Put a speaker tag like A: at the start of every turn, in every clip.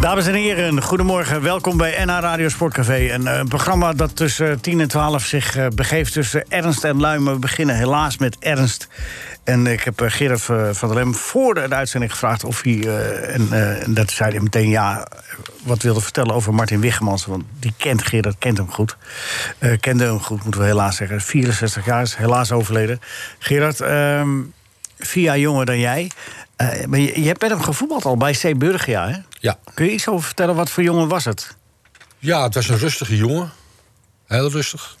A: Dames en heren, goedemorgen. Welkom bij NH Radio Sportcafé. Een, eh, een programma dat tussen 10 en 12 zich eh, begeeft tussen ernst en lui. Maar we beginnen helaas met ernst. En ik heb eh, Gerard eh, van der Lem voor de uitzending gevraagd of hij... eh, en, eh, en dat zei hij meteen ja, eh, wat wilde vertellen over Martin Wichemans. Want die kent Gerard, kent hem goed. Eh, kende hem goed, moeten we helaas zeggen. 64 jaar, is helaas overleden. Gerard, ehm, vier jaar jonger dan jij. Eh, maar je, je hebt met hem gevoetbald al bij C. Burgia, hè?
B: Ja.
A: Kun je iets over vertellen? Wat voor jongen was het?
B: ja, het was een rustige jongen. Heel rustig.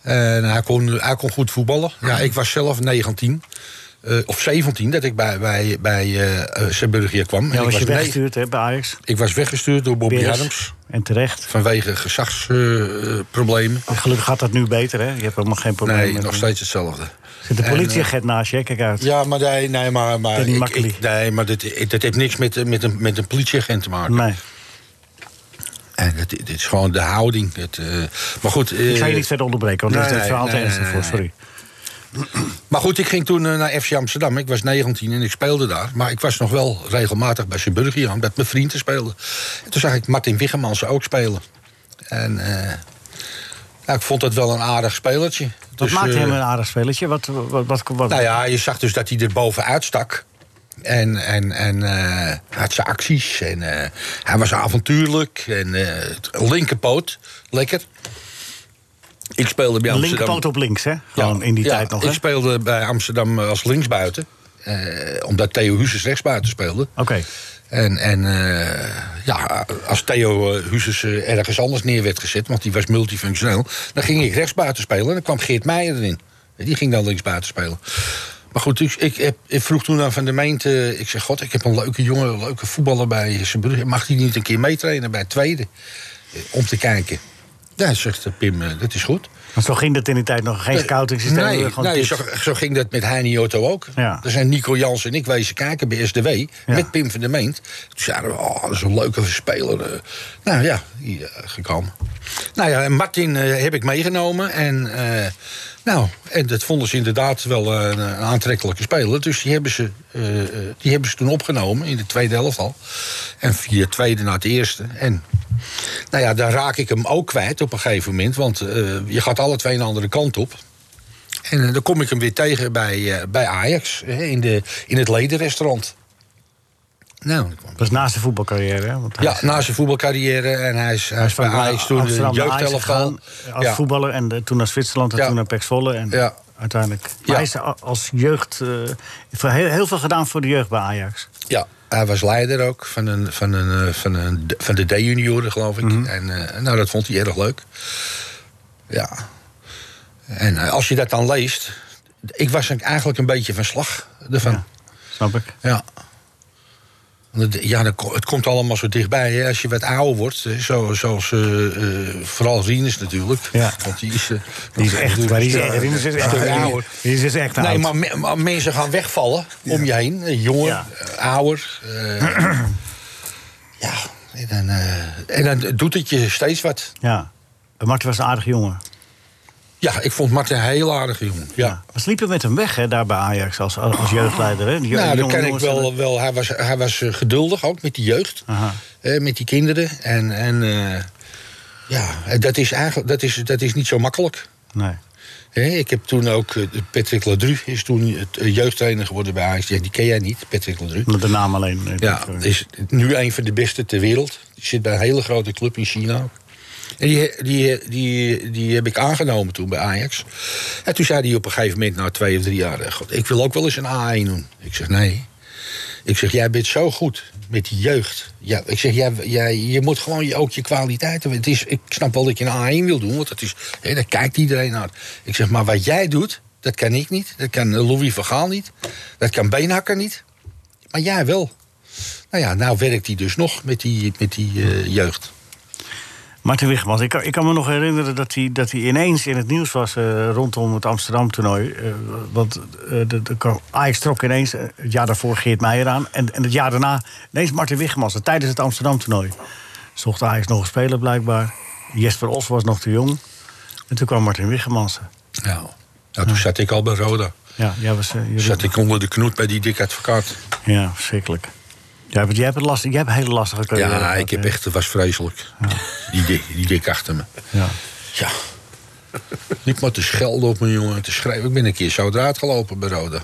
B: En hij kon, hij kon goed voetballen. Ja, ik was zelf 19. eh, of 17 dat ik bij, bij, bij eh Zeeburg hier kwam.
A: Ja,
B: ik,
A: was je
B: nee-
A: weggestuurd hè, bij Ajax.
B: ik was weggestuurd door Bobby
A: Beres.
B: Adams.
A: En terecht.
B: Vanwege gezagsproblemen.
A: Gelukkig gaat dat nu beter, hè? Je hebt helemaal geen probleem
B: nee,
A: met
B: nog
A: hem.
B: steeds hetzelfde.
A: Zit de
B: En, eh,
A: politieagent naast je, hè? kijk uit.
B: Ja, maar nee, nee maar, maar,
A: Danny
B: ik,
A: Makkely.
B: ik- nee, maar dit, ik- dit heeft niks met, met, een, met een politieagent te maken.
A: Nee,
B: En dit, dit is gewoon de houding. Het, eh, maar goed.
A: ik ga je
B: eh,
A: niet verder onderbreken, want
B: nee,
A: daar is het
B: nee,
A: verhaal te
B: nee,
A: ernstig
B: nee,
A: voor.
B: nee,
A: Sorry.
B: Maar goed, ik ging toen eh, naar FC Amsterdam. Ik was 19 en ik speelde daar. Maar ik was nog wel regelmatig bij Sint-Burgier aan, met mijn vrienden speelden. En toen zag ik Martin Wiggemans ook spelen. En eh, nou, ik vond dat wel een aardig spelertje.
A: Wat
B: Dus,
A: maakte
B: eh,
A: hem een aardig spelletje? Wat, wat, wat, wat,
B: nou ja, je zag dus dat hij er bovenuit stak. En, en, en eh, hij had zijn acties. En, eh, hij was avontuurlijk. En eh, linkerpoot, lekker. Ik speelde bij Amsterdam.
A: Linkerpoot op links, hè? Gewoon in die
B: ja,
A: tijd nog, hè?
B: Ik
A: Oké.
B: speelde bij Amsterdam eh, als linksbuiten. Eh, omdat Theo Huses rechtsbuiten speelde.
A: Oh.
B: En, en eh, ja, als Theo eh, Huses eh, ergens anders neer werd gezet, want die was multifunctioneel, dan ging ik rechtsbuiten spelen en dan kwam Geert Meijer erin. Die ging dan linksbuiten spelen. Maar goed, ik, ik, heb, ik vroeg toen aan Van der Meente, ik zeg, god, ik heb een leuke jongen, een leuke voetballer bij Zeebrugge. Mag die niet een keer meetrainen bij het tweede? Eh, om te kijken. Ja, zegt eh, Pim, eh, dat is goed.
A: Want zo ging dat in die tijd nog. Geen scouting systeem.
B: Nee,
A: gewoon
B: nee, zo,
A: tips.
B: zo ging dat met Heini Otto ook.
A: Ja.
B: Er zijn Nico Jans en ik wezen kijken bij SDW met Pim van der Meent. Toen zeiden we, oh, dat is een leuke speler. eh. Nou ja, hier eh, gekomen. Nou ja, en Martin eh, heb ik meegenomen. En, eh, nou, en dat vonden ze inderdaad wel eh, een, een aantrekkelijke speler. Dus die hebben, ze, eh, eh, die hebben ze toen opgenomen in de tweede helft al. En via het tweede naar het eerste. En nou ja, daar raak ik hem ook kwijt op een gegeven moment. Want eh, je gaat alle twee een andere kant op. En eh, dan kom ik hem weer tegen bij, eh, bij Ajax, hè, in, de, in het ledenrestaurant. Nou, dan kwam-
A: Dat is naast de voetbalcarrière, hè? Want hij
B: ja,
A: is-
B: na zijn voetbalcarrière en hij is, hij is bij Ajax toen de
A: Amsterdam naar Ajax
B: jeugdelftal.
A: gegaan, Als
B: Ja.
A: voetballer en eh, toen naar Zwitserland en
B: Ja.
A: toen naar PEC Zwolle. En
B: Ja.
A: uiteindelijk. Maar
B: Ja.
A: hij is a- als jeugd... eh, voor heel, heel veel gedaan voor de jeugd bij Ajax.
B: Ja, hij was leider ook van, een, van, een, eh, van, een, van de D-junioren, geloof ik. En eh, nou, dat vond hij erg leuk. Ja. En eh, als je dat dan leest... Ik was eigenlijk een beetje van slag ervan.
A: Ja. Snap ik.
B: Ja. Want het- Ja, dan ko- het komt allemaal zo dichtbij. Hè. Als je wat ouder wordt, hè, zo, zoals eh, eh, vooral Rinus natuurlijk.
A: Ja.
B: Want die is, eh,
A: Die is
B: nog-
A: echt...
B: natuurlijk
A: Maar die is
B: een
A: echt, die is
B: stuk-
A: echt,
B: een stuk
A: ouder.
B: ouder.
A: Die is echt oud.
B: Nee, maar, me- maar mensen gaan wegvallen om je heen. Eh, Jonger,
A: Ja.
B: eh, ouder. eh, ja, en dan, eh, en dan doet het je steeds wat.
A: Ja. Maar Martin was een aardig jongen.
B: Ja, ik vond Martin een heel aardige jongen. Ja.
A: Maar ze liepen met hem weg, hè, daar bij Ajax, als, als jeugdleider. Hè? Die jo-
B: Nou, dat
A: jonge
B: ken ik
A: jongens hadden-
B: wel. wel hij, was, hij was eh, geduldig ook met die jeugd.
A: Aha.
B: Eh, met die kinderen. En, en eh, ja, eh, dat is, eigenlijk, dat, is, dat is niet zo makkelijk.
A: Nee.
B: Hè, ik heb toen ook... eh, Patrick Ladru is toen het, eh, jeugdtrainer geworden bij Ajax. Ja, die ken jij niet, Patrick Ladru.
A: Met de naam alleen. eh,
B: Ja,
A: dat, eh,
B: is nu een van de beste ter wereld. Die zit bij een hele grote club in China ook. En die, die, die, die heb ik aangenomen toen bij Ajax. En toen zei hij op een gegeven moment, na twee of drie jaar... eh, God, ik wil ook wel eens een A1 doen. Ik zeg, nee. Ik zeg, jij bent zo goed met die jeugd. Ja, ik zeg, jij, jij, je moet gewoon je, ook je kwaliteiten... Het is, ik snap wel dat je een A1 wil doen, want dat is, hè, daar kijkt iedereen naar. Ik zeg, maar wat jij doet, dat kan ik niet. Dat kan eh, Louis van Gaal niet. Dat kan Beenhakker niet. Maar jij wel. Nou ja, nou werkt hij dus nog met die, met die eh, jeugd.
A: Martin Wichmans, ik kan, ik kan me nog herinneren dat hij, dat hij ineens in het nieuws was eh, rondom het Amsterdam-toernooi. Eh, want eh, de, de, kwam- Ajax trok ineens eh, het jaar daarvoor Geert Meijer aan. En, en het jaar daarna ineens Martin Wichmans, eh, tijdens het Amsterdam-toernooi. Zocht Ajax nog een speler blijkbaar. Jesper Os was nog te jong. En toen kwam Martin Wiggemansen.
B: Nou, nou toen zat ik al bij Roda.
A: Ja, jij was... eh, jullie-
B: Zat ik onder de knoet bij die dikke advocaat.
A: Ja, verschrikkelijk. Jij hebt, jij hebt, het lastig, jij hebt een hele lastige carrière.
B: Ja,
A: gehad,
B: ik heb
A: hè?
B: echt, het was vreselijk. Die, dik, die dik achter me.
A: Ja.
B: Ja. Niet maar te schelden op mijn jongen, te schrijven. Ik ben een keer zo draad gelopen bij Roda.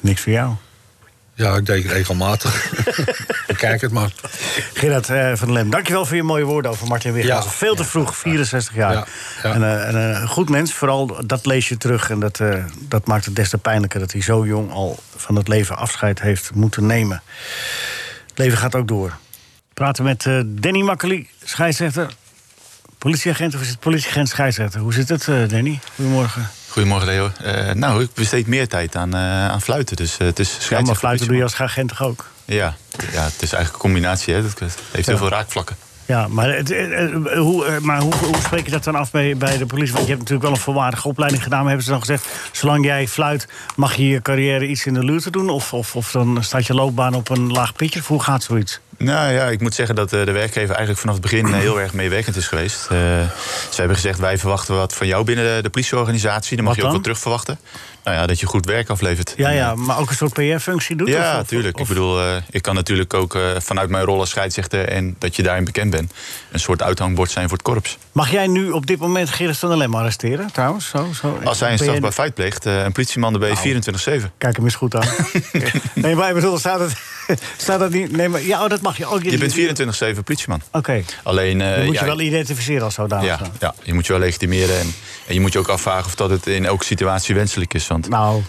A: Niks voor jou.
B: Ja, ik deed het regelmatig. Kijk het maar.
A: Gerard eh, van der Lem, dankjewel voor je mooie woorden over Martin Wiggins.
B: Ja.
A: Veel te vroeg, 64 jaar.
B: Ja, ja.
A: En, eh, en, eh, een goed mens, vooral dat lees je terug. En dat, eh, dat maakt het des te pijnlijker dat hij zo jong al van het leven afscheid heeft moeten nemen. Het leven gaat ook door. We praten met eh, Danny Makkely, scheidsrechter. Politieagent of is het politieagent scheidsrechter? Hoe zit het, eh, Danny? Goedemorgen.
C: Goedemorgen Leo. Eh, nou, ik besteed meer tijd aan, eh, aan fluiten. Dus eh, het is
A: Ja, maar
C: scheidsrechter-
A: fluiten doe je als agent toch ook?
C: Ja, ja, het is eigenlijk een combinatie. Hè. Dat heeft heel
A: Ja.
C: veel raakvlakken.
A: Ja, maar, het, eh, eh, hoe, eh, maar hoe, hoe spreek je dat dan af bij, bij de politie? Want je hebt natuurlijk wel een volwaardige opleiding gedaan. Maar hebben ze dan gezegd, zolang jij fluit... mag je je carrière iets in de luwte doen? Of, of, of dan staat je loopbaan op een laag pitje? Of hoe gaat zoiets?
C: Nou ja, ik moet zeggen dat eh, de werkgever eigenlijk vanaf het begin eh, heel erg meewerkend is geweest. Eh, ze hebben gezegd, wij verwachten wat van jou binnen de, de politieorganisatie. Dan mag
A: Wat
C: je ook
A: dan?
C: wat terug verwachten. Nou ja, dat je goed werk aflevert.
A: Ja, ja, maar ook een soort PR-functie doet?
C: Ja,
A: of- of-
C: tuurlijk.
A: of-
C: ik bedoel, eh, ik kan natuurlijk ook eh, vanuit mijn rol als scheidsrechter... en dat je daarin bekend bent, een soort uithangbord zijn voor het korps.
A: Mag jij nu op dit moment Gerrit van der Lem arresteren, trouwens? Zo, zo,
C: Als hij een
A: Ben Nou. jij-
C: strafbaar feit pleegt, eh, een politieman erbij 24-7.
A: Kijk hem eens goed aan. nee, maar ik bedoel, staat het, staat dat niet... Nee, maar, ja, oh, dat mag je ook.
C: Je bent 24-7 politieman.
A: Oké,
C: Alleen, eh,
A: dan moet
C: ja,
A: je wel identificeren als zodanig.
C: ja, ja, je moet je wel legitimeren. En, en je moet je ook afvragen of dat het in elke situatie wenselijk is. Want
A: Nou,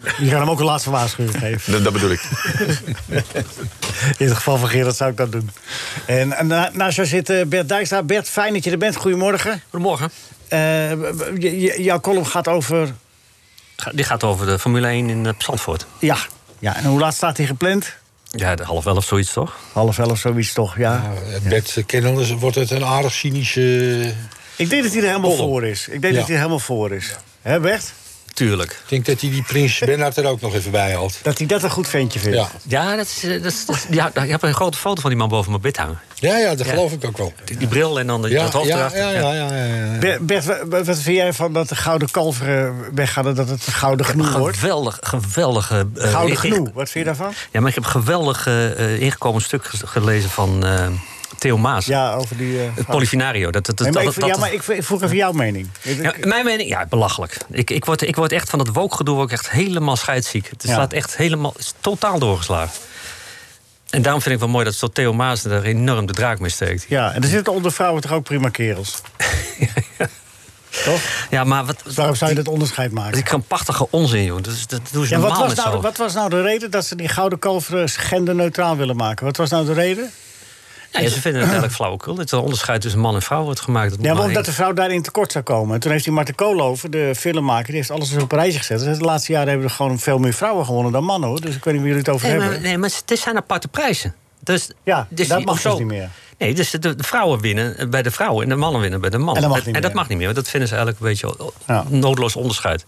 A: je gaat hem ook een laatste waarschuwing geven.
C: dat, dat bedoel ik.
A: In het geval van Gerard zou ik dat doen. En, en na- naast jou zit eh, Bert Dijkstra. Bert, fijn dat je er bent. Goedemorgen.
D: Goedemorgen.
A: Eh, je- je- jouw column gaat over...
D: Ga- Dit gaat over de Formule 1 in eh, Zandvoort.
A: Ja. ja, en hoe laat staat hij gepland?
D: Ja, de half elf zoiets toch?
A: Half elf, zoiets toch, ja.
B: Bert eh, Kennel is- wordt het een aardig cynische...
A: Ik denk dat hij er helemaal
B: Column.
A: voor is. Ik denk
B: Ja.
A: dat hij er helemaal voor is. Hè Bert?
D: Tuurlijk.
B: Ik denk dat hij die prins Bernhard er ook nog even bij had.
A: Dat hij dat een goed ventje vindt.
B: Ja,
D: Ja, dat is, eh, dat is, dat is- ja, ik heb een grote foto van die man boven mijn bed hangen.
B: ja, ja dat geloof ik ook wel.
D: Die, die bril en dan de,
B: Ja,
D: dat hoofd
B: ja,
D: erachter.
B: ja, ja, ja, ja, ja.
A: Ber- Bert, wa- wa- wat vind jij van dat de gouden kalveren weggaan... en dat het een gouden
D: Een
A: genoeg wordt?
D: geweldig, geweldige... eh,
A: Gouden
D: inge-
A: genoeg, wat vind je daarvan?
D: Ja, maar ik heb een geweldig eh, eh, ingekomen stuk ge- gelezen van eh, Theo Maas.
A: Ja, over die... eh,
D: Het Polifinario. Dat, dat, dat,
A: Nee, maar ik,
D: dat- dat-
A: ja, maar ik, ik vroeg even jouw mening.
D: Ja, mijn mening, ja, belachelijk. Ik, ik, word, ik word echt van dat wookgedoe word ik echt helemaal scheidsziek. Het
A: Ja.
D: slaat echt helemaal, is totaal doorgeslagen. En daarom vind ik wel mooi dat zo Theo Maas daar enorm de draak mee steekt.
A: Ja, en er zitten onder vrouwen toch ook prima kerels? Toch?
D: Ja, maar wat,
A: Dus waarom zou je dat onderscheid maken?
D: die krampachtige onzin, joh. Dat, is- dat doen ze
A: Ja, wat,
D: Dus normaal
A: was
D: met
A: nou,
D: zo.
A: wat was nou de reden dat ze die gouden kalveren genderneutraal willen maken? Wat was nou de reden?
D: Ja, ze vinden het eigenlijk flauwekul. Dat er een onderscheid tussen man en vrouw wordt gemaakt. Dat moet
A: Ja, maar
D: maar
A: omdat de
D: één-
A: vrouw daarin tekort zou komen. En toen heeft die Marten Koolhoven, de filmmaker, die heeft alles eens op een rijtje gezet. Dus de laatste jaren hebben er gewoon veel meer vrouwen gewonnen dan mannen, hoor. Dus ik weet niet waar jullie het over
D: Nee,
A: hebben.
D: maar, nee, maar het zijn aparte prijzen. Dus,
A: Ja,
D: dus
A: dat
D: die-
A: mag
D: zo-
A: dus niet meer.
D: Nee, dus de, de vrouwen winnen bij de vrouwen en de mannen winnen bij de mannen.
A: En dat mag niet meer.
D: mag niet meer, want dat vinden ze eigenlijk een beetje o-
A: Ja.
D: noodloos onderscheid.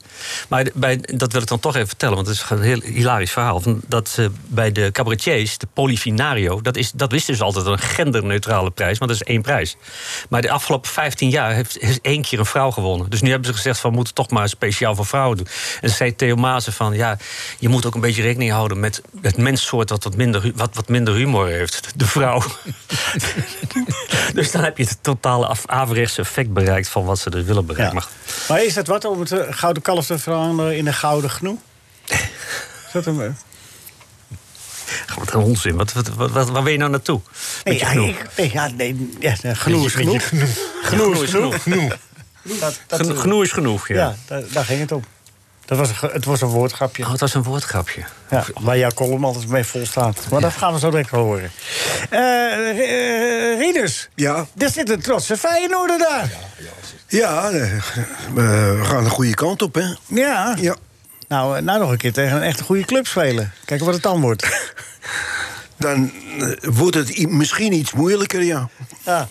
D: Maar de- bij, dat wil ik dan toch even vertellen, want het is een heel hilarisch verhaal. van Dat ze bij de cabaretiers, de Polifinario, dat is, dat is dus altijd een genderneutrale prijs, want dat is één prijs. Maar de afgelopen 15 jaar heeft, is één keer een vrouw gewonnen. Dus nu hebben ze gezegd van we moeten toch maar speciaal voor vrouwen doen. En zei Theo Maassen van ja, je moet ook een beetje rekening houden met het menssoort wat wat minder, hu- wat, wat minder humor heeft. De vrouw. dus dan heb je het totale af- averechts effect bereikt van wat ze dus willen
A: Ja.
D: bereiken.
A: Maar,
D: Maar
A: is dat wat om het eh, gouden kalf te veranderen in een gouden genoeg? Is dat een... eh,
D: Wat een onzin. Wat, wat, wat, wat- waar ben je nou naartoe?
A: Nee,
D: Met je
A: ja,
D: genoeg.
A: ik- nee, ja, nee, ja, nee, genoeg is
B: Met je
A: genoeg. Genoeg is genoeg. Dat, dat,
D: Geno- genoeg is genoeg, ja.
A: ja, daar, daar ging het om. Dat was een, ge- het was een woordgrapje.
D: Oh, het was een woordgrapje.
A: Ja, waar jouw column altijd mee vol staat. Maar dat gaan we zo direct wel horen. Eh eh, Rieders,
E: Ja.
A: er zit een trotse Feyenoorder daar.
E: Ja, eh, eh, we gaan de goede kant op, hè?
A: Ja.
E: Ja.
A: Nou, eh, nou nog een keer tegen een echt goede club spelen. Kijken wat het dan wordt.
E: Dan eh, wordt het i- misschien iets moeilijker, ja.
A: Ja.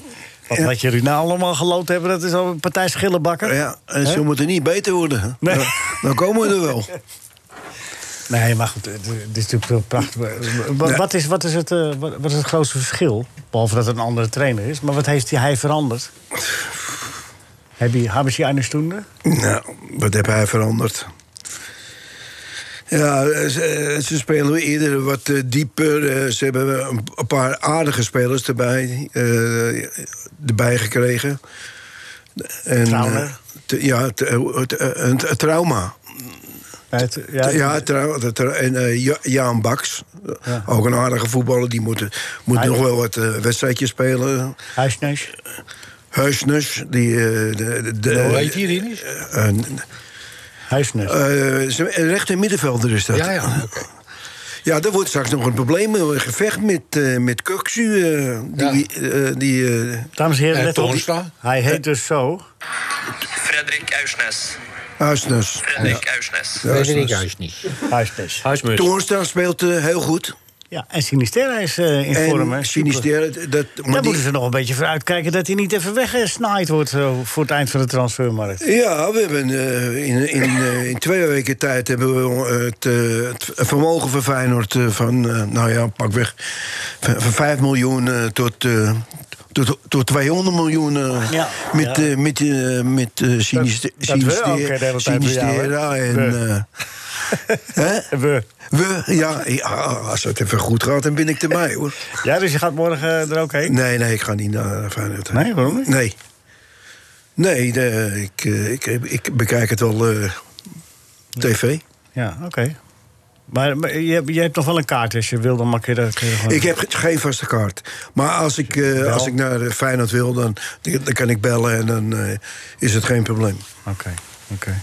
A: Wat, wat jullie nou allemaal geloot hebben, dat is al een partij schillenbakken.
E: ja en ze moeten niet beter worden. hè.
A: Nee.
E: Dan, dan komen we er wel.
A: Nee, maar goed, het het is natuurlijk wel prachtig. Wa- Wat is, wat, is het, eh, wat wat is het grootste verschil? Behalve dat het een andere trainer is. Maar wat heeft hij, hij veranderd? Heb je, hebben ze eine Stunde?
E: Nou, wat heb hij veranderd? Ja, eh, ze, eh, ze spelen eerder wat eh, dieper. eh, Ze hebben een- een paar aardige spelers erbij, eh, erbij gekregen. En,
A: Trauner?
E: eh, te- ja, te- eh, te- eh, een een trauma.
A: Nee, het- ja,
E: Ja, trouw- dat er- en eh, Ja- Jaan Baks.
A: Ja.
E: Ook een aardige voetballer. Die moet, moet
A: Hij-
E: nog wel wat eh, wedstrijdjes spelen.
A: Huisneus.
E: Heusnes, die... eh, de, de, de-
B: Hoe heet die hier niet?
E: eh, eh,
A: Huisneus.
E: eh, ze- een rechter middenvelder is dat.
B: Ja, ja, oké.
E: Ja, dat wordt straks nog een probleem. Een gevecht met, eh met Kuksu. eh, die, eh, die, eh,
A: Dames en heren,
B: eh,
A: let op. die-
B: Toornstra?
A: Hij heet dus zo.
F: Frederik Aursnes.
E: Huisnes.
F: Frederik Aursnes.
B: Nee, dat weet ik juist niet.
A: Huisneus.
D: Huismus.
E: Toornstra speelt eh, heel goed.
A: Ja, en Sinisterra is eh, in vorm. hè?
E: En Sinister. Dat,
A: Daar
E: maar die-
A: moeten ze nog een beetje voor uitkijken dat hij niet even weggesnaaid wordt eh, voor het eind van de transfermarkt.
E: ja, we hebben eh, in, in, eh, in twee weken tijd hebben we het, eh, het vermogen van Feyenoord eh, van, eh, nou ja, pakweg van, van 5 miljoen eh, tot, eh, tot, tot 200 miljoen eh,
A: Ja.
E: met,
A: Ja.
E: eh, met, eh, met eh, Sinister,
A: dat we ook, eh, de hele tijd bij jou, hè?
E: Sinistera en...
A: We.
E: eh, hè?
A: We.
E: eh, We, ja, ja, als het even goed gaat, dan ben ik erbij hoor.
A: Ja, dus je gaat morgen eh, er ook heen?
E: Nee, nee, ik ga niet naar Feyenoord.
A: Nee, waarom niet?
E: Nee. Nee, de- ik, eh, ik, ik bekijk het wel eh, tv.
A: Ja, oké. Maar, maar je, hebt- je hebt nog wel een kaart, dus je wil dan maar een keer dat kun je gewoon-
E: Ik heb ge- geen vaste kaart. Maar als ik, eh, als ik naar eh, Feyenoord wil, dan, dan kan ik bellen en dan eh, is het geen probleem.
A: Oké, oké.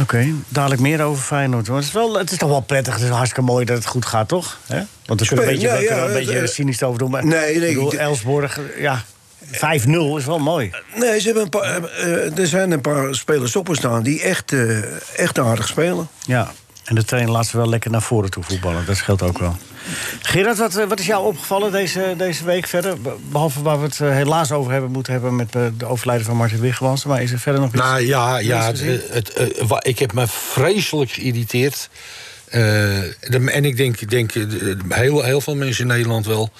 A: Oké, dadelijk meer over Feyenoord. hoor. het, is wel, het is toch wel prettig, het is hartstikke mooi dat het goed gaat, toch? Hè? Want we kunnen een
E: Spelen,
A: beetje, we
E: ja, ja,
A: kunnen er een
E: het-
A: beetje
E: eh,
A: cynisch over doen. Maar
E: nee, nee,
A: Ik bedoel,
E: ik-
A: Elsborg, ja, 5-0 is wel mooi.
E: Nee, ze hebben een paar, eh, eh, er zijn een paar spelers opgestaan die echt, eh, echt aardig spelen.
A: Ja, en de trainer laat ze wel lekker naar voren toe voetballen. Dat scheelt ook wel. Gerard, wat, eh, wat is jou opgevallen deze, deze week verder? Be- Behalve waar we het eh, helaas over hebben moeten hebben... met eh, de overlijden van Martin Wiggewansen. Maar is er verder nog iets?
B: Nou ja, ja
A: Niets gezien?
B: het, het, eh, wa- ik heb me vreselijk geïrriteerd. Eh, de- en ik denk, ik denk eh, de- de- heel, heel veel mensen in Nederland wel...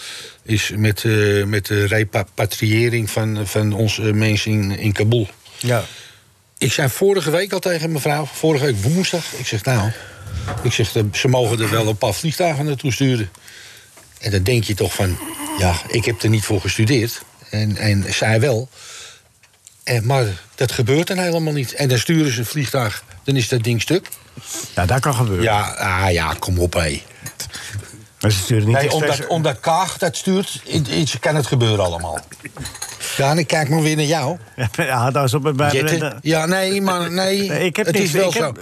B: is met, eh, met de repatriëring van, van onze mensen in, in Kabul.
A: ja.
B: Ik zei vorige week al tegen mevrouw, vorige week woensdag. Ik zeg nou, ik zeg, eh, ze mogen er wel een paar vliegtuigen naartoe sturen. En dan denk je toch van, ja, ik heb er niet voor gestudeerd. En, en zij wel. En, maar dat gebeurt dan helemaal niet. En dan sturen ze een vliegtuig, dan is dat ding stuk.
A: ja, Nou, dat kan gebeuren.
B: Ja, ah, ja, kom op hé.
A: Maar ze sturen niet
B: Nee,
A: expres-
B: omdat, omdat Kaag dat stuurt, i- i- kan het gebeuren allemaal. Daan, ik kijk maar weer naar jou.
A: ja, dat is op het bij
B: Jetten? Ja, nee, maar nee.
A: Nee, ik heb
B: het
A: niks-
B: is wel
A: ik
B: zo.
A: heb-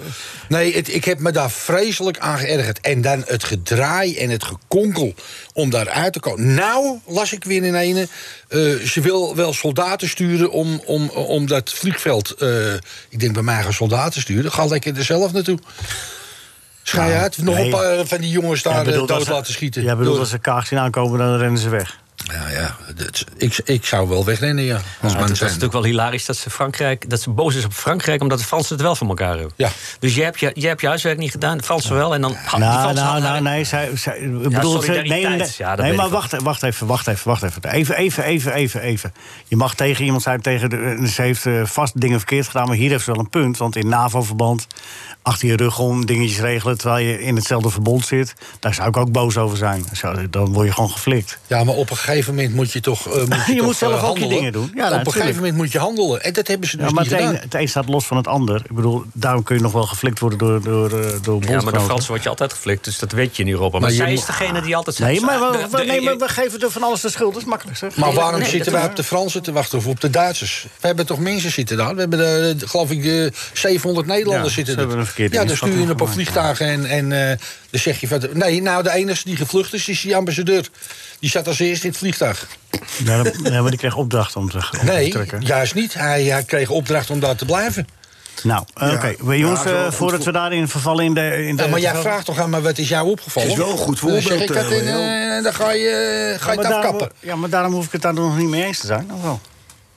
B: Nee, het, ik heb me daar vreselijk aan geërgerd. En dan het gedraai en het gekonkel om daaruit te komen. Nou, las ik weer in ene. eh, ze wil wel soldaten sturen om, om, om dat vliegveld. eh, ik denk bij mij gaan soldaten sturen. Ga lekker er zelf naartoe. Schij uit. Nog
A: Nou, nee.
B: een paar van die jongens daar eh, dood
A: ze,
B: laten schieten.
A: Jij bedoelt
B: Door-
A: als ze kaag zien aankomen, dan rennen ze weg.
B: Ja, ja. dat- ik, ik zou wel wegrennen, ja.
A: Nou,
B: Als
D: Maar
B: man
D: het is
B: zijn.
D: natuurlijk wel hilarisch dat ze, Frankrijk, dat ze boos is op Frankrijk... omdat de Fransen het wel van elkaar hebben.
B: Ja.
D: Dus je hebt je, je, hebt je huiswerk niet gedaan, de Fransen wel. En dan ha, die
A: Nou,
D: Fransen
A: nou,
D: hadden-
A: nou, nee, zij, zij, ik bedoel, ze- nee, nee, nee,
D: solidariteit. Ja, dat
A: nee
D: weet
A: maar
D: ik wel.
A: wacht, wacht even, wacht even, wacht even. Even, even, even, even, even. Je mag tegen iemand zijn, tegen de, eh, ze heeft eh, vast dingen verkeerd gedaan, maar hier heeft ze wel een punt. Want in NAVO-verband, achter je rug om, dingetjes regelen, terwijl je in hetzelfde verbond zit, daar zou ik ook boos over zijn. Zo, dan word je gewoon geflikt.
B: Ja, maar op een gegeven moment moet je toch. eh, moet je
A: Je
B: toch,
A: moet zelf
B: eh,
A: ook je
B: handelen.
A: dingen doen. Ja, nou,
B: op een
A: natuurlijk.
B: gegeven moment moet je handelen. En dat hebben ze dus
A: Ja, maar
B: niet
A: het een,
B: gedaan.
A: het een staat los van het ander. Ik bedoel, daarom kun je nog wel geflikt worden door, door, eh, door
D: Ja, maar door
A: bondgenoten.
D: Fransen word je altijd geflikt, dus dat weet je in Europa. Maar,
B: Maar je
D: zij
B: mo-
D: is degene die altijd... "Ah,
A: Nee, maar
D: de-
A: we,
D: de-
A: we- nee, maar
D: de-
A: we geven er van alles de schuld. Dat is makkelijk, zeg.
B: Maar waarom
D: nee,
B: zitten
D: dat
B: wij
D: is
B: op de Fransen te wachten of op de Duitsers? We hebben toch mensen zitten daar? We hebben, er, eh, geloof ik, eh, 700 Nederlanders
A: Ja,
B: zitten
A: ze
B: er.
A: hebben een verkeerde
B: ja, dan stuur je een
A: inschatting
B: paar vliegtuigen en, en eh, dan zeg je van... Nee, nou, de enige die gevlucht is, is die ambassadeur. Die zat als eerste in het vliegtuig.
A: Ja, dat- ja, maar die kreeg opdracht om te, om te
B: Nee,
A: trekken.
B: juist niet. Hij, hij kreeg opdracht om daar te blijven.
A: Nou, eh,
E: Ja.
A: oké. We Jongens,
E: Ja, zo
A: eh,
E: goed
A: voordat we
E: voor-
A: daarin vervallen in de... In de
B: Ja, maar jij
A: de-
B: vraagt toch aan me, wat is jou opgevallen?
E: Het is wel een goed
B: Dan zeg
E: voorbeeld,
B: ik dat
E: eh,
B: en, eh, dan ga je, ga
A: Ja,
B: je
A: maar
B: het
A: daarom-
B: afkappen.
A: Ja, maar daarom hoef ik het daar nog niet mee eens te zijn. Of wel?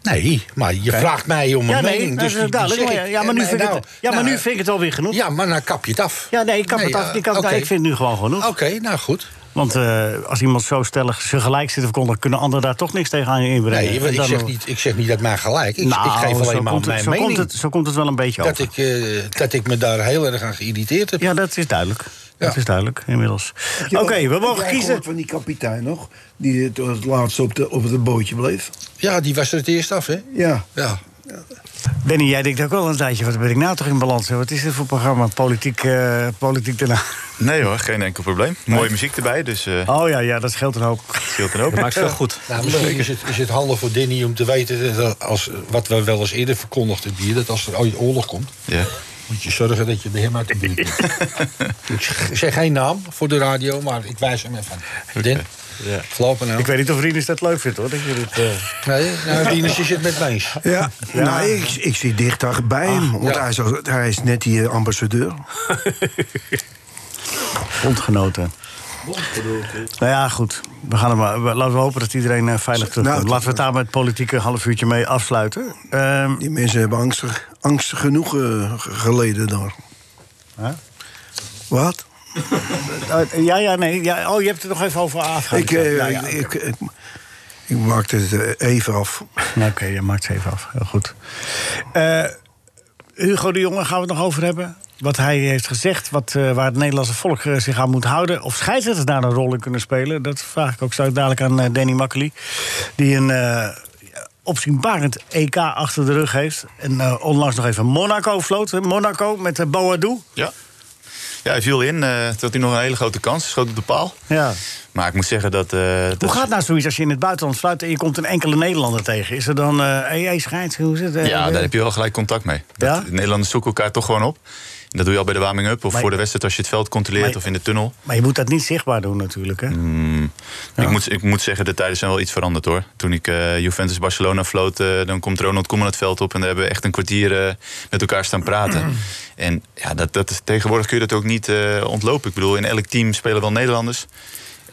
B: Nee, maar je vraagt mij om een
A: Ja, nee,
B: mening.
A: dat
B: Dus
A: is
B: die- die
A: duidelijk.
B: zeg
A: Maar ja,
B: ik.
A: ja, maar nu
B: En,
A: vind ik
B: nou,
A: het- ja, maar
B: nou,
A: nu vind ik het alweer genoeg.
B: Ja, maar dan kap je het af.
A: Ja, nee, ik kap het af. Ik kap-
B: oké.
A: ik vind het nu gewoon genoeg.
B: Oké, nou goed.
A: Want eh, als iemand zo stellig ze gelijk zit of kon, dan kunnen anderen daar toch niks tegen aan inbrengen.
B: Nee,
A: En
B: ik
A: dan-
B: zeg, niet, ik zeg niet dat mij gelijk. Ik,
A: Nou,
B: ik geef
A: zo
B: alleen maar
A: komt het-
B: mijn
A: zo
B: mening.
A: Komt het, zo komt het wel een beetje
B: dat,
A: over.
B: ik, eh, dat ik me daar heel erg aan geïrriteerd heb.
A: Ja, dat is duidelijk. Dat
B: Ja.
A: is duidelijk, inmiddels. Oké, we mogen kiezen.
E: van die kapitein nog, die het, eh, het laatste op, de, op het bootje bleef.
B: Ja, die was er het eerst af, hè?
E: Ja.
B: Ja.
A: Danny, jij denkt ook wel een tijdje, wat ben ik nou toch in balans? hè? Wat is dit voor programma? Politiek, eh, politiek daarna.
C: Nee hoor, geen enkel probleem. Mooie muziek erbij, dus eh
A: Oh ja, ja, dat scheelt een hoop.
C: scheelt dan ook.
D: maakt veel goed.
B: Nou, misschien is het, is het handig voor Danny om te weten... Dat als, wat we wel eens eerder verkondigden hier... dat als er ooit oorlog komt...
C: Ja.
B: moet je zorgen dat je bij hem uit de buurt bent. ik zeg- zeg geen naam voor de radio, maar ik wijs hem even aan. Din, geloof me nou.
A: Ik weet niet of Rinus dat leuk vindt, hoor. Dat je dit, eh,
B: Nee, nou, Rinus, je zit met me eens.
E: Ja, Nou, ik, ik zit dicht bij
A: Ah,
E: hem, want
B: ja.
E: hij, is, al- hij is net die eh, ambassadeur.
A: Bondgenoten. Nou ja, goed. We gaan er maar, we- laten we hopen dat iedereen eh, veilig terugkomt.
E: Nou,
A: laten we het daar met het politieke half uurtje mee afsluiten. Ehm,
E: Die mensen hebben angstig, angstig genoeg eh, ge- geleden daar.
A: Huh?
E: Wat?
A: eh, ja, ja, nee. Ja, oh, je hebt het nog even over afgehaald.
E: Ik, eh,
A: Ja, ja, oké.
E: ik, ik, ik maakte het eh, even af.
A: Nou, Oké, je maakt ze even af. Heel goed. Eh, Hugo de Jonge gaan we het nog over hebben. Wat hij heeft gezegd, wat, eh, waar het Nederlandse volk eh, zich aan moet houden. Of scheidsrechters daar een rol in kunnen spelen. Dat vraag ik ook zo dadelijk aan eh, Danny Makkely. Die een eh opzienbarend EK achter de rug heeft. En eh, onlangs nog even Monaco vloot. hè, Monaco met de Boadou.
C: Ja. ja, hij viel in. eh, het had nu nog een hele grote kans. Schoot op de paal.
A: Ja.
C: Maar ik moet zeggen dat... eh, dat
A: Hoe gaat nou zoiets als je in het buitenland fluit en je komt een enkele Nederlander tegen? Is er dan, eh hey, hey, scheids, hoe is het? Eh,
C: Ja,
A: eh,
C: daar heb je wel gelijk contact mee. Dat,
A: Ja?
C: de Nederlanders zoeken elkaar toch gewoon op. En dat doe je al bij de warming-up of
A: Maar-
C: voor de wedstrijd als je het veld controleert
A: Maar-
C: of in de tunnel.
A: Maar je moet dat niet zichtbaar doen natuurlijk, hè?
C: Ik, moet, ik moet zeggen, de tijden zijn wel iets veranderd hoor. Toen ik eh, Juventus Barcelona floot, eh, dan komt Ronald Koeman het veld op en daar hebben we echt een kwartier eh, met elkaar staan praten. en ja, dat, dat is, tegenwoordig kun je dat ook niet eh, ontlopen. Ik bedoel, in elk team spelen wel Nederlanders.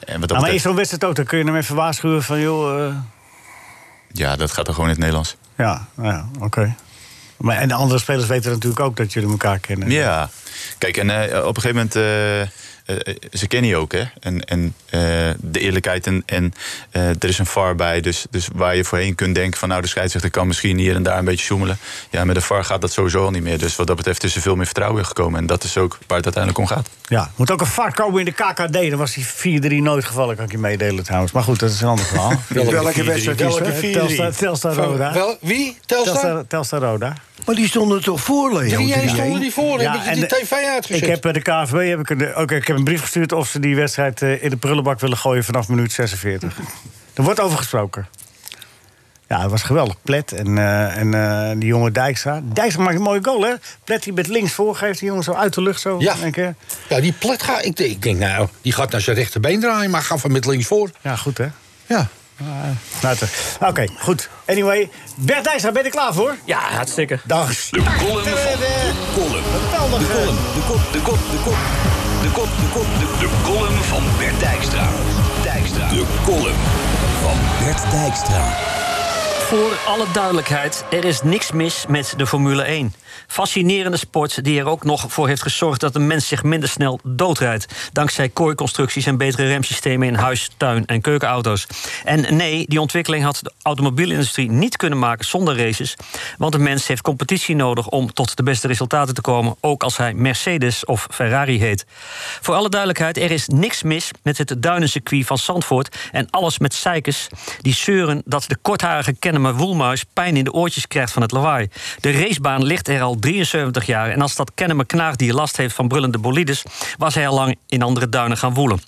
C: En wat dat
A: Nou, maar is
C: betreft-
A: zo'n wedstrijd ook, dan kun je hem even waarschuwen van... joh, eh,
C: Ja, dat gaat dan gewoon in het Nederlands.
A: ja, nou ja oké. Maar En de andere spelers weten natuurlijk ook dat jullie elkaar kennen.
C: Ja, kijk, en eh, op een gegeven moment. eh, eh, ze kennen je ook, hè? En, en eh, de eerlijkheid en, en eh, er is een VAR bij. Dus, dus waar je voorheen kunt denken van... nou, de scheidsrechter kan misschien hier en daar een beetje zoemelen. Ja, met de VAR gaat dat sowieso al niet meer. Dus wat dat betreft is er veel meer vertrouwen in gekomen. En dat is ook waar het uiteindelijk om gaat.
A: Ja, moet ook een VAR komen in de KKD. Dan was die 4-3 nooit gevallen, kan ik je meedelen trouwens. Maar goed, dat is een ander verhaal.
E: Welke wedstrijd is
B: Welke
E: dat?
B: vier?
A: Telstar- Telstar
B: Van-
A: Roda.
B: Wel, wie? Telstar?
A: Telstar, Telstar Roda.
E: Maar die stonden toch voor, Leo?
B: 3-1
E: 3-1?
B: stonden die voor. heb je die
A: de-
B: tv uitgezet?
A: Ik heb bij de KVB heb ik een, eh, ook, ik heb een brief gestuurd of ze die wedstrijd eh, in de prullenbak willen gooien vanaf minuut 46. er wordt over gesproken. Ja, het was geweldig. Plet en, eh, en eh, die jonge Dijkstra. Dijkstra maakt een mooie goal, hè? Plet die met links voorgeeft, die jongen zo uit de lucht zo.
B: Ja.
A: in één keer.
B: Ja, die plat gaat... Ik, denk- ik denk, nou, die gaat naar zijn rechterbeen draaien... maar gaat van met links voor.
A: ja goed hè?
B: Ja.
A: Nou, het- Oké, goed. Anyway, Bert Dijkstra, ben je er klaar voor?
D: Ja, hartstikke.
A: Dag.
G: Column van Column.
A: Geweldig,
G: De
A: eh.
G: column, de kop, de kop, de kop. De kop, de kop, de De column van Bert Dijkstra. Dijkstra. De column van Bert Dijkstra.
D: Voor alle duidelijkheid, er is niks mis met de Formule 1. Fascinerende sport die er ook nog voor heeft gezorgd dat de mens zich minder snel doodrijdt. Dankzij kooiconstructies en betere remsystemen in huis, tuin en keukenauto's. En nee, die ontwikkeling had de automobielindustrie niet kunnen maken zonder races. Want de mens heeft competitie nodig om tot de beste resultaten te komen. Ook als hij Mercedes of Ferrari heet. Voor alle duidelijkheid, er is niks mis met het duinencircuit van Zandvoort. En alles met zeikers die zeuren dat de kortharige Kennemer Woelmuis pijn in de oortjes krijgt van het lawaai. De racebaan ligt er al 73 jaar. En als dat Kennemer knaagdier last heeft van brullende bolides, was hij al lang in andere duinen gaan woelen.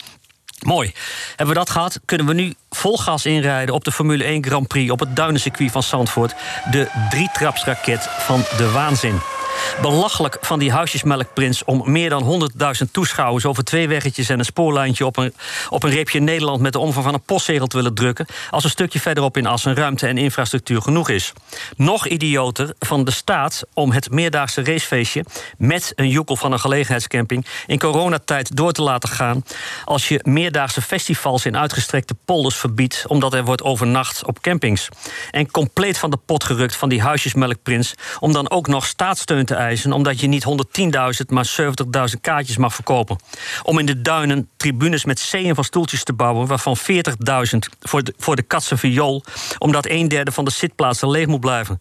D: Mooi. Hebben we dat gehad? Kunnen we nu vol gas inrijden op de Formule 1 Grand Prix op het duinencircuit van Zandvoort? De drietrapsraket van de waanzin. Belachelijk van die huisjesmelkprins om meer dan 100.000 toeschouwers over twee weggetjes en een spoorlijntje op een, op een reepje Nederland met de omvang van een postzegel te willen drukken. als een stukje verderop in Assen ruimte en infrastructuur genoeg is. Nog idioter van de staat om het meerdaagse racefeestje. met een joekel van een gelegenheidscamping. in coronatijd door te laten gaan. als je meerdaagse festivals in uitgestrekte polders verbiedt. omdat er wordt overnacht op campings. En compleet van de pot gerukt van die huisjesmelkprins. om dan ook nog staatssteun te eisen. omdat je niet 110.000 maar 70.000 kaartjes mag verkopen. Om in de duinen tribunes met zeeën van stoeltjes te bouwen. waarvan 40.000 voor de, voor de katse viool. omdat een derde van de zitplaatsen leeg moet blijven.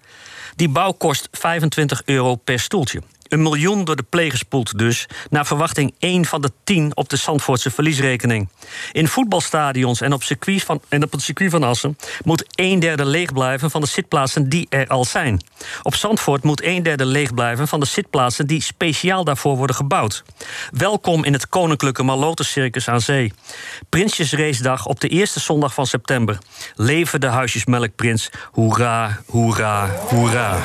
D: Die bouw kost 25 euro per stoeltje. Een miljoen door de plegers spoelt dus, naar verwachting 1 van de 10 op de Zandvoortse verliesrekening. In voetbalstadions en op, circuit van, en op het circuit van Assen moet een derde leeg blijven van de zitplaatsen die er al zijn. Op Zandvoort moet een derde leeg blijven van de zitplaatsen die speciaal daarvoor worden gebouwd. Welkom in het Koninklijke Malotencircus aan Zee. Prinsjesracedag op de eerste zondag van september. Leven de huisjesmelkprins. Hoera, hoera, hoera.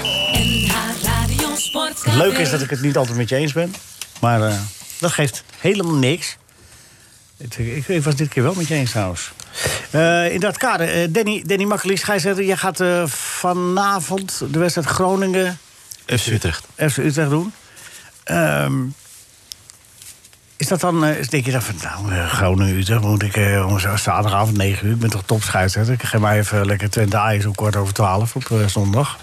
H: Radio Sportcafé.
A: Leuk is dat ik het niet altijd met je eens ben. Maar eh, dat geeft helemaal niks. Het- Ik, ik was dit keer wel met je eens trouwens. Eh, in dat kader, eh, Danny, Danny Makkelies, ga je zeggen... jij gaat eh, vanavond de wedstrijd Groningen
C: FC Utrecht.
A: FC Utrecht doen. Ehm, is dat dan, eh, denk je dan van, nou, eh, Groningen, Utrecht, moet ik eh, om zo- zaterdagavond 9 uur, ik ben toch topschuiter. Ik geef maar even lekker Twente Ajax om kwart over 12 op eh, zondag.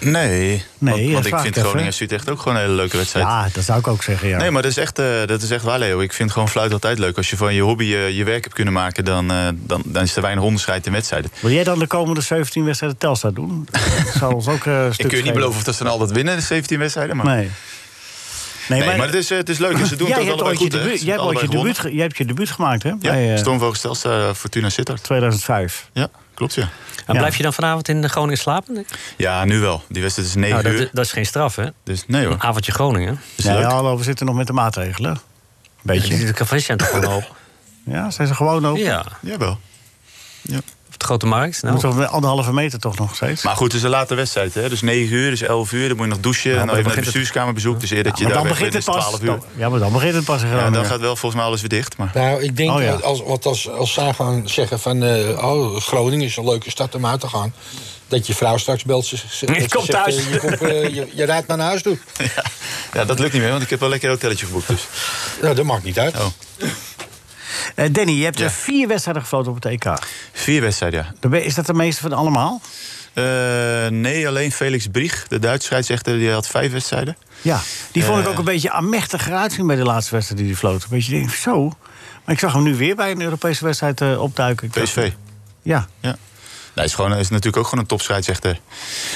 C: Nee, want,
A: ja,
C: want ik
A: vraag
C: vind
A: ik even.
C: Groningen en Utrecht ook gewoon een hele leuke wedstrijd.
A: Ja, dat zou ik ook zeggen, ja.
C: Nee, maar dat is, echt, eh, dat is echt waar, Leo. Ik vind gewoon fluit altijd leuk. Als je van je hobby eh, je werk hebt kunnen maken, dan, eh, dan, dan is er weinig onderscheid in wedstrijden.
A: Wil jij dan de komende 17 wedstrijden Telstar doen? Dat zou ons ook eh, een stuk
C: Ik kun je niet
A: schelen.
C: beloven of dat ze dan altijd winnen, de 17 wedstrijden. Maar,
A: Nee.
C: nee,
A: Nee,
C: maar, het, is, eh, het is leuk. en Ze doen
A: jij
C: het
A: hebt
C: ook allebei
A: ooit je
C: goed, hè?
A: debuut-
C: Ze
A: jij hebt
C: hebben
A: ooit
C: allebei
A: je debuut
C: gewonnen.
A: ge- jij hebt je debuut gemaakt, hè?
C: Ja,
A: Bij, eh,
C: Stormvogelstelsel, eh, Fortuna Sittard.
A: 2005.
C: Ja, klopt, ja.
D: En
A: Ja.
D: blijf je dan vanavond in Groningen slapen?
C: Ja, nu wel. Die wedstrijd is 9
D: Nou, dat,
C: uur.
D: dat is geen straf, hè?
C: Dus nee
A: Ah.
C: hoor.
D: Een avondje Groningen.
C: Is
A: Nee,
C: leuk.
A: hallo, we zitten nog met de maatregelen. Beetje. Oh.
D: De cafécentrum gewoon open.
A: Ja, zijn ze gewoon ook.
D: Ja,
C: Jawel.
D: op de Grote Markt. Nou,
A: Moeten we met anderhalve meter toch nog steeds?
C: Maar goed, het is een late wedstrijd. Hè? Dus 9 uur, dus 11 uur. Dan moet je nog douchen. en
D: maar
C: dan
D: dan
C: even naar de
D: begint het-
C: bestuurskamerbezoek. Dus eer dat je
A: Maar
C: daar
A: dan
C: weg
A: begint het
C: bent, is
A: pas.
C: 12 uur.
A: dan- ja, maar dan eh. begint het pas in
C: Ja,
A: Groningen.
C: dan gaat wel volgens mij alles weer dicht. Maar
B: Nou, ik denk
A: Oh ja.
B: dat als, wat als, als zij gaan zeggen van... eh, oh, Groningen is een leuke stad om uit te gaan. Dat je vrouw straks belt. Ze,
D: Je
B: ze- dat ze
D: komt
B: zegt,
D: thuis.
B: eh, Je, komt, eh, je, je rijdt maar naar huis toe.
C: ja, dat lukt niet meer, want ik heb wel lekker een hotelletje geboekt. Dus.
B: Nou, dat maakt niet uit.
C: Oh.
A: Eh, Danny, je hebt
C: Ja.
A: er vier wedstrijden gefloten op het EK.
C: Vier wedstrijden, ja.
A: Dan ben- Is dat de meeste van allemaal?
C: Eh, nee, alleen Felix Brieg, de Duitse scheidsrechter, die had vijf wedstrijden.
A: Ja, die vond ik
C: Eh.
A: ook een beetje aanmächtiger uitzien bij de laatste wedstrijd die hij floot. Een beetje denk ik, zo. Maar ik zag hem nu weer bij een Europese wedstrijd eh, opduiken. Ik dacht,
C: PSV.
A: Ja.
C: Ja. Nee, is, gewoon, is natuurlijk ook gewoon een topscheidsrechter.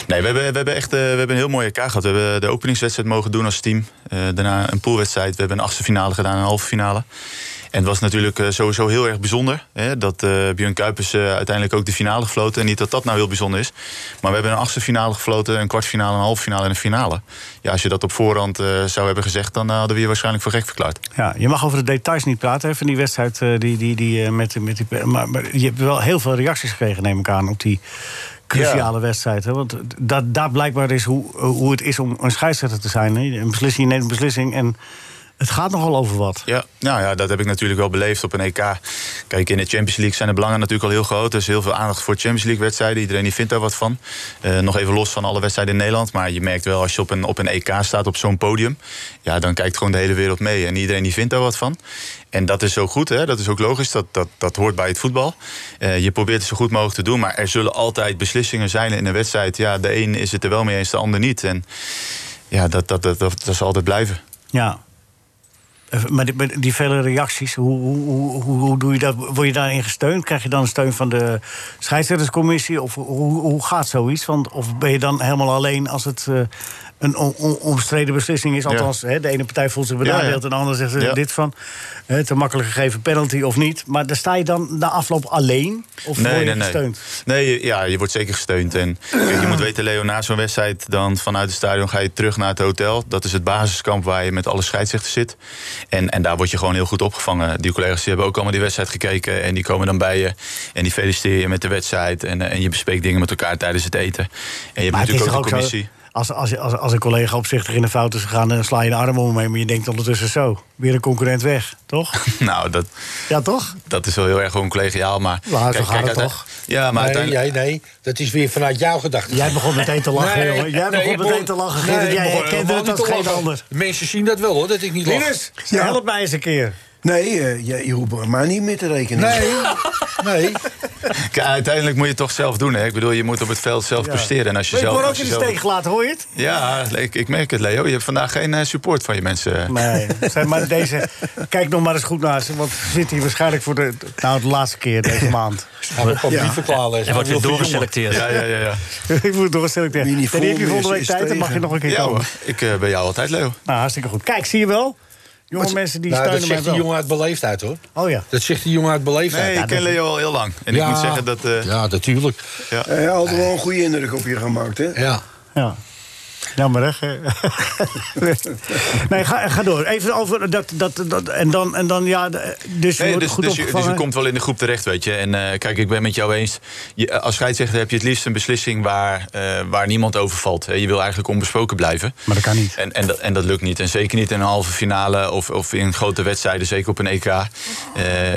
C: Nee, we hebben, we hebben echt eh, we hebben een heel mooi EK gehad. We hebben de openingswedstrijd mogen doen als team. Eh, daarna een poolwedstrijd. We hebben een achtste finale gedaan en een halve finale. En het was natuurlijk eh, sowieso heel erg bijzonder. Hè, dat eh Björn Kuipers eh, uiteindelijk ook de finale gefloten. En niet dat dat nou heel bijzonder is. Maar we hebben een achtste finale gefloten, een kwartfinale, een halve finale en een finale. Ja, als je dat op voorhand eh, zou hebben gezegd, dan eh, hadden we je waarschijnlijk voor gek verklaard.
A: ja, je mag over de details niet praten hè, van die wedstrijd. eh, die, die, die, eh, met, met die, maar, maar je hebt wel heel veel reacties gekregen, neem ik aan, op die cruciale wedstrijd. Hè? Want dat, daar blijkbaar is hoe, hoe het is om een scheidsrechter te zijn. Hè? Een beslissing, je neemt een beslissing en het gaat nogal over wat.
C: Ja, nou ja, dat heb ik natuurlijk wel beleefd op een EK. Kijk, in de Champions League zijn de belangen natuurlijk al heel groot. Er is heel veel aandacht voor Champions League-wedstrijden. Iedereen die vindt daar wat van. Eh, nog even los van alle wedstrijden in Nederland. Maar je merkt wel, als je op een, op een EK staat, op zo'n podium... ja, dan kijkt gewoon de hele wereld mee. En iedereen die vindt daar wat van. En dat is zo goed, hè? dat is ook logisch. Dat, dat, dat hoort bij het voetbal. Eh, je probeert het zo goed mogelijk te doen. Maar er zullen altijd beslissingen zijn in een wedstrijd. Ja, de een is het er wel mee eens, de ander niet. En ja, dat, dat, dat, dat, dat zal altijd blijven.
A: Ja. Eh, Maar die, maar die vele reacties, hoe, hoe, hoe, hoe- hoe doe je dat? Word je daarin gesteund? Krijg je dan steun van de scheidsrechterscommissie? Of hoe, hoe gaat zoiets? Want, of ben je dan helemaal alleen als het eh, een on- on- omstreden beslissing is? Althans, hè, de ene partij voelt zich benadeeld
C: ja.
A: en de ander zegt eh,
C: Ja.
A: dit van. Hè, te makkelijk gegeven penalty of niet. Maar daar sta je dan na afloop alleen? Of word je gesteund? Ah.
C: Nee, je- ja, je wordt zeker gesteund. En kijk, je moet weten, Leo, na zo'n wedstrijd... dan vanuit het stadion ga je terug naar het hotel. Dat is het basiskamp waar je met alle scheidsrechters zit. En, en daar word je gewoon heel goed opgevangen. Die collega's die hebben ook allemaal die wedstrijd gekeken... en die komen dan bij je en die feliciteren je met de wedstrijd. En, eh, en je bespreekt dingen met elkaar tijdens het eten. En je hebt
A: Maar het is
C: natuurlijk ook
A: toch
C: een
A: ook zo,
C: commissie.
A: Als, als, als, als een collega opzichtig in de fout is gegaan... dan sla je een arm om hem heen, maar je denkt ondertussen zo. Weer een concurrent weg, toch?
C: Nou, dat,
A: Ja, toch?
C: dat is wel heel erg gewoon collegiaal, maar...
A: Nou, zo gaat het
C: uite-
A: toch?
C: Ja, maar
B: nee,
C: uiteindelijk...
B: nee, nee, dat is weer vanuit jouw gedachten.
A: Jij begon meteen te lachen,
B: Nee,
A: jongen. Jij
B: nee, ik
A: begon meteen te lachen, Gerrit.
B: nee,
A: jij
B: ik begon
A: herkende
B: helemaal
A: het als
B: niet te
A: geen
B: lachen.
A: ander.
B: Mensen zien dat wel hoor, dat ik niet lach.
E: Ja.
A: help mij eens een keer.
E: Nee, eh, je, je hoeft maar niet meer te rekenen.
B: Nee, nee.
C: Kijk, Uiteindelijk moet je het toch zelf doen, hè? Ik bedoel, je moet op het veld zelf
A: Ja.
C: presteren. En als je
A: Maar Ik
C: zelf...
A: word
C: als
A: ook
C: je
A: in de
C: zelf-
A: steek gelaten, hoor je het?
C: Ja, ik, ik merk het, Leo. Je hebt vandaag geen eh, support van je mensen.
A: Nee, zeg maar deze, kijk nog maar eens goed naar ze. Want ze zitten hier waarschijnlijk voor de, nou, de laatste keer deze maand.
B: Gaan we op die verklaren.
D: Er wordt weer doorgeselecteerd.
C: Ja, ja, ja. ja.
A: ik moet doorselecteren.
E: Wie
A: Dan
E: niet
A: heb
E: vol is,
A: je volgende week
E: is
A: tijd, dan mag je
E: tegen.
A: nog een keer
C: ja
A: komen.
C: hoor. Ik eh, ben jou altijd, Leo.
A: Nou, hartstikke goed. Kijk, zie je wel? Jonge mensen die
B: Nou, dat
A: steunen mij
B: zegt die
A: wel.
B: jongen uit beleefdheid hoor.
A: Oh ja.
B: Dat zegt die jongen uit beleefdheid.
C: Nee, ik ken Leo al heel lang. En ik moet zeggen dat... eh,
B: ja, natuurlijk.
C: ja.
E: Hij had wel een goede indruk op je gemaakt, hè?
B: Ja.
A: ja. Jammer, hè? nee, ga, ga door. Even over dat... dat, dat en, dan, en dan, ja, de- dus je
C: Nee,
A: wordt
C: dus,
A: goed
C: dus, je, dus
A: opgevangen.
C: je komt wel in de groep terecht, weet je. En eh, kijk, ik ben met jou eens. Je, eh, als scheidsrechter heb je het liefst een beslissing waar, eh, waar niemand over valt. hè. Je wil eigenlijk onbesproken blijven.
A: Maar dat kan niet.
C: En, en, dat, en dat lukt niet. En zeker niet in een halve finale of, of in grote wedstrijden, zeker op een EK. Eh,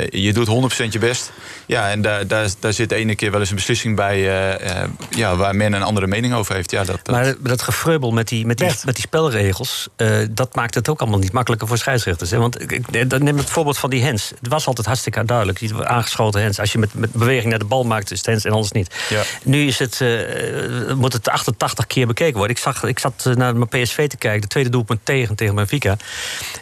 C: je doet 100% je best. Ja, en daar, daar, daar zit de ene keer wel eens een beslissing bij eh, eh, ja, waar men een andere mening over heeft. Ja, dat, eh. dat,
D: Maar dat gefreubel met die, met die,
A: Bert.
D: met die spelregels, eh, dat maakt het ook allemaal niet makkelijker voor scheidsrechters. Hè? Want ik- ik, dan neem ik het voorbeeld van die hens. Het was altijd hartstikke duidelijk, die aangeschoten hens. Als je met, met beweging naar de bal maakt, is het hens en anders niet.
C: Ja.
D: Nu is het, eh, moet het 88 keer bekeken worden. Ik, zag, ik zat eh, naar mijn PSV te kijken, de tweede doelpunt tegen, tegen Benfica.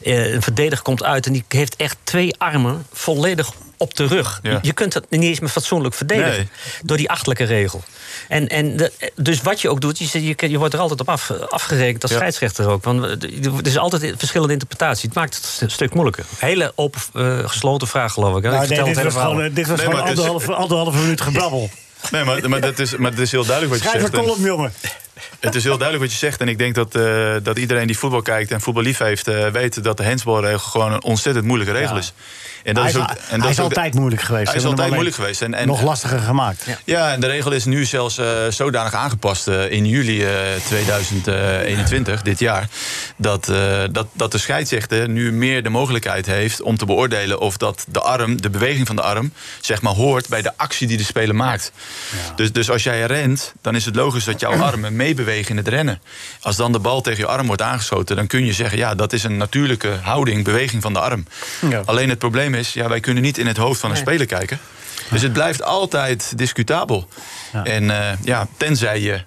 D: Eh, een verdediger komt uit en die heeft echt twee armen volledig op de rug.
C: Ja.
D: Je kunt dat niet eens meer fatsoenlijk verdedigen
C: Nee.
D: door die achtelijke regel. En, en de- dus wat je ook doet, je, zit- je, je wordt er altijd op af, afgerekend als
C: Ja.
D: scheidsrechter ook. Want eh, er is altijd verschillende interpretatie. Het maakt het st- een stuk moeilijker. Hele open, eh, gesloten vraag geloof ik. hè.
A: Nou,
D: ik
A: nee,
D: vertel
A: dit
D: het hele
A: was
D: verhaal.
A: gewoon, eh, dit was
C: Nee,
A: gewoon
C: maar dus- het is-
A: anderhalve, anderhalve minuut gebrabbel.
C: Nee, maar, maar, dat is, maar dat is heel duidelijk wat je
A: Schrijf een
C: zegt. En-
A: column, jongen.
C: Het is heel duidelijk wat je zegt. En ik denk dat, eh, dat iedereen die voetbal kijkt en voetbal lief heeft... eh, weet dat de handsbalregel gewoon een ontzettend moeilijke regel
A: Ja.
C: is. En
A: Hij
C: dat
A: is,
C: ook-
A: al-
C: en dat
A: hij is
C: ook de-
A: altijd moeilijk geweest.
C: Hij is
A: Ze hebben
C: altijd
A: hem
C: moeilijk
A: alleen
C: geweest. En, en,
A: nog lastiger gemaakt.
C: Ja, en de regel is nu zelfs eh, zodanig aangepast eh, in juli eh, 2021, dit jaar... Dat, eh, dat, dat de scheidsrechter nu meer de mogelijkheid heeft om te beoordelen... of dat de arm, de beweging van de arm, zeg maar hoort bij de actie die de speler maakt. Dus, dus als jij rent, dan is het logisch dat jouw armen meebewegen in het rennen. Als dan de bal tegen je arm wordt aangeschoten... dan kun je zeggen, ja, dat is een natuurlijke houding, beweging van de arm.
A: Ja.
C: Alleen het probleem is, ja, wij kunnen niet in het hoofd van een speler kijken. Dus het blijft altijd discutabel. En eh, ja, tenzij je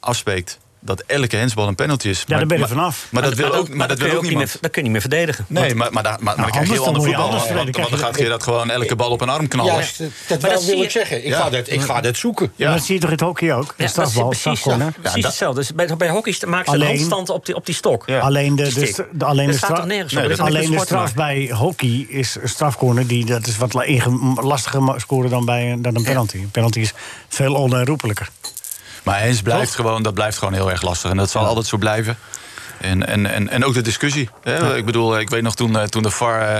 C: afspreekt dat elke hensbal een penalty is.
A: daar ben je
C: maar,
A: vanaf.
C: Maar, dat wil ook, maar dat
D: kun je
C: wil ook
D: niet meer-
C: niemand.
D: Dat kun je niet meer verdedigen.
C: Nee, maar, maar, daar- maar, maar dan krijg
A: Nou, anders
C: je heel
A: dan
C: ander voetbal.
A: moet je anders
C: Want,
A: spelen.
C: want dan
A: Krijg
C: gaat je dat gewoon elke bal op een arm knallen.
B: Juist, dat, dat
D: Maar
B: wel
D: dat
B: wil
D: zie
B: ik
D: je-
B: zeggen. Ik,
C: Ja.
B: ga dat, ik ga dat zoeken.
A: Ja.
C: Ja.
A: dat zie je toch in het hockey ook? De
D: Ja, dat is
A: strafbal,
D: precies,
A: strafcorner.
D: precies
C: Ja, dat-
D: hetzelfde. Dus bij, bij hockey maken ze
A: Alleen-
D: een handstand op die, op die stok.
C: Ja.
A: Alleen de, dus
D: Die
A: de,
D: stick.
A: st- de- alleen de
D: Dat staat
A: straf-
D: toch nergens
C: Nee,
D: op? Dat
C: dat-
D: heeft
A: Alleen
D: niks
A: de
D: met sport
A: straf
D: te maken.
A: bij hockey is een strafcorner. Die, dat is wat la- inge- lastiger ma- scoren dan, bij, een- dan een penalty. Een penalty is veel onherroepelijker.
C: Maar hens blijft gewoon, dat blijft gewoon heel erg lastig. En dat zal altijd zo blijven. En, en, en, en ook de discussie. Hè? Ik bedoel, ik weet nog toen, eh, toen de VAR eh,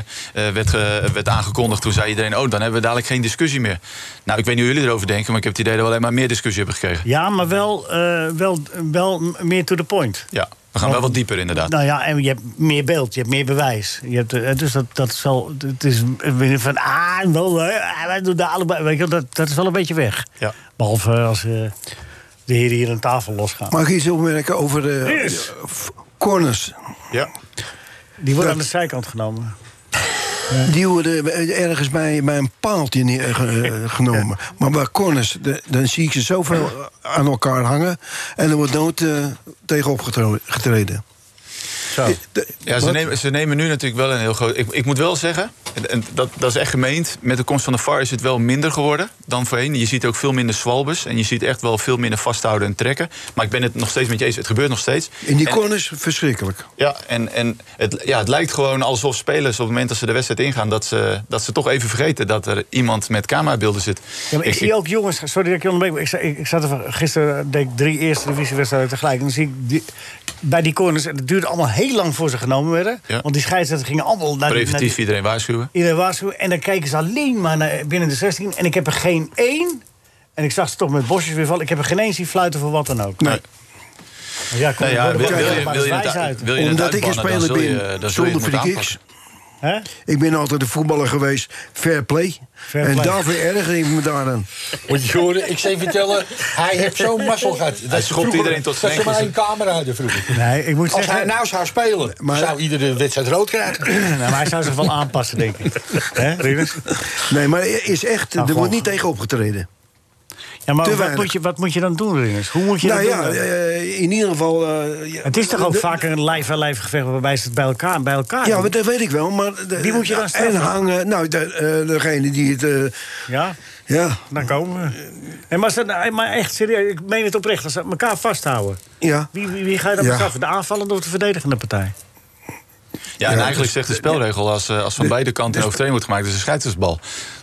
C: eh, werd, ge- werd aangekondigd... toen zei iedereen, oh, dan hebben we dadelijk geen discussie meer. Nou, ik weet niet hoe jullie erover denken... maar ik heb het idee dat we alleen maar meer discussie hebben gekregen.
A: Ja, maar wel, eh, wel, wel m- meer to the point.
C: Ja, we gaan wel wat dieper inderdaad.
A: Nou ja, en je hebt meer beeld, je hebt meer bewijs. Je hebt, eh, dus dat, dat is wel. Het is weer van. Ah, wel, eh, ah, wij doen daar allebei. Weet je, wel, dat, dat is wel een beetje weg.
C: Ja.
A: Behalve als eh, de heren hier aan tafel losgaan.
E: Mag ik iets opmerken over de
A: Yes.
E: f- corners?
C: Ja.
A: Die worden
E: dat-
A: aan de zijkant genomen.
E: Die worden ergens bij, bij een paaltje neer, eh, genomen. Maar bij corners, de- dan zie ik ze zoveel aan elkaar hangen... en er wordt nooit eh, tegen opgetreden.
A: Zo.
E: Eh,
C: Ja, ze nemen, ze nemen nu natuurlijk wel een heel groot. Ik, ik moet wel zeggen, en, en dat, dat is echt gemeend. Met de komst van de VAR is het wel minder geworden dan voorheen. Je ziet ook veel minder zwalbes. En je ziet echt wel veel minder vasthouden en trekken. Maar ik ben het nog steeds met je eens. Het gebeurt nog steeds.
E: In die
C: En-
E: corners, verschrikkelijk.
C: Ja, en, en het, ja, het lijkt gewoon alsof spelers op het moment dat ze de wedstrijd ingaan... dat ze, dat ze toch even vergeten dat er iemand met camerabeelden zit.
A: Ja, maar ik, zie ook jongens, sorry dat ik je onderbreek, maar ik, za- ik, ik zat er van- gisteren deed ik drie eerste divisiewedstrijden tegelijk. En dan zie ik die, bij die corners, en het duurde allemaal heel lang voor ze genomen werden.
C: Ja.
A: Want die scheidsrechters gingen allemaal naar die- naar die,
C: Preventief iedereen waarschuwen.
A: iedereen waarschuwen. En dan kijken ze alleen maar naar binnen de 16. En ik heb er geen één, en ik zag ze toch met bosjes weer vallen, ik heb er geen één zien fluiten voor wat dan ook.
C: Nee.
A: Ja, kom,
C: Nou ja,
A: hoor,
C: wil-
A: dan
C: wil
A: kom
C: je- wil je
A: maar eens
C: het-
A: uit.
C: wil je het
E: Omdat ik een
C: uitbannen, dan
E: speler
C: zul je-
E: ben
C: dan zul je
E: zonder
C: het
E: free
C: moeten
E: kicks.
A: Hè?
E: Ik ben altijd een voetballer geweest, fair play.
A: Fair
E: en
A: play.
E: daarvoor erger ik me daaraan.
B: Moet je horen, ik zei vertellen, hij heeft zo'n mazzel gehad. Dat
C: schopt
B: vroeger-
C: iedereen tot zijn
B: Dat ze maar één
C: enkels.
B: camera hadden vroeger.
A: Nee, ik moet
B: Als
A: zeggen...
B: hij nou zou spelen,
E: Maar-
B: zou iedere wedstrijd rood krijgen.
A: Nou, maar hij zou zich wel aanpassen, denk ik. Hè, Rinus?
E: Nee, maar er is echt, er
A: gewoon-
E: wordt niet tegen opgetreden.
A: Ja, maar
E: Te
A: wat
E: weinig.
A: moet, je, wat moet je dan doen, Rinus? Hoe moet je
E: nou
A: dat
E: ja,
A: doen?
E: eh, in ieder geval... eh, ja,
A: het is toch ook
E: de-
A: vaak een lijf-aan-lijf gevecht... waarbij ze het bij elkaar bij elkaar
E: Ja,
A: doen?
E: maar dat weet ik wel. Maar de-
A: Wie moet je dan straffen?
E: En hangen, nou, de- eh, degene die het... eh,
A: Ja,
E: ja,
A: dan komen we. Nee, maar, als dat nou- maar echt serieus, ik meen het oprecht. Als ze elkaar vasthouden,
E: ja.
A: wie, wie, wie ga je dan
E: Ja.
A: bestraffen? De aanvallende of de verdedigende partij?
C: Ja, en
A: dus
C: eigenlijk zegt de spelregel: als, eh, als van beide kanten een overtreding wordt gemaakt, is het een scheidsrechtsbal.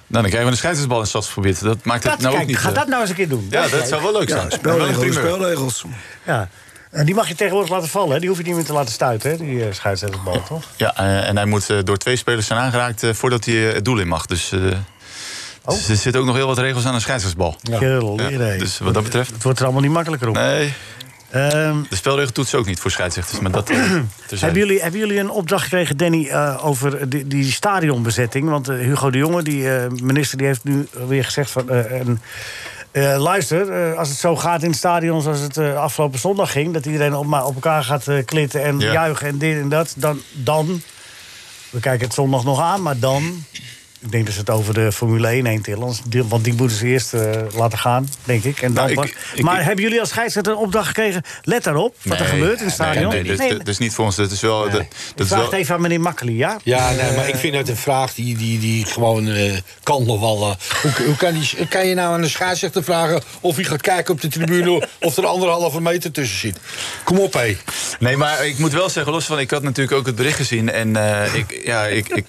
C: Nou, dan krijgen we een scheidsrechtsbal in het stadsgebied. Dat maakt het
A: Dat,
C: nou
A: kijk,
C: ook niet.
A: ga
C: eh,
A: dat nou eens een keer doen.
C: ja, dat zou wel leuk
E: Ja,
C: zijn.
E: spelregels,
C: Wel een primeur.
E: spelregels.
A: Ja. En die mag je tegenwoordig laten vallen, hè? die hoef je niet meer te laten stuiten, hè? die eh, scheidsrechterbal, toch?
C: Ja, eh, en hij moet eh, door twee spelers zijn aangeraakt eh, voordat hij eh, het doel in mag. Dus, eh,
A: Oh.
C: dus er zitten ook nog heel wat regels aan een scheidsrechtsbal.
A: Gelere.
C: Ja, dus wat dat betreft.
A: Het wordt er allemaal niet makkelijker op.
C: Nee,
A: Ehm,
C: de spelregel toetsen ook niet voor scheidsrechters. Maar dat, eh, terzijde.
A: Hebben jullie, hebben jullie een opdracht gekregen, Danny, eh, over die, die stadionbezetting? Want eh, Hugo de Jonge, die eh, minister, die heeft nu weer gezegd van... eh, en, eh, luister, eh, als het zo gaat in het stadion zoals het eh, afgelopen zondag ging... dat iedereen op, ma- op elkaar gaat eh, klitten en
C: Ja.
A: juichen en dit en dat... dan, dan, we kijken het zondag nog aan, maar dan... Ik denk dat ze het over de Formule 1 heen tillen. anders- die- Want die moeten ze eerst eh, laten gaan, denk ik. En dan
C: Nou, ik-
A: pas-
C: ik-
A: maar
C: ik-
A: hebben jullie als scheidsrechter een opdracht gekregen? Let daarop, wat er
C: Nee,
A: gebeurt in het
C: nee,
A: stadion.
C: Nee,
A: Nee,
C: dat- dat is niet voor ons. Dat is wel. dat-
A: ik
C: Dat is
A: vraag het
C: wel
A: even aan meneer Makkely, ja?
B: Ja, nee, maar ik vind dat een vraag die, die, die gewoon eh, kan nog wel. eh, hoe, hoe kan, die, kan je nou aan de scheidsrechter vragen of hij gaat kijken op de tribune of er anderhalve meter tussen zit? Kom op, hé.
C: Nee, maar ik moet wel zeggen, los van, ik had natuurlijk ook het bericht gezien. En eh, ik, ja, ik, ik,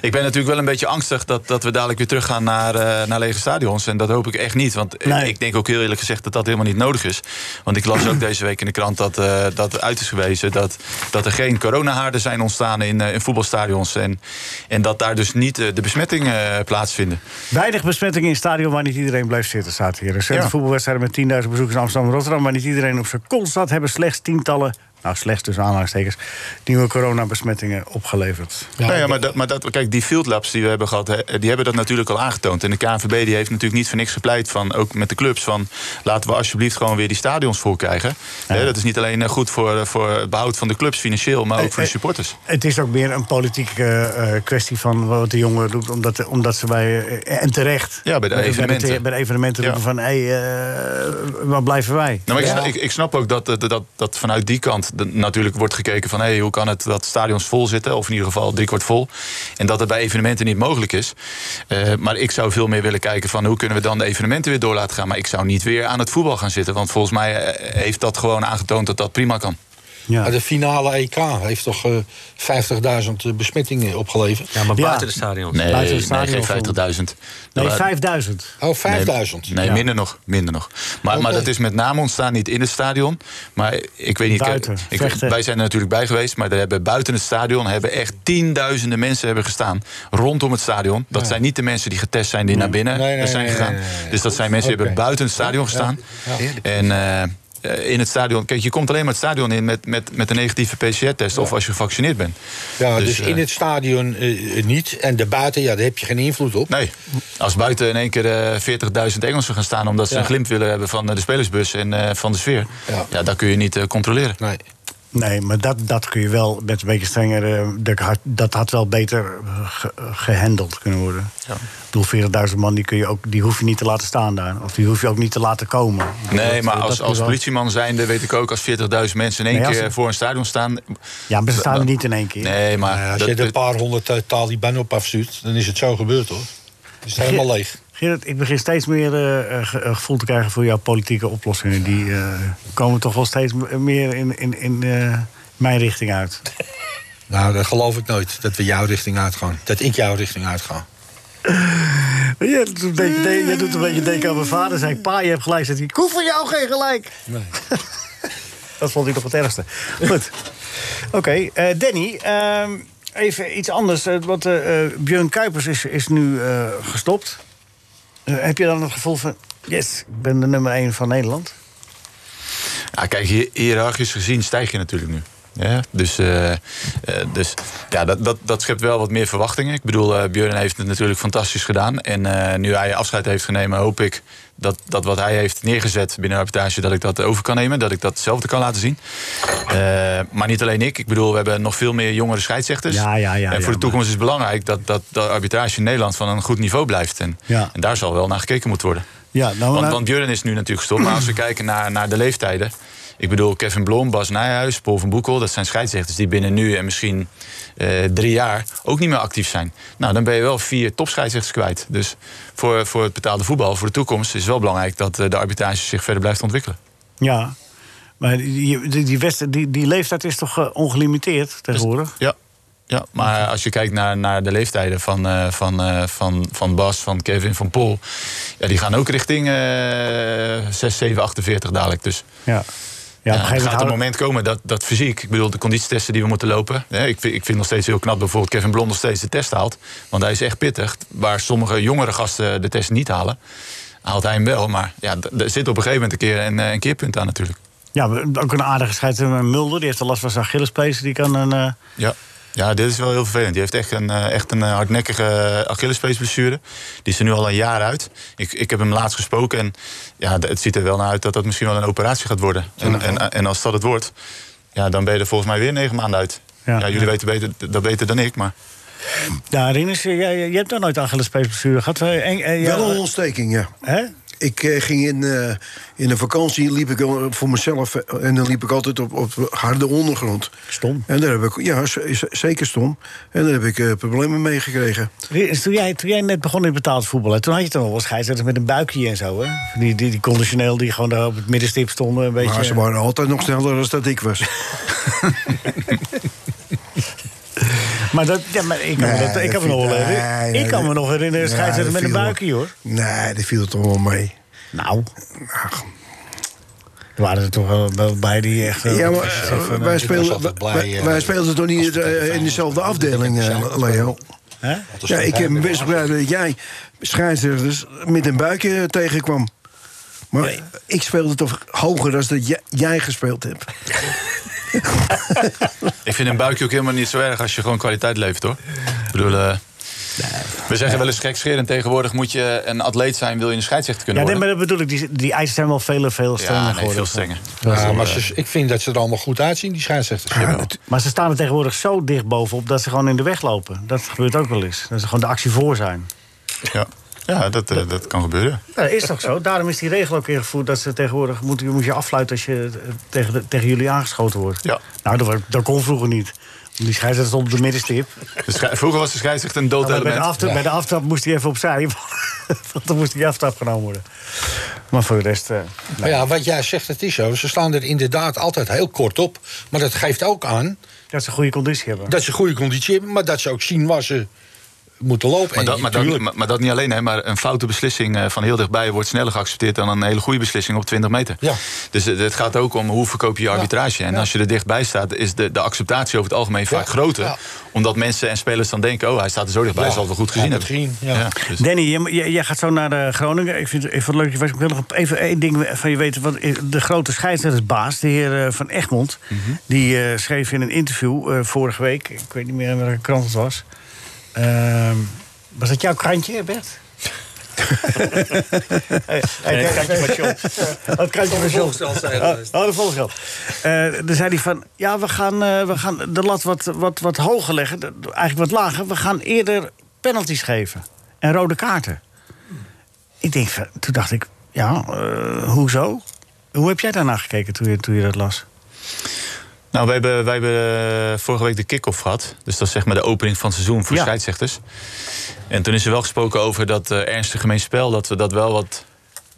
C: ik ben natuurlijk wel een beetje angstig dat, dat we dadelijk weer teruggaan naar, eh, naar lege stadions. En dat hoop ik echt niet. Want eh,
A: Nee.
C: ik denk ook heel eerlijk gezegd dat dat helemaal niet nodig is. Want ik las ook deze week in de krant dat, eh, dat uit is gewezen dat, dat er geen coronahaarden zijn ontstaan in, eh, in voetbalstadions. En, en dat daar dus niet eh, de besmettingen eh, plaatsvinden.
A: Weinig besmettingen in het stadion waar niet iedereen blijft zitten, staat hier. Recente
C: Ja.
A: voetbalwedstrijden met 10.000 bezoekers in Amsterdam en Rotterdam... waar niet iedereen op zijn kont staat... hebben slechts tientallen, nou slechts tussen aanhalingstekens... nieuwe coronabesmettingen opgeleverd.
C: Nou Ja, ja, maar, dat, maar dat, kijk, die field labs die we hebben gehad, hè, die hebben dat natuurlijk al aangetoond. En de KNVB die heeft natuurlijk niet voor niks gepleit van, ook met de clubs, van laten we alsjeblieft gewoon weer die stadions vol krijgen. Hè, dat is niet alleen eh, goed voor, eh, voor het behoud van de clubs financieel, maar ook voor de supporters.
A: Het is ook meer een politieke eh, kwestie van wat de jongeren doet... omdat, omdat ze bij, eh, en terecht,
C: Ja, bij de
A: bij Bij de,
C: evenementen.
A: evenementen
C: Ja.
A: roepen van... hé, eh, waar blijven wij?
C: Nou, maar ik, snap, ik, ik snap ook dat, eh, dat, dat, dat vanuit die kant de- natuurlijk wordt gekeken van... Hey, hoe kan het dat stadions vol zitten, of in ieder geval driekwart vol... en dat het bij evenementen niet mogelijk is. Eh, maar ik zou veel meer willen kijken van hoe kunnen we dan de evenementen weer door laten gaan. Maar ik zou niet weer aan het voetbal gaan zitten... want volgens mij eh, heeft dat gewoon aangetoond dat dat prima kan.
A: Ja.
B: Maar De finale EK heeft toch eh, 50.000 besmettingen opgeleverd?
D: Ja, maar
A: Ja.
D: buiten de stadions.
C: Nee,
A: Buiten
C: nee
A: het stadion
C: geen 50.000.
A: vol.
C: Er
A: Nee,
C: waren-
A: 5000.
B: Oh, 5.000.
C: Nee, nee, minder nog. Minder nog. Maar, maar
B: Oké.
C: dat is met name ontstaan niet in het stadion. Maar ik weet niet. kijk,
A: Buiten,
C: ik-
A: vechten.
C: wij zijn er natuurlijk bij geweest. Maar er hebben buiten het stadion hebben echt tienduizenden mensen hebben gestaan. Rondom het stadion. Dat zijn niet de mensen die getest zijn die naar binnen
B: Nee, nee,
C: zijn
B: nee,
C: gegaan.
B: nee, nee, nee.
C: Dus dat zijn mensen die
B: Oké.
C: hebben buiten het stadion gestaan. En. eh, eh, in het stadion. Kijk, je komt alleen maar het stadion in met, met, met een negatieve PCR-test. Of als je gevaccineerd bent.
B: Ja, dus,
C: eh,
B: in het stadion eh, niet. En daarbuiten, ja, daar heb je geen invloed op.
C: Nee, als buiten in één keer eh, 40.000 Engelsen gaan staan... omdat ze
B: Ja.
C: een glimp willen hebben van eh, de spelersbus en eh, van de sfeer...
B: Ja. Nou,
C: Ja. dat kun je niet eh, controleren.
B: Nee.
A: Nee, maar dat, dat kun je wel met een beetje strenger. eh, dat had- Dat had wel beter eh, ge- gehandeld kunnen worden. Ik bedoel, 40.000 man die, kun je ook, die hoef je niet te laten staan daar. Of die hoef je ook niet te laten komen.
C: Nee, maar
A: dat
C: als,
A: kun
C: als
A: je wel.
C: politieman zijnde weet ik ook... als 40.000 mensen in één
A: Nee, als
C: keer
A: het-
C: voor een stadion staan...
A: Ja, maar ze staan er niet in één keer.
C: Nee, maar...
B: Nou ja, als
C: dat-
B: je er een
C: dat-
B: paar honderd eh, Taliban op afstuurt, dan is het zo gebeurd hoor. Is het helemaal leeg.
A: Gerrit, ik begin steeds meer eh, eh, ge- eh, gevoel te krijgen voor jouw politieke oplossingen. Die eh, komen toch wel steeds m- meer in, in, in eh, mijn richting uit.
B: Nou, dat geloof ik nooit. Dat we jouw richting uitgaan. Dat ik jouw richting uitga.
A: Jij doet een beetje, de- jij doet een beetje denken aan mijn vader. Zei ik, pa, je hebt gelijk. Zegt hij, ik hoef van jou geen gelijk. dat vond ik nog het ergste. Goed. Oké, eh, Danny. ehm, even iets anders. eh, Want eh, eh, Björn Kuipers is, is nu eh, gestopt. Eh, heb je dan het gevoel van... Yes, ik ben de nummer één van Nederland.
C: Ja, kijk, hi- hiërarchisch gezien stijg je natuurlijk nu. Ja, dus eh, eh, dus ja, dat, dat, dat schept wel wat meer verwachtingen. Ik bedoel, eh Björn heeft het natuurlijk fantastisch gedaan. En eh, nu hij afscheid heeft genomen, hoop ik dat, dat wat hij heeft neergezet binnen arbitrage, dat ik dat over kan nemen. Dat ik dat hetzelfde kan laten zien. Eh, maar niet alleen ik. Ik bedoel, we hebben nog veel meer jongere scheidsrechters.
A: Ja, ja, ja,
C: en voor
A: ja,
C: de toekomst is het belangrijk dat, dat de arbitrage in Nederland van een goed niveau blijft. En,
A: Ja.
C: en daar zal wel naar gekeken moeten worden.
A: Ja, nou,
C: Want,
A: nou-
C: want Björn is nu natuurlijk gestopt. Maar als we kijken naar, naar de leeftijden. Ik bedoel, Kevin Blom, Bas Nijhuis, Paul van Boekel... dat zijn scheidsrechters die binnen nu en misschien eh, drie jaar... ook niet meer actief zijn. Nou, dan ben je wel vier topscheidsrechters kwijt. Dus voor, voor het betaalde voetbal, voor de toekomst... is het wel belangrijk dat eh, de arbitrage zich verder blijft ontwikkelen.
A: Ja. Maar die, die, die, Westen- die, die leeftijd is toch eh, ongelimiteerd tegenwoordig?
C: Dus Ja. Ja, maar als je kijkt naar, naar de leeftijden van, eh, van, eh, van, van Bas, van Kevin, van Paul... Ja, die gaan ook richting eh 6, 7, 48 dadelijk. Dus
A: Ja. Ja, op een
C: Ja, er
A: gegeven
C: gaat een
A: moment.
C: moment komen dat, dat fysiek, ik bedoel de conditietesten die we moeten lopen. Hè, ik, vind, ik vind nog steeds heel knap bijvoorbeeld Kevin Blond nog steeds de test haalt. Want hij is echt pittig. Waar sommige jongere gasten de test niet halen, haalt hij hem wel. Maar ja, d- er zit op een gegeven moment een keer een, eh, een keerpunt aan natuurlijk.
A: Ja, we- ook een aardige scheidsrechter. Mulder, die heeft de last van zijn Achillespees. Die kan een... eh,
C: Ja. Ja, dit is wel heel vervelend. Die heeft echt een, eh, echt een eh, hardnekkige Achillespeesblessure. Die is er nu al een jaar uit. Ik, ik heb hem laatst gesproken en ja, d- het ziet er wel naar uit dat dat misschien wel een operatie gaat worden. En, en, en als dat het wordt, ja, dan ben je er volgens mij weer negen maanden uit.
A: Ja.
C: Ja, jullie weten beter, dat beter dan ik, maar...
A: Ja, Rinus, jij, jij- jij hebt daar nooit Achillespeesblessure gehad. hè? En- en- ja,
E: Wel een ontsteking, ja.
A: hè?
E: Ik eh, ging in, eh, in een vakantie, liep ik al voor mezelf... eh, en dan liep ik altijd op, op harde ondergrond.
A: Stom.
E: En daar heb ik, ja, z- z- zeker stom. En daar heb ik eh, problemen mee gekregen.
A: Rinus, toen jij, toen jij net begon in betaald voetbal... Hè, toen had je toch wel wat scheidsrechters met een buikje en zo, hè? Van Die, die, die conditioneel die gewoon daar op het middenstip stonden. Een beetje,
E: Maar ze waren altijd nog sneller dan dat ik was.
A: Maar dat, ja, maar ik kan me,
E: Nee,
A: dat, ik
E: dat
A: kan me nog wel
E: vind-
A: herinneren.
E: nee,
A: ik
E: nee,
A: kan me
E: dat-
A: nog herinneren een
E: Ja,
A: scheidsrechter
E: dat
A: met een
E: viel wel.
A: buikje, hoor.
E: Nee, dat viel toch wel mee.
A: Nou. Er waren er toch wel- wel bij die echt... eh,
E: Ja, maar
A: wat is
E: eh,
A: het van,
E: wij,
A: eh,
E: speelden,
B: altijd blij,
E: wij,
B: eh,
E: wij speelden toch
B: als
E: niet
B: we
E: eh,
B: tegen
E: in dezelfde
B: Feyenoord-
E: afdeling, eh,
B: Ja.
E: Leo?
A: hè?
E: Ja, ik
I: eh,
E: heb me best begrepen dat jij scheidsrechters met een buikje tegenkwam. Maar ik speelde toch hoger dan dat jij, jij gespeeld hebt.
C: Ik vind een buikje ook helemaal niet zo erg als je gewoon kwaliteit levert, hoor. Ik bedoel, eh, we zeggen wel eens gekscherend. Tegenwoordig moet je een atleet zijn, wil je een scheidsrechter
A: Ja,
C: kunnen
A: nee, maar
C: worden.
A: dat bedoel ik. Die, die eisen zijn wel veel, veel strenger
C: ja, nee,
A: geworden.
C: veel strenger.
B: Ja, maar ze- ik vind dat ze er allemaal goed uitzien, die scheidsrechters. Jawel.
A: Maar ze staan er tegenwoordig zo dicht bovenop dat ze gewoon in de weg lopen. Dat gebeurt ook wel eens. Dat ze gewoon de actie voor zijn.
C: Ja, ja dat, eh, dat kan gebeuren.
A: dat is toch zo? Daarom is die regel ook ingevoerd dat ze tegenwoordig moet, moet je affluiten als je eh, tegen, de- tegen jullie aangeschoten wordt.
C: Ja.
A: Nou, dat, wa- dat kon vroeger niet. Die scheidsrechter stond op de middenstip. Nou,
C: De schei- Vroeger was de scheidsrechter een dood
A: Maar bij, de
C: element.
A: aftrap, bij de aftrap moest hij even opzij. Want dan moest die aftrap genomen worden. Maar voor de rest. eh,
B: Maar ja, wat jij zegt, het is zo. Ze staan er inderdaad altijd heel kort op. Maar dat geeft ook aan
A: dat ze goede conditie hebben.
B: dat ze goede conditie hebben... maar dat ze ook zien waar ze moeten lopen.
C: Maar
B: En
C: dat, maar, dat,
B: tuurlijk,
C: maar, maar dat niet alleen, hè, maar een foute beslissing eh, van heel dichtbij wordt sneller geaccepteerd dan een hele goede beslissing op 20 meter.
B: Ja.
C: Dus het, het gaat ook om hoe verkoop je je arbitrage. En als je er dichtbij staat, is de, de acceptatie over het algemeen vaak groter.
B: ja.
C: Omdat mensen en spelers dan denken: oh, hij staat er zo dichtbij,
B: Ja,
C: zal het wel goed
B: hij
C: gezien
B: heeft
C: hebben.
B: het gezien, ja.
C: dus-
A: Danny, jij, jij- jij gaat zo naar eh, Groningen. Ik vind, ik vind het leuk. Ik wil nog even één ding van je weten. Want de grote scheidsrechtersbaas, de heer eh, Van Egmond...
D: Mhm.
A: die eh, schreef in een interview eh, vorige week... ik weet niet meer in welke krant het was... Ehm, was dat jouw krantje, Bert? hey, hey,
D: Nee,
A: kijk,
D: krantje
A: kijk. Oh, het krantje van John. Oh, oh, de volgende Eh dan zei hij van, ja, we gaan, eh, we gaan de lat wat, wat, wat hoger leggen. de- Eigenlijk wat lager. We gaan eerder penalties geven. En rode kaarten. Ik denk, van- toen dacht ik, ja, eh, hoezo? Hoe heb jij daarnaar gekeken toen je, toen je dat las?
C: Nou, wij hebben, wij hebben eh, vorige week de kick-off gehad. Dus dat is zeg maar de opening van het seizoen voor
A: Ja.
C: scheidsrechters. En toen is er wel gesproken over dat eh, ernstig gemeenspel... dat we dat wel wat,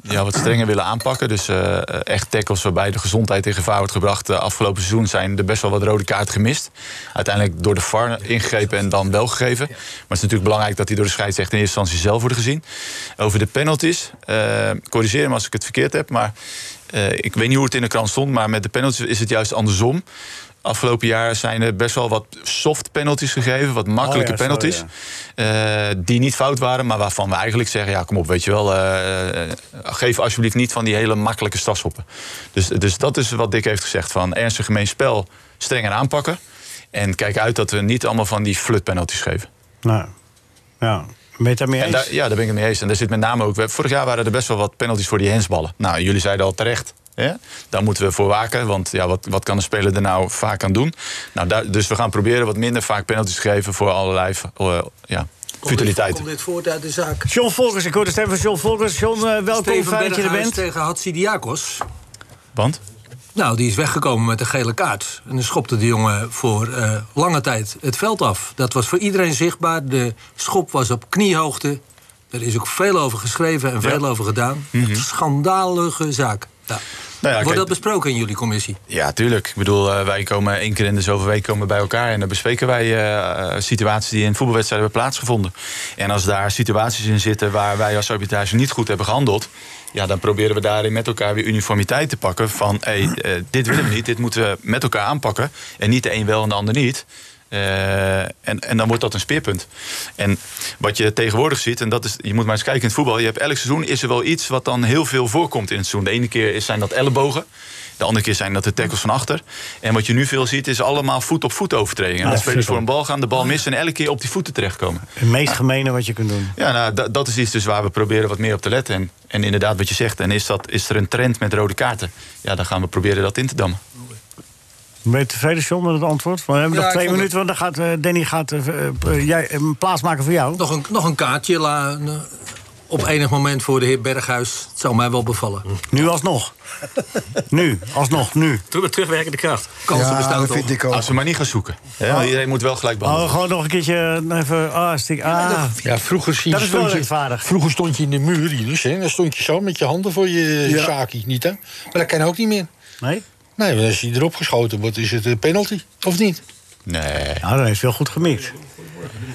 C: ja, wat strenger willen aanpakken. Dus eh, echt tackles waarbij de gezondheid in gevaar wordt gebracht. De afgelopen seizoen zijn er best wel wat rode kaarten gemist. Uiteindelijk door de VAR ingegrepen en dan wel gegeven. Maar het is natuurlijk belangrijk dat die door de scheidsrechter... in eerste instantie zelf worden gezien. Over de penalties, eh, corrigeer me als ik het verkeerd heb... maar eh, ik weet niet hoe het in de krant stond, maar met de penalties is het juist andersom. afgelopen jaar zijn er best wel wat soft penalties gegeven. Wat makkelijke
A: Oh ja, zo,
C: penalties. eh, die niet fout waren, maar waarvan we eigenlijk zeggen... ja, kom op, weet je wel. eh, eh, geef alsjeblieft niet van die hele makkelijke stadshoppen. Dus, dus dat is wat Dick heeft gezegd. Van ernstig gemeen spel strenger aanpakken. En kijk uit dat we niet allemaal van die flutpenalties geven.
A: Nou, ja. Ben je het daarmee
C: En
A: eens?
C: daar, ja, daar ben ik het mee eens. En daar zit met name ook. we- Vorig jaar waren er best wel wat penalties voor die hensballen. Nou, jullie zeiden al terecht. Hè? Daar moeten we voor waken. Want ja, wat, wat kan een speler er nou vaak aan doen? Nou, daar, dus we gaan proberen wat minder vaak penalties te geven voor allerlei eh, ja, futiliteiten.
I: Komt dit voort uit de zaak?
A: John Volkers, ik hoor de stem van John Volkers. John, eh, welkom,
I: Steven
A: fijn dat je er
I: Berghuis
A: bent.
I: tegen Hatsidiakos.
C: Want?
I: Nou, die is weggekomen met een gele kaart. En dan schopte de jongen voor eh, lange tijd het veld af. Dat was voor iedereen zichtbaar. De schop was op kniehoogte. Er is ook veel over geschreven en veel over gedaan.
D: Mhm.
I: Een schandalige zaak. Ja.
D: Nou
I: Wordt
C: kijk,
I: dat besproken in jullie commissie?
C: Ja, tuurlijk. Ik bedoel, eh, wij komen één keer in de zoveel weken komen bij elkaar en dan bespreken wij eh, eh, situaties die in voetbalwedstrijden hebben plaatsgevonden. En als daar situaties in zitten waar wij als arbitrage niet goed hebben gehandeld, ja, dan proberen we daarin met elkaar weer uniformiteit te pakken. Van hey, eh, dit willen we niet, dit moeten we met elkaar aanpakken. En niet de een wel en de ander niet. Eh, en, en dan wordt dat een speerpunt. En wat je tegenwoordig ziet, en dat is, je moet maar eens kijken in het voetbal. Je hebt elk seizoen is er wel iets wat dan heel veel voorkomt in het seizoen. De ene keer is- zijn dat ellebogen. De andere keer zijn dat de tackles van achter. En wat je nu veel ziet, is allemaal voet op voet overtredingen.
A: Ah,
C: dat spelers
A: super.
C: voor een bal gaan, de
E: Ah.
C: bal missen en elke keer op die voeten terechtkomen.
A: Het meest gemene wat je kunt doen.
C: Ja, nou, da- dat is iets dus waar we proberen wat meer op te letten. En, en inderdaad, wat je zegt, en is, dat, is er een trend met rode kaarten? Ja, dan gaan we proberen dat in te dammen.
A: Ben je tevreden, John, met het antwoord? We hebben
I: Ja,
A: nog
I: ik
A: twee
I: vond
A: minuten, want dan gaat, eh, Danny gaat eh, eh, jij, een plaats maken voor jou.
I: Nog een, nog een kaartje la, eh, op enig moment voor de heer Berghuis. Het zou mij wel
D: Hm.
I: bevallen.
A: Nu alsnog. nu, alsnog, nu.
D: Terug met terugwerkende kracht.
I: Kansen
E: Ja,
I: bestaan
E: dat
I: toch?
E: vind ik ook.
C: Als we maar niet gaan zoeken. Hè,
E: Oh.
C: want iedereen moet wel gelijk behandelen.
A: Oh, gewoon nog een keertje eh, even... Ah, stik, ah.
B: Ja, vroeger, zie je-
A: Dat is wel
B: stond je-
A: rechtvaardig.
B: vroeger stond je in de muur, Rinus, hè, en dan stond je zo met je handen voor je
E: Ja.
B: zaki, niet hè? Maar dat kan ook niet meer.
A: Nee?
B: Nee, want als je erop geschoten wordt, is het een penalty, of niet?
C: Nee.
A: Nou, dan heeft hij wel goed gemikt.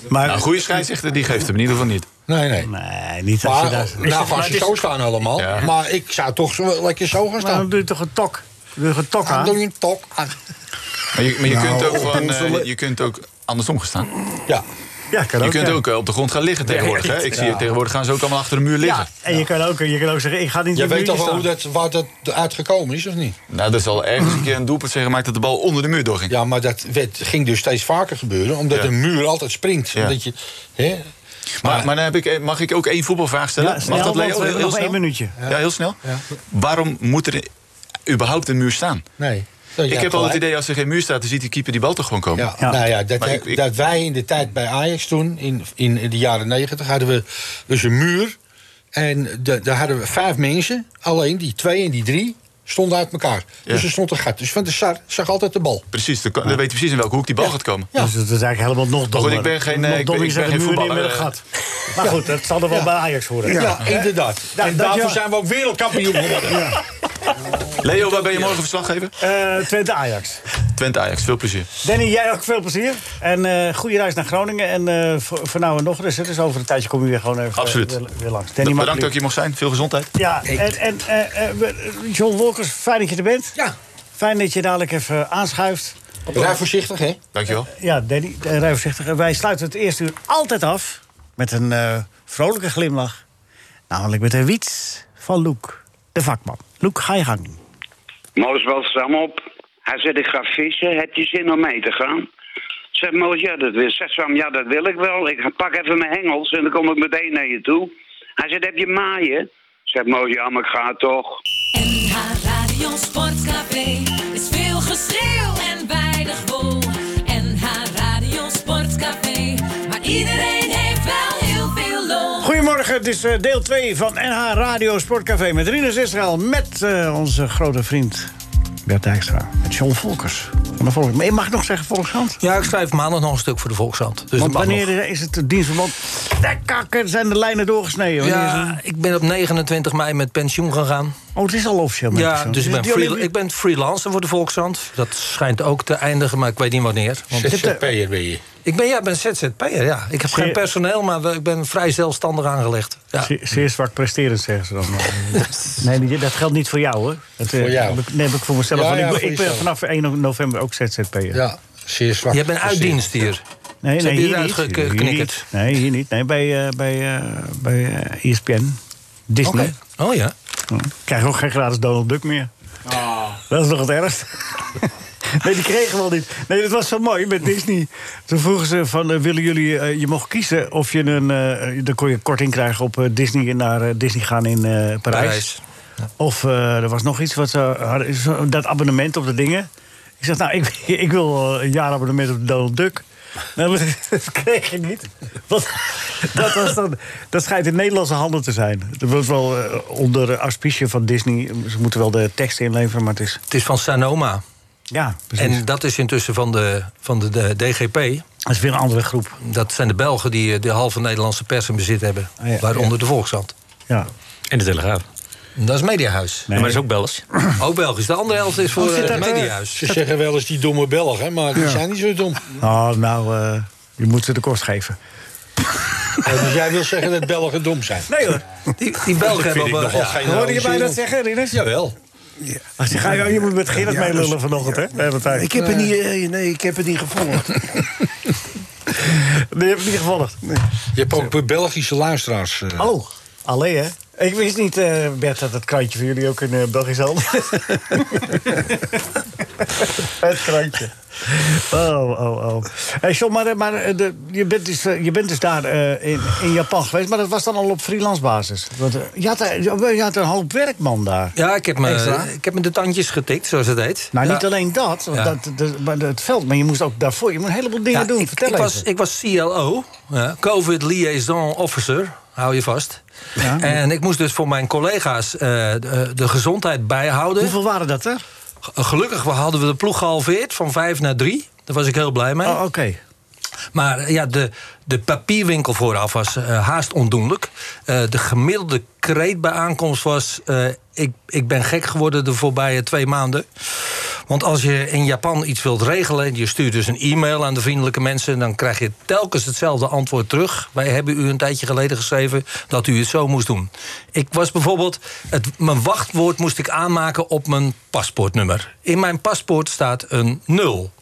A: Maar,
C: Nou, een goede scheidsrechter die geeft hem in ieder geval niet.
B: Nee, nee.
A: nee, niet als je
B: Maar,
A: daar...
B: nou, als je zo staan allemaal.
C: Ja.
B: Maar ik zou toch zo, lekker zo gaan
A: Maar dan
B: staan.
A: doe je toch een tok. Doe je toch een tok
B: Dan doe
A: aan?
B: je een tok aan.
C: Maar je, maar je
E: Nou,
C: kunt ook
E: op
C: gewoon,
E: onze
C: eh,
E: le-
C: je kunt ook andersom gaan staan.
B: Ja.
A: Ja, kan
C: je kunt
A: ja.
C: ook eh, op de grond gaan liggen tegenwoordig. Hè? Ik zie je tegenwoordig gaan ze ook allemaal achter de muur liggen.
A: En je kan ook, je kan ook zeggen, ik ga niet
B: Je
A: in de
B: weet
A: muur
B: toch wel
A: staan.
B: hoe dat, waar dat uitgekomen is, of niet?
C: Nou, dat is al ergens een keer een doelpunt zeggen gemaakt dat de bal onder de muur doorging.
B: Ja, maar dat werd, ging dus steeds vaker gebeuren. Omdat
C: Ja.
B: een muur altijd springt.
C: Ja.
B: Omdat je, hè?
C: Maar, maar dan heb ik, eh, mag ik ook één voetbalvraag stellen?
A: Ja, snel,
C: mag dat Leo?
A: want we hebben nog
C: snel?
A: één minuutje.
C: Ja, heel snel. Waarom moet er überhaupt een muur staan?
B: Nee.
C: ik heb al het idee, als er geen muur staat, dan ziet die keeper die bal toch gewoon komen.
B: Ja,
A: Ja.
B: Nou ja, dat,
C: Maar ik- ik-
B: dat wij in de tijd bij Ajax toen, in, in de jaren negentig, hadden we dus een muur. En de- daar hadden we vijf mensen. Alleen die twee en die drie stonden uit elkaar. Dus er stond een gat. Dus Van de Sar zag altijd de bal.
C: Precies, dan, kan- dan weet je precies in welke hoek die bal gaat komen.
A: Dus dat is eigenlijk helemaal nog dommer.
C: ik ben geen, eh,
A: Nog
C: ik ben-
A: dommer
C: ik
A: is dat
C: ben
A: de
C: geen
A: muur niet
C: voetballer,
A: meer
C: eh.
A: gat. Maar goed, dat zal er wel bij Ajax horen.
B: Ja, inderdaad.
A: Nou,
B: en
A: dat
B: daarvoor
A: ja.
B: zijn we ook wereldkampioen geworden.
C: Leo, waar ben je morgen verslaggever?
A: Eh, Twente Ajax.
C: Twente Ajax, veel plezier.
A: Danny, jij ook veel plezier. En eh, goede reis naar Groningen. En eh, voor, voor nou en nog eens. hè. Dus over een tijdje kom je weer gewoon even
C: Absoluut.
A: eh, weer, weer langs. Danny,
C: Bedankt
A: Makkely.
C: dat je mocht zijn, veel gezondheid.
A: Ja, en, en eh, eh, we- John Wolkers, fijn dat je er bent.
B: Ja.
A: Fijn dat je dadelijk even aanschuift.
B: Rij voorzichtig, hè?
C: Dankjewel.
A: Ja, Danny, eh, rij voorzichtig. En Wij sluiten het eerste uur altijd af met een eh, vrolijke glimlach. Namelijk met een wiets van Loek, de vakman. Loek, ga je gang.
J: Moos wel samen op. Hij zegt, ik ga vissen. Heb je zin om mee te gaan? Zegt Moos, ja, dat wil. Zegt Sam, ja, dat wil ik wel. Ik pak even mijn hengels en dan kom ik meteen naar je toe. Hij zegt, heb je maaien? Zegt Moos, ja, maar ik ga toch.
H: NH Radio Sportcafé is veel geschreeuw en weinig wol. NH Radio Sportcafé, maar iedereen heeft wel heel veel lol.
A: Goedemorgen, het is eh, deel 2 van NH Radio Sportcafé met Rinus Israël... met eh, onze grote vriend Bert Dijkstra. Met John Volkers van de Volkskrant. Maar je mag nog zeggen Volkskrant?
I: Ja, ik schrijf maandag nog een stuk voor de Volkshand. Dus dat
A: Want
I: Dus mag nog.
A: wanneer is het dienstverband? De kakker, zijn de lijnen doorgesneden. Wanneer is het-
I: Ja, ik ben op 29 mei met pensioen gegaan.
A: Oh, het is al officieel. met
I: Ja,
A: pensioen.
I: dus ik
A: Is
I: ben,
A: het die
I: freel-
A: Olympi-
I: ik ben freelancer voor de Volkshand. Dat schijnt ook te eindigen, maar ik weet niet wanneer. Want
B: ZZP'er ben je.
I: Ik ben, ja, ik ben ZZP'er, ja. Ik heb
A: Zeer-
I: geen personeel, maar we- ik ben vrij zelfstandig aangelegd. Ja.
A: Ze- Zeer zwak presterend, zeggen ze dan. nee, die- dat geldt niet voor jou, hoor. Dat, eh,
B: Voor jou.
A: heb ik- Nee, heb ik voor mezelf.
B: Ja,
A: want ik,
B: ja,
A: ben-
B: voor
A: ik ben
B: jezelf.
A: vanaf 1 november ook ZZP'er.
B: Ja, zeer zwak.
I: Jij bent uitdienst hier.
A: Nee,
I: Ze
A: nee,
I: hebben
A: hier
I: hieruit
A: niet.
I: geknikkerd.
A: Hier niet. Nee, hier niet. Nee, bij, eh bij, eh, bij eh, ESPN. Disney.
I: Oké. Oh ja.
A: Ja. Krijg ook geen gratis Donald Duck meer.
I: Ah.
A: Dat is nog het ergst. Nee, die kregen we al niet. Nee, dat was zo mooi met Disney. Toen vroegen ze van, eh, willen jullie... eh, je mocht kiezen of je een... eh, dan kon je korting krijgen op eh, Disney naar eh, Disney gaan in eh, Parijs.
I: Parijs.
A: Of eh, er was nog iets wat ze hadden. zo- Dat abonnement op de dingen. Ik zeg, nou, ik, ik wil wel een jaarabonnement op Donald Duck. Nou, dat kreeg je niet. Want dat, was dan, dat schijnt in Nederlandse handen te zijn. Dat wordt wel eh, onder eh, auspicie van Disney. Ze moeten wel de tekst inleveren, maar het is...
I: Het is van Sanoma.
A: Ja, precies.
I: En dat is intussen van de, van de, de DGP.
A: dat is weer een andere groep.
I: Dat zijn de Belgen die eh, de halve Nederlandse pers in bezit hebben.
A: Ah, ja.
I: Waaronder de Volkshand.
A: Ja.
D: En de Telegraaf.
I: En Dat is Mediahuis.
A: Nee.
D: Maar dat is ook Belgisch.
I: Ook Belgisch. De andere helft is voor
B: zit
I: het
B: dat, eh,
I: Mediahuis.
B: Ze zeggen wel eens die domme Belgen, maar die zijn niet zo dom.
A: Oh, nou, eh, je moet ze de kost geven.
B: Eh, dus jij wil zeggen dat Belgen dom zijn?
A: Nee hoor.
I: Die, die
B: vind
I: Belgen hebben
B: ik
I: wel-
B: nogal
I: ja.
B: geen-
A: Hoorde Nou, je mij dat zeggen, Rinus?
I: Jawel.
A: Als je, ga je, je moet met Gerrit
E: Ja,
A: meelullen
E: dus-
A: vanochtend, hè? We hebben tijd.
E: Ik heb het niet, eh, nee, ik heb het niet gevonden.
A: Nee, je hebt het niet gevolgd.
B: Je hebt ook Belgische luisteraars. eh.
A: Oh, alleen hè? Ik wist niet, eh, Bert, dat het krantje voor jullie ook in eh, Belgisch hand Het krantje. Oh, oh, oh. Hey, John, maar, eh, maar eh, de, je, bent dus, eh, je bent dus daar eh, in, in Japan geweest, maar dat was dan al op freelance basis. Want, eh, je, had, eh, je had een hoop werkman daar.
I: Ja, ik heb, me,
A: Extra?
I: ik heb me de tandjes getikt, zoals het heet.
A: Nou,
I: Ja.
A: niet alleen dat, want
I: Ja.
A: dat, dat- maar het veld, maar je moest ook daarvoor. Je moet een heleboel dingen
I: Ja,
A: doen.
I: ik,
A: Vertel
I: ik was,
A: even.
I: ik was CLO, ja, COVID Liaison Officer, hou je vast. En ik moest dus voor mijn collega's eh, de, de gezondheid bijhouden.
A: Hoeveel waren dat er?
I: G- Gelukkig we hadden we de ploeg gehalveerd van vijf naar drie. Daar was ik heel blij mee.
A: Oh, oké.
I: Maar eh, ja, de, de papierwinkel vooraf was eh, haast ondoenlijk. Eh, de gemiddelde kreet bij aankomst was... eh, ik, ik ben gek geworden de voorbije twee maanden. Want als je in Japan iets wilt regelen... je stuurt dus een e-mail aan de vriendelijke mensen... dan krijg je telkens hetzelfde antwoord terug. Wij hebben u een tijdje geleden geschreven dat u het zo moest doen. Ik was bijvoorbeeld... Het, mijn wachtwoord moest ik aanmaken op mijn paspoortnummer. In mijn paspoort staat een nul.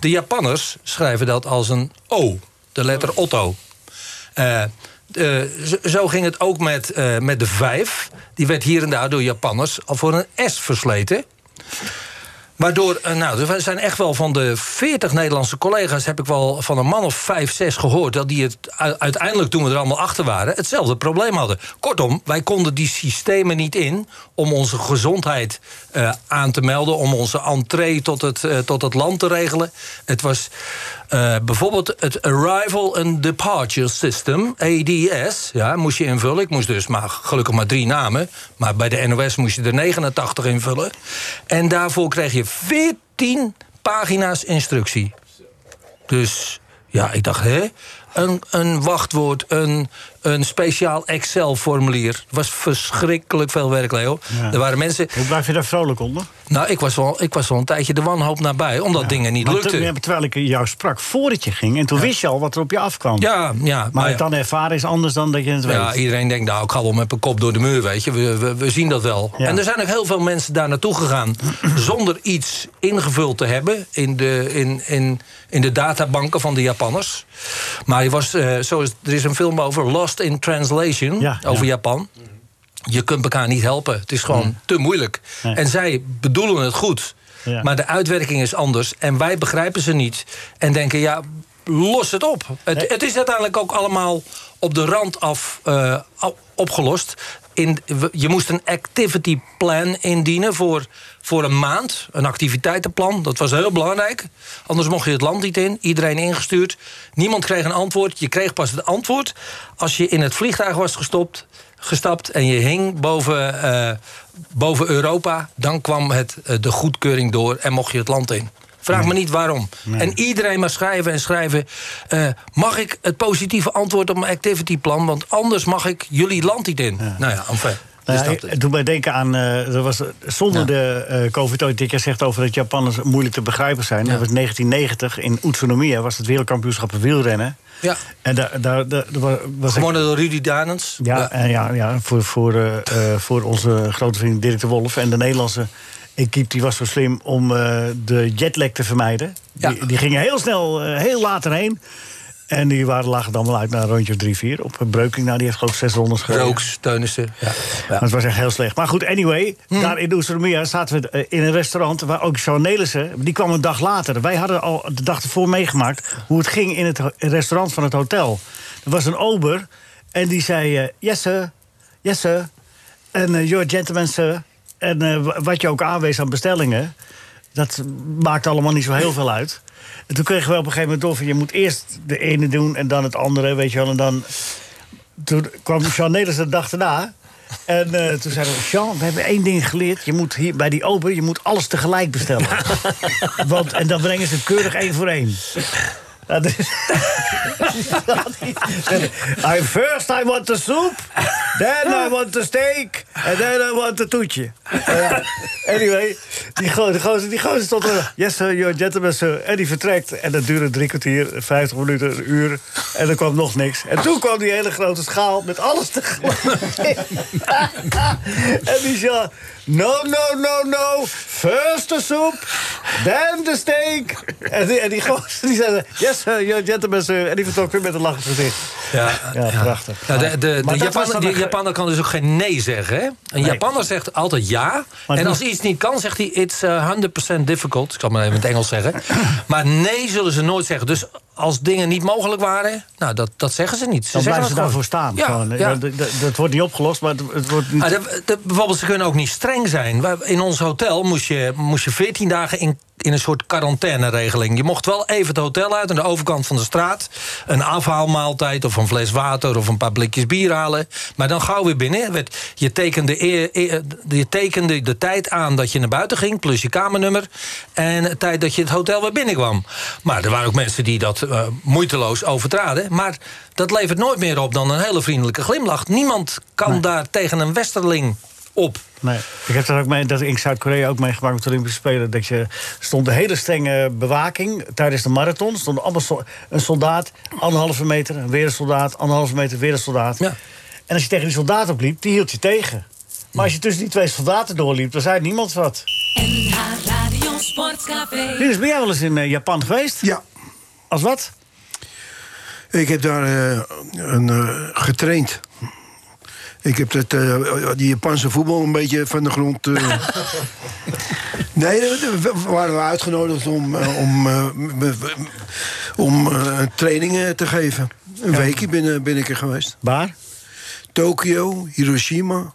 I: De Japanners schrijven dat als een O, de letter Otto. Eh, eh, zo- zo ging het ook met, eh, met de vijf. Die werd hier en daar door Japanners al voor een S versleten. Waardoor, eh, nou, er zijn echt wel van de 40 Nederlandse collega's... heb ik wel van een man of vijf, zes gehoord... dat die het u- uiteindelijk, toen we er allemaal achter waren... hetzelfde probleem hadden. Kortom, wij konden die systemen niet in... om onze gezondheid eh, aan te melden... om onze entree tot het, eh, tot het land te regelen. Het was eh, bijvoorbeeld het Arrival and Departure System, ADS. E Ja, moest je invullen. Ik moest dus maar, gelukkig maar drie namen. Maar bij de NOS moest je er 89 invullen. En daarvoor kreeg je 14 pagina's instructie. Dus ja, ik dacht, hè? Een, een wachtwoord, een, een speciaal Excel-formulier. was verschrikkelijk veel werk, Leo. Er waren mensen...
A: Hoe blijf je daar vrolijk onder?
I: Nou, ik was wel, ik was wel een tijdje de wanhoop nabij... omdat dingen niet
A: Maar
I: lukten.
A: toen- eh, terwijl ik jou sprak voordat je ging. En toen wist je al wat er op je afkwam.
I: Ja, ja.
A: Maar
I: ja.
A: het dan ervaren is anders dan dat je het
I: Ja,
A: weet.
I: iedereen denkt, nou, ik ga wel met mijn kop door de muur, weet je. We, we, we zien dat wel.
A: Ja.
I: En er zijn ook heel veel mensen daar naartoe gegaan... zonder iets ingevuld te hebben in de, in, in, in de databanken van de Japanners. Maar je was, eh, zo is, er is een film over Lost in Translation,
A: Ja,
I: over
A: ja.
I: Japan. Je kunt elkaar niet helpen. Het is gewoon te moeilijk.
A: Mm. Nee.
I: En zij bedoelen het goed.
A: Ja.
I: Maar de uitwerking is anders. En wij begrijpen ze niet. En denken, ja, los het op. Het,
A: Nee.
I: het is uiteindelijk ook allemaal op de rand af eh, op- opgelost. In, we- je moest een activity plan indienen voor, voor een maand. Een activiteitenplan, dat was heel belangrijk. Anders mocht je het land niet in. Iedereen ingestuurd. Niemand kreeg een antwoord. Je kreeg pas het antwoord als je in het vliegtuig was gestopt, gestapt... en je hing boven, eh, boven Europa. Dan kwam het, eh, de goedkeuring door en mocht je het land in. Vraag me niet waarom. En iedereen mag schrijven en schrijven. eh, mag ik het positieve antwoord op mijn activityplan? Want anders mag ik jullie land niet in. Nou ja, enfin.
A: Nou ja,
I: Dus dat-
A: het doet mij denken aan, eh, dat was zonder de eh, COVID ooit, dat jij zegt over dat Japanners moeilijk te begrijpen zijn. Dat was 1990 in Utsunomiya, was het wereldkampioenschap wielrennen.
I: Ja.
A: En daar, daar, daar, daar wa- was ik-
I: Gewonnen door Rudy Danens.
A: ja, en ja, ja voor, voor, eh, eh, voor onze grote vriend Dirk de Wolf en de Nederlandse equipe, die was zo slim om eh, de jetlag te vermijden. Die, die gingen heel snel, eh, heel later heen. En die waren, lagen dan wel uit naar een rondje of drie, vier. Op Breuking, nou, die heeft geloof ik zes rondes gereden.
I: Rooks, Teunissen. Ja.
A: Maar het was echt heel slecht. Maar goed, anyway, daar in Oestermeer zaten we eh, in een restaurant... waar ook Sean Nelissen, die kwam een dag later. Wij hadden al de dag ervoor meegemaakt hoe het ging in het ho- restaurant van het hotel. Er was een ober en die zei, eh, yes sir, yes sir, en eh, your gentleman sir. En eh, wa- wat je ook aanwees aan bestellingen, dat maakt allemaal niet zo heel veel uit. En toen kregen we op een gegeven moment door van... je moet eerst de ene doen en dan het andere, weet je wel. En dan toen kwam Sean Nederlands de dag daarna. En eh, toen zeiden we, Sean, we hebben één ding geleerd. Je moet hier bij die open, je moet alles tegelijk bestellen. Want, en dan brengen ze het keurig één voor één. Dat is- I first I want the soup, then I want the steak, and then I want the toetje. Eh, anyway, die gozer, die gozer, die gozer stond er. Yes sir, your gentleman sir. En die vertrekt. En dat duurde drie kwartier, vijftig minuten, een uur. En er kwam nog niks. En toen kwam die hele grote schaal met alles tegelijk. en die zei, no, no, no, no. First the soup, then the steak. En die, en die gozer, die zei, yes sir, your gentleman sir. En die vertrok weer met een lachend gezicht.
I: Ja,
A: Ja, prachtig.
I: Nou, de de, de
A: Maar dat was
I: Japaner,
A: dan
I: die
A: een ge-
I: Japaner kan dus ook geen nee zeggen. Hè? Een Japanner zegt altijd ja.
A: Maar
I: en
A: dat-
I: als hij iets niet kan, zegt hij it's eh, 100% difficult. Ik kan maar even in het Engels zeggen. Maar nee zullen ze nooit zeggen. Dus als dingen niet mogelijk waren, nou, dat, dat zeggen ze niet. Ze
A: Dan
I: zeggen
A: blijven ze
I: dat
A: daarvoor
I: gewoon.
A: staan.
I: Ja,
A: gewoon.
I: ja.
A: Ja, d- d- Dat wordt niet opgelost, maar het- het wordt niet...
I: Ah, dat- dat- bijvoorbeeld, ze kunnen ook niet streng zijn. Wij- In ons hotel moest je, moest je 14 dagen in, in een soort quarantaineregeling. Je mocht wel even het hotel uit aan de overkant van de straat. Een afhaalmaaltijd of een fles water of een paar blikjes bier halen. Maar dan gauw weer binnen. Werd- Je tekende, eer- eer- je tekende de tijd aan dat je naar buiten ging, plus je kamernummer. En de tijd dat je het hotel weer binnenkwam. Maar er waren ook mensen die dat eh, moeiteloos overtraden. Maar dat levert nooit meer op dan een hele vriendelijke glimlach. Niemand kan daar tegen een westerling op.
A: Nee, ik heb dat ook mee, dat in Zuid-Korea ook meegemaakt met de Olympische Spelen. Dat je stond een hele strenge bewaking tijdens de marathon. Stond allemaal so- een soldaat, anderhalve meter, en weer een soldaat, anderhalve meter, weer een soldaat.
I: Ja.
A: En als je tegen die soldaat opliep, die hield je tegen. Maar als je tussen die twee soldaten doorliep, dan zei niemand wat.
H: NH Radio Sportcafé.
A: Linus, ben jij wel eens in eh, Japan geweest?
E: Ja,
A: Als wat?
E: ik heb daar eh, een, eh, getraind. Ik heb dat, eh, die Japanse voetbal een beetje van de grond. eh, nee, we we waren uitgenodigd om, eh, om, eh, we- we- om eh, trainingen te geven. Een weekje ben, ben ik er geweest.
A: Waar?
E: Tokio, Hiroshima.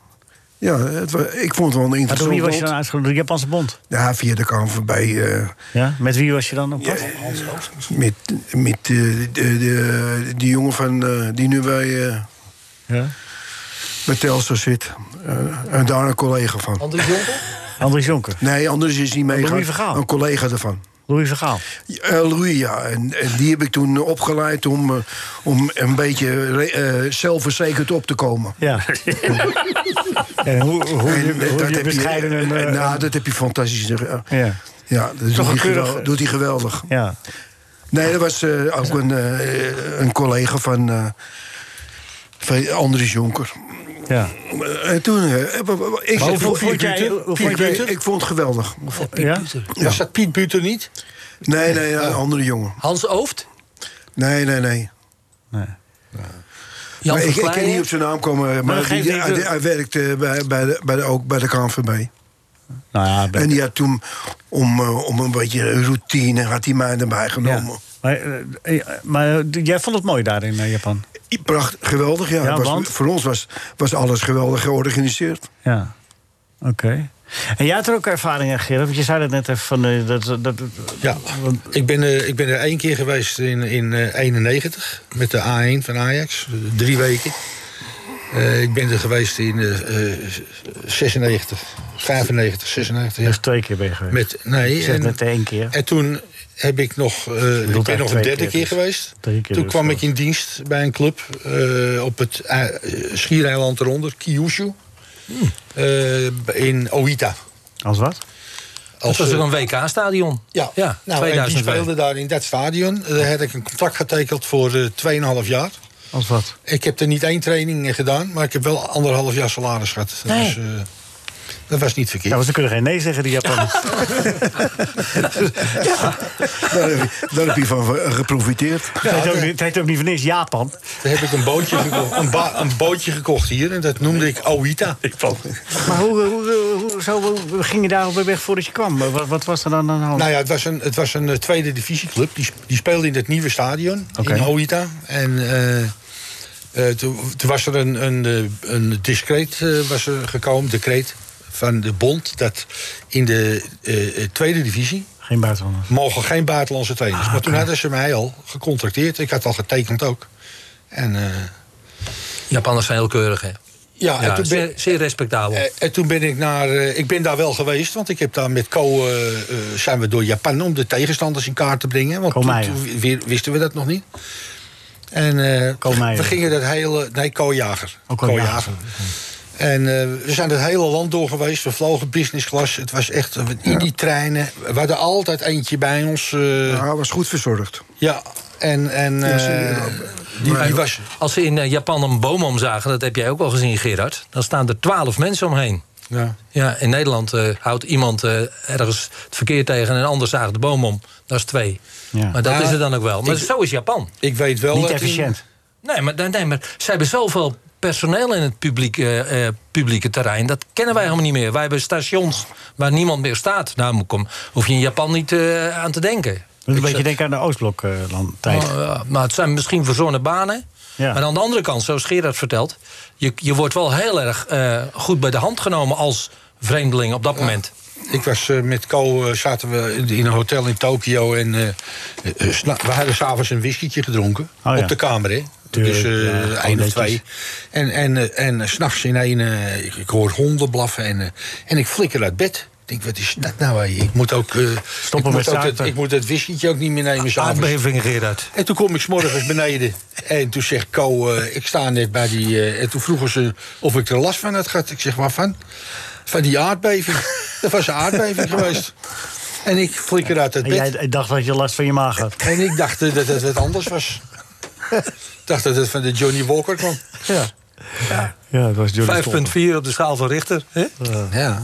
E: Ja, het wa- ik vond het wel een
A: Maar door wie
E: interessant
A: was je dan
E: land.
A: uitgenodigd? Door de Japanse bond?
E: Ja, via de kant voorbij. eh,
A: Ja? Met wie was je dan op pad?
E: met met eh, de, de, die jongen van, eh, die nu bij, eh,
A: Ja.
E: bij Telstra zit. Eh, en daar een collega van.
I: Andries Jonker?
A: Andries Jonker,
E: Nee, anders is hij meegegaan.
A: Louis Vergaal.
E: Een collega ervan.
A: Louis Vergaal.
E: Eh, Louis, ja. En, en die heb ik toen opgeleid om, eh, om een beetje re- eh, zelfverzekerd op te komen.
A: Ja. en hoe, hoe,
E: En,
A: je-
E: eh,
A: hoe je
E: heb
A: bescheiden een...
E: eh,
A: eh,
E: nou, dat heb je fantastisch. eh,
A: ja.
E: Ja, dat doet
A: een
E: hij,
A: keurig-
E: gewel- doet hij geweldig.
A: ja.
E: Nee, dat was eh, ook een, eh, een collega van, eh, van Andries Jonker.
A: Ja.
E: En toen, eh, eh, ik,
A: hoe
E: ik-
A: vond- vond jij-
E: Pieter?
A: hoe vond jij
E: Pieter?
A: het?
E: ik vond het geweldig.
A: ja?
B: Was dat Piet Buter niet?
E: Nee, nee, een andere jongen.
I: Hans Ooft?
E: Nee, nee, nee.
I: Jan
E: Maar
I: van
E: ik, ik kan
I: Kleije?
E: niet op zijn naam komen,
A: dat
E: maar die,
A: geeft niet,
E: hij,
A: eh.
E: hij werkte bij, bij de, bij de, ook bij de KNVB.
A: Nou ja, ben-
E: En die had toen, om, eh, om een beetje routine, had hij mij erbij
A: ja.
E: genomen.
A: Maar, eh, eh, maar eh, jij vond het mooi daar in eh, Japan.
E: Pracht, geweldig, ja.
A: Ja,
E: Het was-
A: want?
E: Voor ons was, was alles geweldig georganiseerd.
A: Ja. Oké. En jij had er ook ervaringen, Gerard? Want je zei dat net even van... eh, dat, dat, dat-
B: Ja, ik ben, eh, ik ben er één keer geweest in, in eh, 91 met de A1 van Ajax, drie weken. Eh, ik ben er geweest in eh, eh, 96, 95, 96. Ja.
A: Dus twee keer ben je geweest.
B: Met,
A: je
B: nee,
A: zegt
B: en,
A: net eh, één keer.
B: en toen heb ik nog, eh ik ben
A: eigenlijk
B: nog
A: twee
B: een derde
A: keer
B: keer,
A: dus.
B: geweest.
A: Drie keer
B: toen
A: dus,
B: kwam
A: ja.
B: ik in dienst bij een club eh, op het eh, schiereiland eronder, Kyushu.
A: Hmm.
B: eh, in Oita.
A: Als wat?
I: Dat was
B: eh,
I: ook een WK-stadion.
B: Ja,
I: ja
B: nou, en die
I: 2002.
B: speelde daar in dat stadion. Eh, Daar heb ik een contract getekend voor eh 2,5 jaar.
A: Als wat?
B: Ik heb er niet één training eh, gedaan, maar ik heb wel anderhalf jaar salaris gehad.
A: Nee.
B: Dus, eh, dat was niet verkeerd.
A: Ja, want ze kunnen geen nee zeggen, die Japanners.
E: Daar heb je, daar heb je van eh, geprofiteerd.
A: Het heet ook niet- het heet ook niet van niks Japan.
B: Daar heb ik een bootje, geko- een, ba- een bootje gekocht hier en dat noemde ik Oita.
A: Maar hoe, hoe, hoe, hoe- zo, hoe ging je daarop weg voordat je kwam? Wat, wat was er dan aan de hand?
B: Nou ja, het was een, het was een eh, tweede divisieclub. Die, sp- die speelde in het nieuwe stadion
A: Oké.
B: in Oita. En eh, eh, toen toen was er een, een, eh, een discreet eh, was er gekomen, decreet van de bond... dat in de eh, eh, tweede divisie
A: Geen buitenlanders.
B: mogen geen buitenlandse trainers. maar toen hadden ze mij al gecontracteerd. Ik had al getekend ook. En, eh,
I: Japanners zijn heel keurig, hè?
B: ja, en
I: Ja,
B: toen ben-
I: zeer, zeer respectabel.
B: Eh, En toen ben ik naar. eh, ik ben daar wel geweest, want ik heb daar met Co. eh, eh, zijn we door Japan om de tegenstanders in kaart te brengen. Want
A: Co
B: toen,
A: Meijer.
B: toen wi- wisten we dat nog niet. En eh,
A: Co Meijer.
B: we gingen dat hele. Nee, Co Jager.
A: Oh, Co
B: Co
A: Jager.
B: Jager. En eh, we zijn het hele land door geweest. We vlogen business class. Het was echt eh, in die treinen. We hadden altijd eentje bij ons. eh,
E: Ja, hij was goed verzorgd.
B: ja. En, en
E: Ja, ze-
B: eh, die, die was.
I: Als ze in eh, Japan een boom omzagen, dat heb jij ook wel gezien, Gerard... dan staan er twaalf mensen omheen.
B: Ja.
I: Ja, in Nederland eh, houdt iemand eh, ergens het verkeer tegen... en een ander zaagt de boom om. Dat is twee.
A: Ja.
I: Maar dat
B: Ja,
I: is het dan ook wel. Maar
B: ik-
I: zo is Japan.
B: Ik weet wel.
A: Niet
B: dat in-
A: efficiënt.
I: Nee maar, nee, maar ze hebben zoveel personeel in het publieke, eh, publieke terrein. Dat kennen wij helemaal niet meer. Wij hebben stations waar niemand meer staat. Nou, kom, hoef je in Japan niet eh, aan te denken.
A: Doet een
I: Ik
A: beetje
I: zeg-
A: denken aan de Oostblok-tijd.
I: maar, eh, maar het zijn misschien verzonnen banen.
A: Ja.
I: Maar aan de andere kant, zoals Gerard vertelt... je, je wordt wel heel erg eh, goed bij de hand genomen als vreemdeling op dat moment.
B: Ik was eh, met Co, eh, zaten we in- in een hotel in Tokio en eh, eh, eh, sna- we hadden s'avonds een whiskietje gedronken.
A: Oh, ja.
B: Op de kamer, hè?
A: Tuurlijk,
B: dus eh,
A: ja, gewoon
B: één of
A: netjes.
B: twee. En, en, eh, en eh, 's s'nachts in één, eh, ik, ik hoor honden blaffen en, eh, en ik flikker uit bed. Ik denk, wat is dat nou? hé? Ik moet ook, eh, ik
A: met Ah,
B: moet ook
A: zaken.
B: dat, ik moet dat whiskietje ook niet meer nemen s'avonds.
I: Aardbeving, Gerard.
B: En toen kom ik s'morgens beneden. En toen zegt Co, eh, ik sta net bij die... eh, en toen vroegen ze of ik er last van had gehad. Ik zeg, waarvan? Van die aardbeving. Dat was een aardbeving geweest. En ik flikker uit het
A: En jij
B: bed.
A: d- dacht dat je last van je maag had.
B: En ik dacht eh, dat het wat anders was. Ik dacht dat het van de Johnny Walker kwam.
A: Ja, dat was
I: 5,4 op de schaal van Richter. Hè?
B: Ja.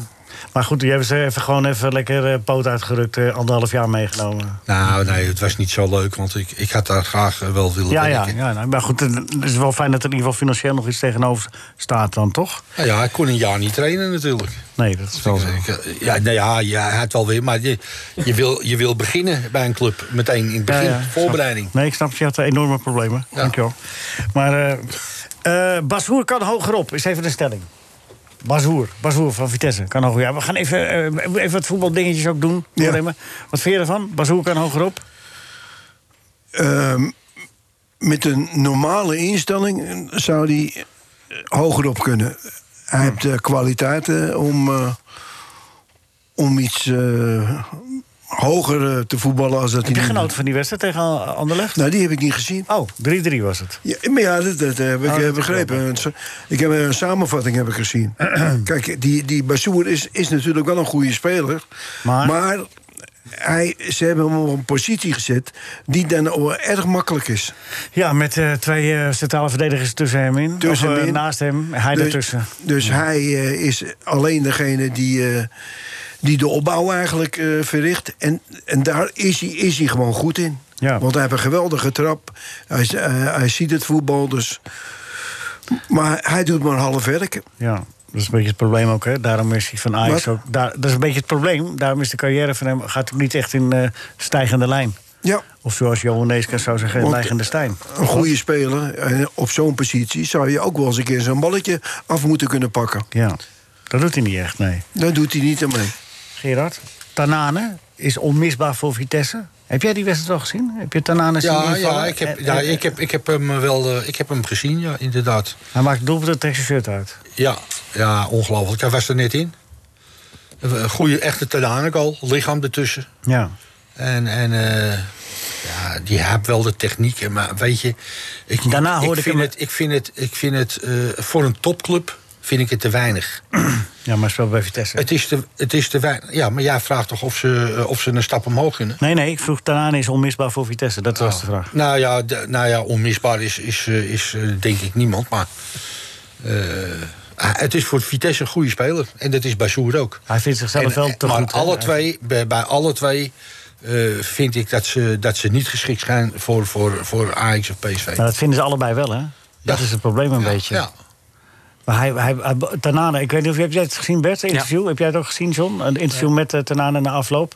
A: Maar goed, je hebt ze even gewoon even lekker eh, poot uitgerukt. eh, anderhalf jaar meegenomen.
B: Nou, nee, het was niet zo leuk. Want ik, ik had daar graag eh, wel willen
A: Ja, ja,
B: werken.
A: ja nou, maar goed, eh, het is wel fijn dat er in ieder geval financieel nog iets tegenover staat dan, toch?
B: Nou ja, ik kon een jaar niet trainen natuurlijk.
A: Nee, dat is wel zo.
B: Ik, eh, Ja, nou ja, ja, het wel weer. Maar je, je, wil, je wil beginnen bij een club. Meteen in het begin.
A: Ja, ja.
B: Voorbereiding.
A: Nee, ik snap, het, je had eh, enorme problemen. Dankjewel. Maar eh, eh, Bashoer kan hogerop, is even een stelling. Bashoer, Bashoer van Vitesse kan hogerop. Ja, we gaan even, eh, even wat voetbaldingetjes ook doen.
E: Ja.
A: Doornemen. Wat vind je ervan? Bashoer kan hogerop.
E: Ehm, met een normale instelling zou hij hoger op kunnen. Hij heeft de kwaliteiten om, eh, om iets eh, hoger eh, te voetballen als dat
A: Heb je
E: hij. nu doet.
A: genoten van die wedstrijd tegen Anderlecht?
E: Nou, die heb ik niet gezien.
A: Oh, 3-3 was het.
E: Ja, maar ja, dat, dat heb ik
A: Oh,
E: eh,
A: dat
E: begrepen. Een sa- Ik heb eh, een samenvatting heb ik gezien. Kijk, die, die Bassoer is, is natuurlijk wel een goede speler.
A: Maar?
E: hij, ze hebben hem op een positie gezet die dan wel erg makkelijk is.
A: Ja, met eh, twee eh, centrale verdedigers tussen hem in.
E: Tussen
A: of, eh,
E: hem in.
A: naast hem, hij
E: dus,
A: ertussen.
E: Dus hij eh, is alleen degene die, eh, die de opbouw eigenlijk eh, verricht. En, en daar is hij, is hij gewoon goed in.
A: Ja.
E: Want hij heeft een geweldige trap. Hij, is- eh, hij ziet het voetbal, dus... Maar hij doet maar half werk.
A: Ja, dat is een beetje het probleem ook. Hè? Daarom is hij van Ajax
E: Wat?
A: ook... Daar, dat is een beetje het probleem. Daarom is de carrière van hem gaat ook niet echt in eh, stijgende lijn.
E: Ja,
A: Of zoals Johan Neeskens zou zeggen, in
E: Want-
A: stijgende stijn.
E: een goede speler. En op zo'n positie zou je ook wel eens een keer zo'n balletje af moeten kunnen pakken.
A: Ja, dat doet hij niet echt, nee.
E: Dat doet hij niet aan mee.
A: Gerard, Tanane is onmisbaar voor Vitesse. Heb jij die wedstrijd al gezien? Heb je Tanane zien
B: Ja, ja,
A: invallen?
B: ik heb,
A: En-
B: ja
A: en-
B: ik, heb, ik heb hem wel eh, ik heb hem gezien, ja, inderdaad.
A: Hij maakt doelpunten tegen zijn shirt uit.
B: Ja, ja ongelooflijk. Hij was er net in. Een goede, echte Tadanek al. Lichaam ertussen.
A: Ja.
B: En, en eh, ja, die heeft wel de technieken, maar weet je... Ik,
A: Daarna hoorde ik
B: vind
A: hem-
B: het, ik vind het, ik vind het eh, voor een topclub vind ik het te weinig.
A: Ja, maar speelt bij Vitesse.
B: Het is te, het is te weinig. Ja, maar jij vraagt toch of ze, eh, of ze een stap omhoog kunnen?
A: Nee, nee, ik vroeg daarna is onmisbaar voor Vitesse. Dat was de vraag.
B: Nou ja, d- nou ja onmisbaar is, is, eh, is eh, denk ik niemand. Maar eh, ah, het is voor Vitesse een goede speler. En dat is bij Soer ook.
A: Hij vindt zichzelf
B: En,
A: wel
B: eh,
A: te
B: maar
A: goed. hè?
B: alle twee, bij, bij alle twee eh, vind ik dat ze, dat ze niet geschikt zijn voor, voor, voor Ajax of PSV.
A: Maar dat vinden ze allebei wel, hè? Dat
B: Ja.
A: is het probleem een beetje.
B: Ja.
A: Maar hij, hij, hij- Tanane, ik weet niet of heb jij het gezien, Bert, het interview? Heb jij het ook gezien, John? Een interview met eh, Tanane na afloop.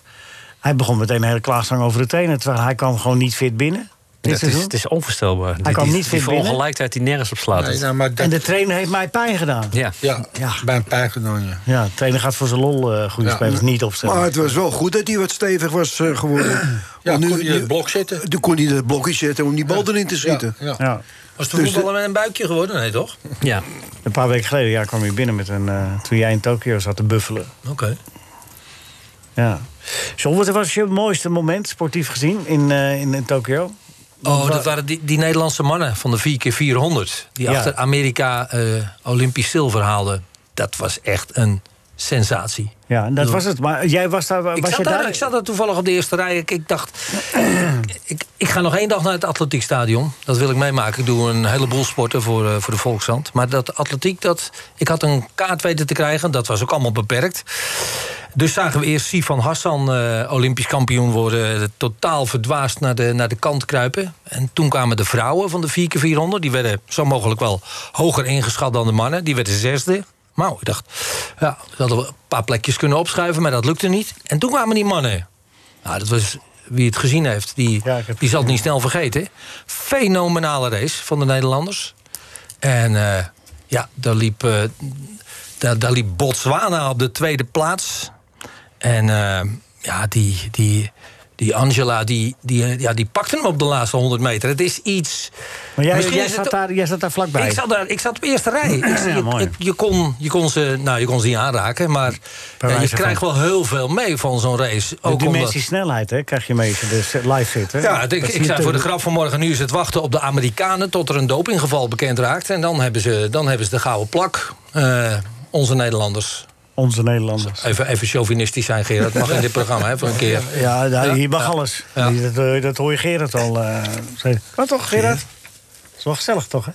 A: Hij begon meteen een hele klaagzang over de tenen, terwijl hij kwam gewoon niet fit binnen.
D: Het
A: Dit
D: is,
A: seizoen.
D: het is onvoorstelbaar. Hij
A: kan niet
D: Die
A: fit binnen.
D: ongelijkheid die nergens op slaat.
B: Nee, nou, maar dat,
A: En de trainer heeft mij pijn gedaan.
D: ja.
B: ja,
A: Ja.
B: bij een paar genomen.
A: Ja, de trainer gaat voor zijn lol eh, goede
B: Ja.
A: spelers niet opstellen.
E: Maar het was wel goed dat hij wat stevig was eh, geworden.
B: Ja,
E: Want nu-
B: kon hij
E: nu-
B: het blok zetten?
E: Toen kon hij dat blokje zetten om die bal erin te schieten.
B: Ja, ja.
A: ja.
I: Was de voetballer met een buikje geworden? Nee, toch?
D: ja.
A: Een paar weken geleden ja, kwam hij binnen met een. eh, toen jij in Tokio zat te buffelen.
I: Oké.
A: Ja. John, wat was je mooiste moment sportief gezien in, eh, in, in Tokio?
I: Oh, dat waren die, die Nederlandse mannen van de 4x400. Die
A: Ja.
I: achter Amerika eh, Olympisch zilver haalden. Dat was echt een sensatie.
A: Ja, en dat was het. Maar jij was daar.
I: Ik
A: was
I: zat,
A: je
I: daar, ik zat daar toevallig op de eerste rij. Ik, ik dacht, ik, ik, ik ga nog één dag naar het atletiekstadion. Dat wil ik meemaken. Ik doe een heleboel sporten voor, eh, voor de Volkshand. Maar dat atletiek, dat, ik had een kaart weten te krijgen. Dat was ook allemaal beperkt. Dus zagen we eerst Sifan Hassan eh, olympisch kampioen worden. eh, Totaal verdwaasd naar de, naar de kant kruipen. En toen kwamen de vrouwen van de 4x400. Die werden zo mogelijk wel hoger ingeschat dan de mannen. Die werden zesde. Nou, ik dacht, ja, we hadden wel een paar plekjes kunnen opschuiven, maar dat lukte niet. En toen kwamen die mannen. Nou, dat was wie het gezien heeft, die,
A: Ja, ik heb
I: die zal het niet snel vergeten. Fenomenale race van de Nederlanders. En eh, ja, daar liep, eh, daar, daar liep Botswana op de tweede plaats. En eh, ja, die, die, die Angela, die, die, eh, ja, die pakte hem op de laatste 100 meter. Het is iets...
A: Maar jij,
I: Misschien
A: jij,
I: is
A: zat
I: het-
A: daar, jij zat daar vlakbij.
I: Ik zat, daar, ik zat op de eerste rij. Ik- je,
A: mooi.
I: ik- je, kon, je, kon ze, nou, je kon ze niet aanraken, maar eh, je
A: wijze van-
I: krijgt wel heel veel mee van zo'n race.
A: De
I: Ook omdat-
A: dimensie snelheid hè, krijg je mee als je dus live zit. Hè?
I: ja, ik,
A: Dat
I: ik
A: zie
I: zei
A: je
I: voor de
A: natuurlijk.
I: grap vanmorgen, nu is het wachten op de Amerikanen... tot er een dopinggeval bekend raakt. En dan hebben ze, dan hebben ze de gouden plak, eh, onze Nederlanders.
A: Onze Nederlanders.
I: Even, even chauvinistisch zijn, Gerard. Mag in dit programma, hè, voor een keer.
A: Ja, daar- hier mag alles. Die- Dat, eh, dat hoor je Gerard al. eh, zeggen. maar toch, Gerard? is wel gezellig, toch? Hè?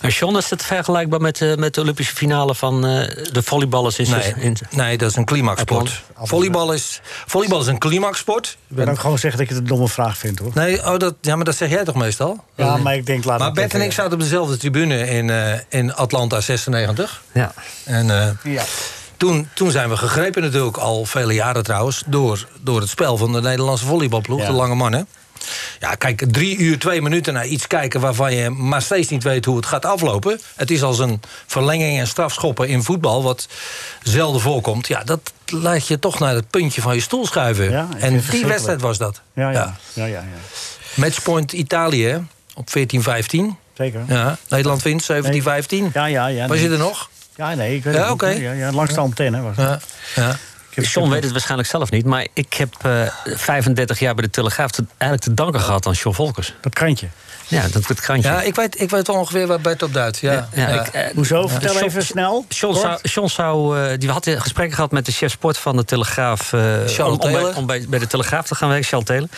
D: En John, is het vergelijkbaar met, eh, met de Olympische finale van eh, de volleyballers in,
I: Nee,
D: in
I: nee, dat is een climaxsport.
D: Appel.
I: Volleybal is, volleybal is een climaxsport.
A: Ik kan ook gewoon zeggen dat ik het een domme vraag vind, hoor.
I: Nee, oh, dat, ja, maar dat zeg jij toch meestal?
A: Ja, maar ik denk laat
I: Maar
A: het
I: Bert en
A: even-
I: ik zaten op dezelfde tribune in, eh, in Atlanta 96.
D: Ja.
I: En eh, toen, toen zijn we gegrepen natuurlijk, al vele jaren trouwens... door, door het spel van de Nederlandse volleybalploeg,
A: Ja.
I: de lange mannen. Ja, kijk, drie uur, twee minuten naar iets kijken... waarvan je maar steeds niet weet hoe het gaat aflopen. Het is als een verlenging en strafschoppen in voetbal... wat zelden voorkomt. Ja, dat laat je toch naar het puntje van je stoel schuiven.
A: Ja, ik vind het
I: en die
A: verschrikkelijk.
I: wedstrijd was dat.
A: Ja, ja. ja. ja, ja.
I: Matchpoint Italië hè, op 14-15.
A: Zeker.
I: Ja, Nederland wint 17-15.
A: Ja, ja, ja.
I: Was
A: nee.
I: je er nog?
A: Ja, nee, ik weet
I: Ja,
A: het niet.
I: oké.
A: Ja, ja, langs de antenne was het.
I: Ja. ja.
A: Ik heb-
D: John weet het waarschijnlijk zelf niet, maar ik heb eh, 35 jaar bij de Telegraaf te- eigenlijk te danken gehad aan John Volkers.
A: Dat krantje.
D: Ja, dat, dat krantje.
I: Ja, ik weet, ik weet ongeveer waar Bert op duidt. Ja, ja,
D: Ja, ik, eh,
A: Hoezo? Vertel
D: John-
A: even snel.
D: John
A: kort.
D: zou, John zou, eh, die had gesprekken gehad met de chef sport van de Telegraaf. eh, om, om, bij,
I: Taylor.
D: om bij, bij de Telegraaf te gaan werken, Charles Taylor.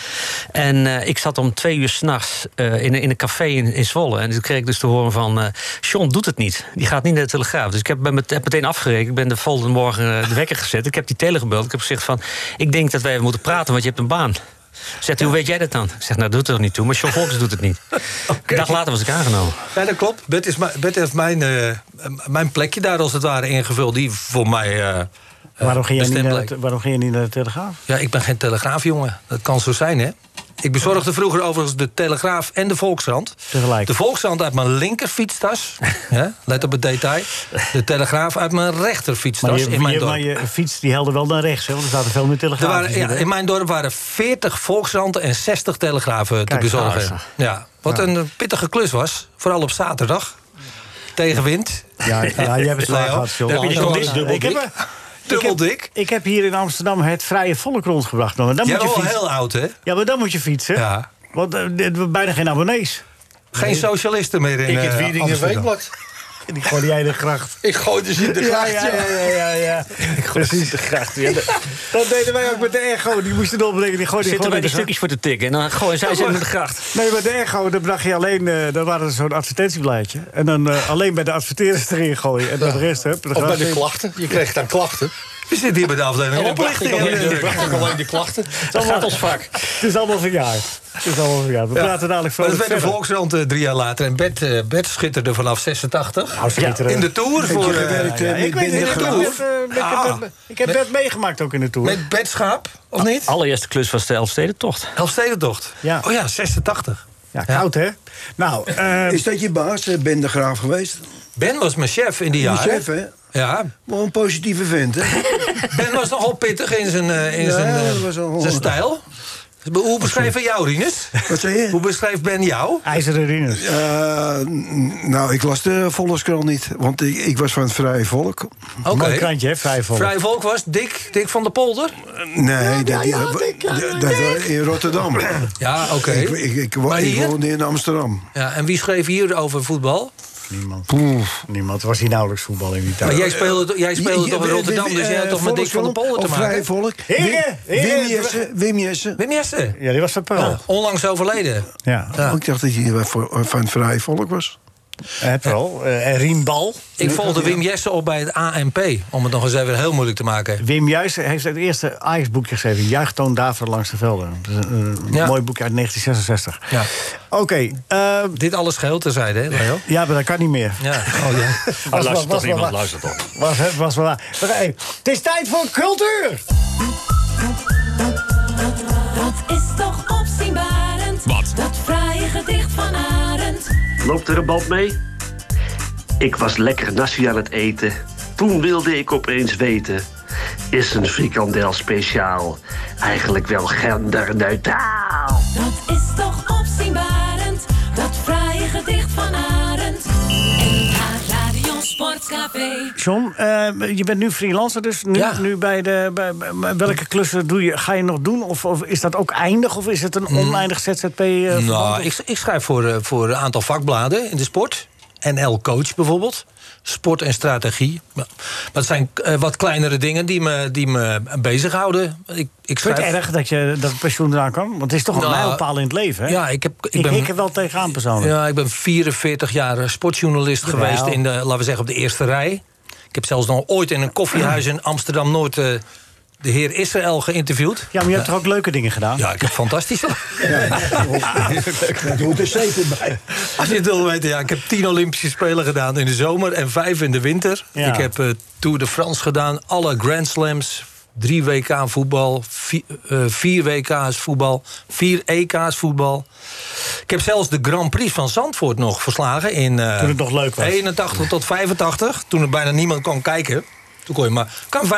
D: En eh, ik zat om twee uur s'nachts eh in, een- in een café in, in Zwolle. En toen kreeg ik dus te horen van... eh John doet het niet. Die gaat niet naar de Telegraaf. Dus ik heb, ben met, heb meteen afgerekend. Ik ben de volgende morgen eh, de wekker gezet. Ik heb die Taylor gebeld. Ik heb gezegd van... Ik denk dat wij even moeten praten, want je hebt een baan. Zegt hij, hoe weet jij dat dan? Ik zeg, nou, dat doet er niet toe. Maar John Volkers doet het niet. Een dag later was ik aangenomen.
I: Ja, dat klopt. Bert, is mijn- Bert heeft mijn, eh, eh, mijn plekje daar als het ware ingevuld. Die voor mij. eh, eh,
A: Waarom ging, je niet
I: bestemd
A: naar,
I: bleek.
A: de- waarom ging je niet naar de Telegraaf?
I: Ja, ik ben geen telegraafjongen. Dat kan zo zijn, hè? Ik bezorgde vroeger overigens de Telegraaf en de Volkskrant.
A: Tegelijk.
I: De Volkskrant uit mijn linker fietstas. ja, let op het detail. De Telegraaf uit mijn rechter
A: Maar
I: fietstas
A: je,
I: in mijn
A: je-
I: dorp.
A: maar je fiets die helde wel naar rechts, hè? want er zaten veel meer
I: Er
A: telegraaf.
I: waren, ja, in mijn dorp waren 40 volksranten en 60 telegrafen te
A: Kijk,
I: bezorgen.
A: nou,
I: Ja, wat een pittige klus was, vooral op zaterdag. Tegenwind.
A: ja, ja, jij hebt het zwaar
I: Leo,
A: gehad, joh.
I: daar heb je die
A: Ik
I: gewoon
A: heb-
I: dubbel
A: ik, heb,
I: dik. Dubbel
A: heb-
I: dik.
A: ik heb hier in Amsterdam het vrije volk rondgebracht. maar Dan
I: Jij
A: moet
I: bent
A: je
I: wel
A: fietsen.
I: heel oud, hè?
A: Ja, maar dan moet je fietsen.
I: oh, Ja.
A: Want eh, dit- bijna geen abonnees.
I: Geen socialisten meer in
B: Ik het
I: eh,
B: Wierdingen
I: Amsterdam.
B: Weekblad.
A: Die gooi jij in de gracht.
B: Ik gooi dus in de gracht,
A: Ja, ja, ja. ja, ja. Precies. De gracht, ja. Dat- Dat deden wij ook met de echo. Die moesten opbrengen. Die gooiden
D: Zitten
A: gewoon
D: bij
A: in
D: die
A: de gracht.
D: stukjes voor te tikken en dan gooien zij ze in de gracht.
A: Nee, maar de echo, dan bracht je alleen... eh dan waren er zo'n advertentieblaadje. En dan eh, alleen bij de adverteerders erin gooien. En bij de rest, hup. de
B: Of bij
A: gracht
B: de
A: in.
B: klachten. Je kreeg dan klachten.
I: We zitten hier bij de afdeling
B: Oplichting.
I: oplichting. eh,
B: Dan bracht ik alleen de klachten.
D: Dat gaat ons vak.
A: Het is allemaal verjaard. Het is allemaal verjaard. We praten dadelijk
I: Maar dat
A: vrolijk
I: werd de
A: verder.
I: Volksrand eh, drie jaar later. En Bert, eh, Bert schitterde vanaf 86.
A: schitterend.
I: in de Tour voor... eh,
E: gewerkt,
A: Ja,
E: eh,
A: ik,
E: met
A: weet, ik,
E: minder
A: heb
I: Tour.
E: geloof.
A: net, eh, ik heb
I: Ah.
A: net- ik heb net meegemaakt ook in de Tour.
I: met Bert Schaap, of niet?
D: Allereerste klus was de Elfstedentocht.
I: Elfstedentocht.
A: Ja.
I: Oh ja, 86.
A: ja, koud, hè? Nou, eh,
E: Is dat je baas, eh, Ben de Graaf, geweest?
I: Ben was mijn chef in die
E: Ja,
I: jaren.
E: Chef, hè?
I: Ja,
E: Wel een positieve vent, hè?
I: Ben was nogal pittig in zijn, eh, in
E: Ja,
I: zijn, eh,
E: dat was wel
I: zijn
E: hoor.
I: stijl. Hoe beschreef hij jou, Rinus?
E: Wat zei je?
I: Hoe beschreef Ben jou?
A: IJzeren Rinus.
E: Eh, n- nou, ik las de Volkskrant niet, want ik, ik was van het Vrije Volk.
I: Oké.
A: Mooi krantje, hè? Vijf vol.
I: Vrij Volk was Dick, Dick van der Polder.
E: Nee, dat, dat- dat- in Rotterdam.
I: Ja, Ah, oké.
E: Ik, ik, ik, wo-
I: Maar
E: ik
I: hier?
E: woonde in Amsterdam.
I: Ja, en wie schreef hier over voetbal?
A: Niemand. Niemand. Was hier nauwelijks voetbal in die
I: Maar
A: tijd.
I: jij speelde, jij speelde
E: eh, Je-
I: toch in
E: je-
I: Rotterdam, dus jij had
E: eh,
I: toch met Dick van
E: Volkskrant
I: der Polder te
E: of Vrije
I: maken?
E: Volk.
A: Heren,
E: Wim,
A: heren,
E: Wim Jesse, Wim Jesse.
I: Wim Jesse.
A: Ja, die was van Pearl.
I: Ja, onlangs overleden.
A: Ja,
I: Oh. Ja.
E: Oh, ik dacht dat hij wel voor- van het Vrije Volk was.
A: Eh, Pearl. Eh, en Riembal.
I: Ik volgde Wim Jesse op bij het ANP, om het nog eens even heel moeilijk te maken.
A: Wim Juist heeft het eerste Ajax-boekje geschreven. Juichtoon Daver langs de velden. Dat is een, een
I: Ja.
A: mooi boekje uit 1966.
I: Ja.
A: Oké. ehm,
I: Dit alles geheel terzijde, hè, Leo?
A: ja, maar dat kan niet meer.
I: Ja, oh ja.
A: Was wel-
D: luistert
A: was
D: toch
A: wel
D: iemand,
A: waar.
D: luistert toch.
A: Was, was, wel waar. Maar, hey, het is tijd voor cultuur.
H: Dat is toch opzienbarend. Wat? Dat fraaie gedicht van Arend.
K: Loopt er een band mee? Ik was lekker nasi aan het eten. Toen wilde ik opeens weten. Is een frikandel speciaal eigenlijk wel genderneutraal?
H: Dat is toch opzienbarend. Dat fraaie gedicht van Arend. NH Radio Sportcafé.
A: John, eh, je bent nu freelancer, dus nu,
I: Ja.
A: nu bij de. Bij, bij- welke klussen doe je, ga je nog doen? Of, of is dat ook eindig? Of is het een oneindig ZZP? eh, verband?
I: Hmm. Nou, ik, ik schrijf voor, eh, voor een aantal vakbladen in de sport. NL Coach bijvoorbeeld. Sport en strategie. Maar dat zijn eh, wat kleinere dingen die me, die me bezighouden. Ik, ik
A: Vind
I: schrijf...
A: je het erg dat je dat pensioen eraan kan? Want het is toch een
I: Nou,
A: mijlpaal in het leven, hè?
I: Ja, ik, heb,
A: ik
I: ik ben...
A: hik er wel tegenaan persoonlijk.
I: Ja, ik ben 44 jaar eh, sportjournalist
A: Jawel.
I: geweest in de, laten we zeggen, op de eerste rij. Ik heb zelfs nog ooit in een koffiehuis in Amsterdam Noord eh, de heer Israël geïnterviewd.
A: Ja, maar je hebt toch ook leuke dingen gedaan?
I: Ja, ik heb fantastisch.
E: Dat hoort er zeker bij.
I: Als je het wil weten, ja, ik heb tien Olympische Spelen gedaan in de zomer en vijf in de winter.
A: Ja.
I: Ik heb eh, Tour de France gedaan, alle Grand Slams, drie WK voetbal, vier, eh, vier WK's voetbal, vier EK's voetbal. Ik heb zelfs de Grand Prix van Zandvoort nog verslagen in eh,
A: Toen het nog leuk was.
I: 81 tot 85, toen er bijna niemand kon kijken. Toen kon je maar kan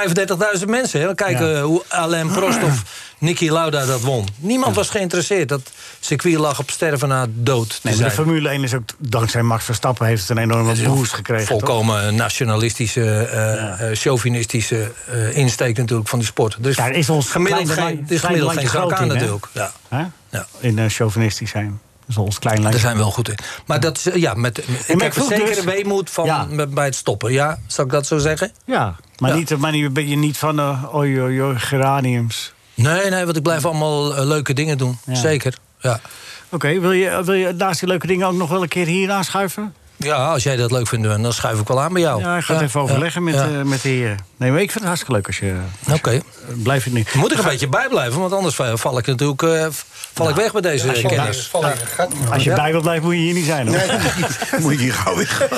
I: 35.000 mensen hè, dan kijken
A: Ja.
I: hoe Alain Prost of Niki Lauda dat won. Niemand was geïnteresseerd. Dat circuit lag op sterven na dood. te
A: Nee, maar
I: zijn.
A: de Formule 1 is ook, dankzij Max Verstappen, heeft het een enorme boost gekregen. toch?
I: Volkomen nationalistische, eh, eh, chauvinistische eh, insteek natuurlijk van die sport. Er is,
A: Daar is ons
I: gemiddeld
A: kleine
I: geen,
A: land-
I: er is
A: kleine
I: gemiddeld geen zak
A: landje groot
I: aan
A: in, hè?
I: natuurlijk. Ja.
A: Hè?
I: Ja.
A: In eh, chauvinistisch zijn. Dat is ons klein
I: Daar
A: landje.
I: zijn we wel goed in. Maar dat is, eh, ja, met, met,
A: ik
I: ik heb een
A: vroeg
I: zekere
A: dus-
I: weemoed van,
A: Ja.
I: met- bij het stoppen. Ja, zou ik dat zo zeggen?
A: Ja, maar,
I: Ja.
A: Niet, maar niet, ben je niet van eh oei, oei, oei, geraniums.
I: Nee, nee, want ik blijf allemaal eh, leuke dingen doen.
A: Ja.
I: Zeker. Ja.
A: Oké, wil, je, wil je naast die leuke dingen ook nog wel een keer hier aanschuiven?
I: ja, als jij dat leuk vindt, dan schuif ik wel aan bij jou.
A: ja, ik ga het even overleggen met,
I: Oh. ja.
A: eh, met de heren. Nee, maar ik vind het hartstikke leuk als je...
I: Oké.
A: eh, Blijf het niet.
I: Moet ik een beetje bijblijven, want anders va- val ik natuurlijk eh, val ik weg bij deze kennis.
A: Als je bij wilt blijven, moet je hier niet zijn. Hoor.
E: Moet je hier gauw weer gaan.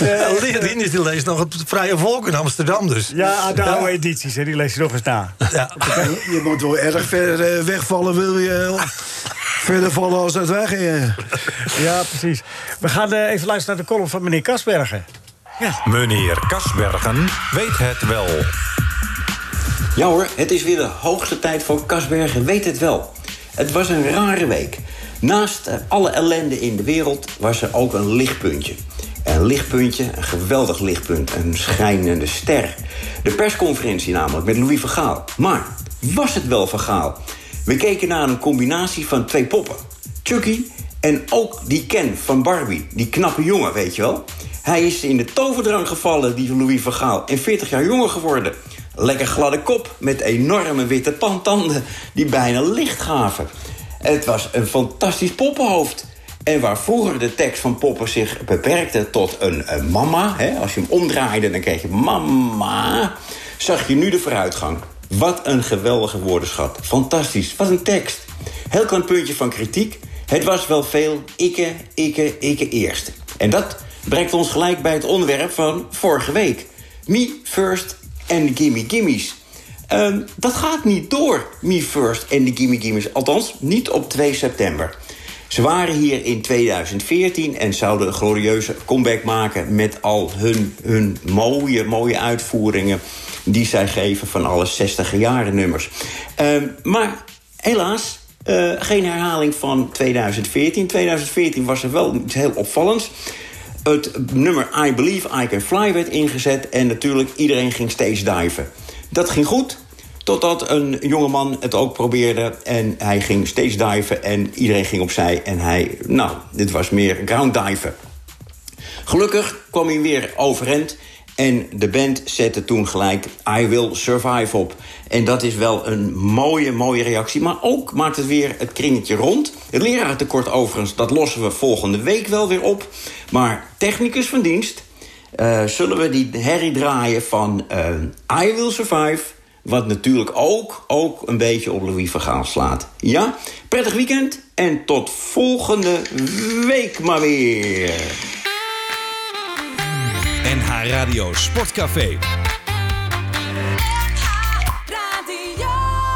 I: Eh, Rien is die leest nog het Vrije Volk in Amsterdam dus.
A: Ja, de oude edities, hè, die lees je nog eens na.
I: Ja.
E: Je moet wel erg ver eh, wegvallen, wil je eh, verder vallen als dat weg. eh.
A: Ja, precies. We gaan eh, even luisteren naar de column van meneer Kasbergen.
L: Meneer Kasbergen weet het wel.
M: Ja hoor, het is weer de hoogste tijd voor Kasbergen weet het wel. Het was een rare week. Naast eh, alle ellende in de wereld was er ook een lichtpuntje. Een lichtpuntje, een geweldig lichtpunt, een schijnende ster. De persconferentie namelijk met Louis van Gaal. Maar was het wel van Gaal? We keken naar een combinatie van twee poppen. Chucky en ook die Ken van Barbie. Die knappe jongen, weet je wel. Hij is in de toverdrang gevallen, die Louis van Gaal, en 40 jaar jonger geworden. Lekker gladde kop met enorme witte tanden die bijna licht gaven. Het was een fantastisch poppenhoofd. En waar vroeger de tekst van Poppen zich beperkte tot een, eh, mama... Hè, als je hem omdraaide, dan kreeg je mama... zag je nu de vooruitgang. Wat een geweldige woordenschat. Fantastisch. Wat een tekst. Heel klein puntje van kritiek. Het was wel veel ikke, ikke, ikke eerst. En dat brengt ons gelijk bij het onderwerp van vorige week. Me first en gimme gimmies. Ehm, dat gaat niet door, Me First en de Gimme Gimmes. Althans, niet op 2 september. Ze waren hier in 2014 en zouden een glorieuze comeback maken... met al hun, hun mooie, mooie uitvoeringen die zij geven van alle 60-jaren nummers. Ehm, maar helaas, eh, geen herhaling van 2014. 2014 was er wel iets heel opvallends. Het nummer I Believe I Can Fly werd ingezet... en natuurlijk iedereen ging steeds diven. Dat ging goed, totdat een jongeman het ook probeerde... en hij ging steeds diven en iedereen ging opzij... en hij, nou, dit was meer ground diven. Gelukkig kwam hij weer overeind. En de band zette toen gelijk I Will Survive op. En dat is wel een mooie, mooie reactie. Maar ook maakt het weer het kringetje rond. Het lerarentekort overigens, dat lossen we volgende week wel weer op. Maar technicus van dienst, eh, zullen we die herrie draaien van eh, I Will Survive... wat natuurlijk ook, ook een beetje op Louis van Gaal slaat. Ja, prettig weekend en tot volgende week maar weer.
G: NH Radio Sportcafé.
H: Radio.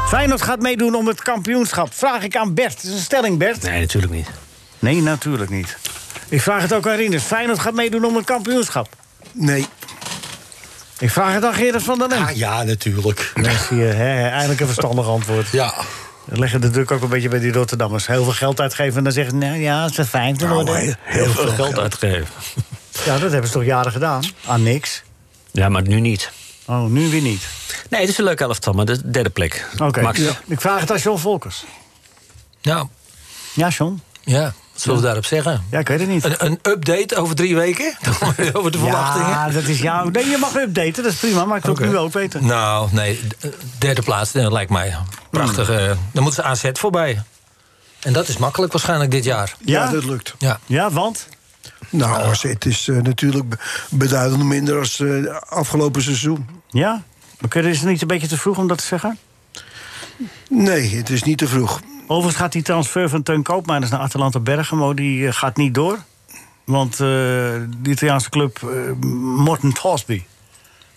A: Feyenoord gaat meedoen om het kampioenschap. Vraag ik aan Bert. Dat is een stelling, Bert.
D: Nee, natuurlijk niet.
A: Nee, natuurlijk niet. Ik vraag het ook aan Rinus. Feyenoord gaat meedoen om het kampioenschap.
E: Nee.
A: Ik vraag het aan Gerard van der Lent. Ah,
B: ja, natuurlijk.
A: Eindelijk een verstandig antwoord.
B: Ja.
A: We leggen de druk ook een beetje bij die Rotterdammers. Heel veel geld uitgeven en dan zeggen ze... nou ja, als ze vijfde worden...
D: Heel veel geld uitgegeven.
A: Ja, dat hebben ze toch jaren gedaan? Aan niks?
D: Ja, maar nu niet.
A: Oh, nu weer niet.
D: Nee, het is een leuk elftal, maar de derde plek.
A: Oké.
D: Max.
A: Ja. Ik vraag het aan John Volkers.
I: Nou,
A: Ja, John?
I: ja, wat zullen we daarop zeggen?
A: Ja, ik weet het niet.
I: Een, een update over drie weken? over de verwachtingen?
A: Ja, dat is jouw... Nee, je mag updaten, dat is prima. Maar ik wil
I: Oké.
A: het nu ook weten.
I: Nou, nee, d- derde plaats dat lijkt mij prachtig.
A: Hmm.
I: eh, Dan moeten ze AZ voorbij. En dat is makkelijk waarschijnlijk dit jaar.
E: Ja, dat lukt.
I: Ja.
A: Ja, want?
E: Nou, AZ is eh, natuurlijk be- beduidend minder als eh, afgelopen seizoen.
A: Ja? Maar kun- is het niet een beetje te vroeg om dat te zeggen?
E: Nee, het is niet te vroeg.
A: Overigens gaat die transfer van Teun Koopmeiners naar Atalanta Bergamo... die eh, gaat niet door. Want eh, de Italiaanse club eh, Morten Tosby...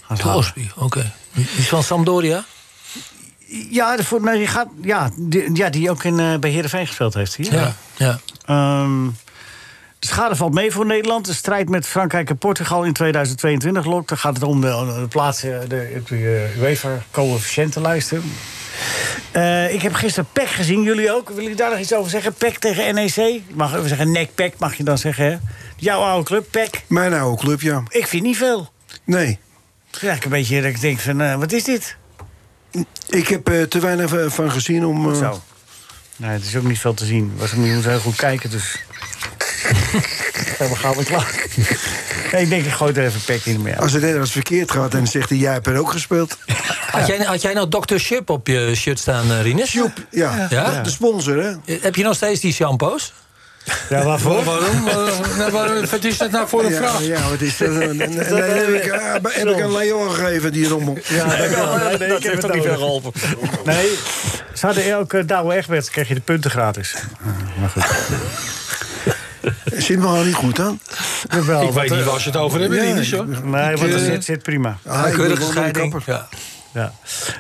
A: gaat halen.
I: Osby, oké. Die is van Sampdoria?
A: Ja, de- voor, nou, die gaat, ja, die, ja, die ook in, eh bij Heerenveen gespeeld heeft hier.
I: Ja, ja.
A: Ehm, de schade valt mee voor Nederland. De strijd met Frankrijk en Portugal in 2022 lokt. Dan gaat het om de, de plaatsen, de, de eh, UEFA-coëfficiëntenlijsten. Eh, ik heb gisteren PEC gezien, jullie ook. Willen jullie daar nog iets over zeggen? PEC tegen NEC? Mag we zeggen nek PEC, mag je dan zeggen, hè? Jouw oude club, PEC.
E: Mijn oude club, ja.
A: Ik vind niet veel.
E: Nee.
A: Ja, ik een beetje dat ik denk van, eh, wat is dit?
E: Ik heb eh, te weinig eh, van gezien om... eh,
A: Zo. Nee, het is ook niet veel te zien. Was ook niet, je moet heel goed kijken, dus... Helemaal gauw weer klaar. Nee, ik denk, ik gooi er even pek in. Maar ja.
E: als het ergens verkeerd gaat en zegt hij, jij hebt er ook gespeeld.
I: Had, jij, had jij nou Dr. Ship op je shirt staan, eh, Rinus? Ship,
E: Ja,
I: Ja?
E: de sponsor, hè?
I: Eh, Heb je nog steeds die shampoos?
A: Ja, waarvoor?
I: Waarom? Eh, nou, waarom? Wat is dat nou voor een
E: ja,
I: vraag?
E: Ja, wat is dat? En- en- en- en- heb ik, eh, heb ik een Leon gegeven, die rommel.
A: Ja, dat, nee, nee, ik heb
I: heeft
A: het
I: ook niet
A: nodig.
I: veel geholpen.
A: Nee, ze hadden elke Douwe Egberts, kreeg je de punten gratis. Maar goed.
E: Zit me al niet goed aan.
A: Wel,
I: Ik weet niet waar ze het
A: eh,
I: over hebben,
E: Ja,
I: Rinus, hoor.
A: Nee, want
I: eh,
A: er zit, zit prima.
E: Ah, ik ben
I: Keurige
E: wel naar de
I: scheiding.
E: kapper.
I: Ja.
A: Ja.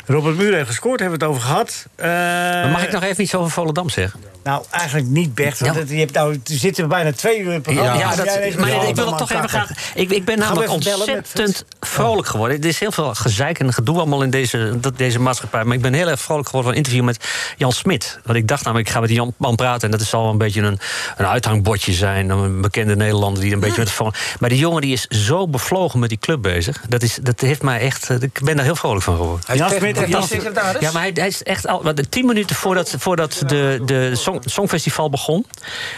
A: Robert Muur heeft gescoord, hebben we het over gehad. Eh,
D: Maar mag ik nog even iets over Volendam zeggen?
A: Nou, eigenlijk niet, Bert. Want
D: Ja.
A: het- je hebt nou, er zitten bijna twee uur in het programma.
D: Ja,
A: Dus
D: dat,
A: jij weet
D: maar
A: het
D: ik wil het
A: allemaal
D: toch even
A: kakken.
D: graag... Ik, ik ben
A: Gaan we
D: namelijk
A: even bellen met
D: ontzettend vrolijk geworden. Er is heel veel gezeik en gedoe allemaal in deze, dat, deze maatschappij. Maar ik ben heel erg vrolijk geworden van een interview met Jan Smit. Want ik dacht namelijk, ik ga met die Jan, man praten... en dat is al een beetje een, een uithangbordje zijn. Een bekende Nederlander die een beetje met de phone- Maar die jongen die is zo bevlogen met die club bezig. Dat, is, dat heeft mij echt... eh, Ik ben daar heel vrolijk van geworden.
I: Hij is Jan technisch- Smit, Jan technisch Smit. secretaris?
D: Ja, maar hij, hij is echt al. want Tien minuten voordat, voordat de, de song, Songfestival begon,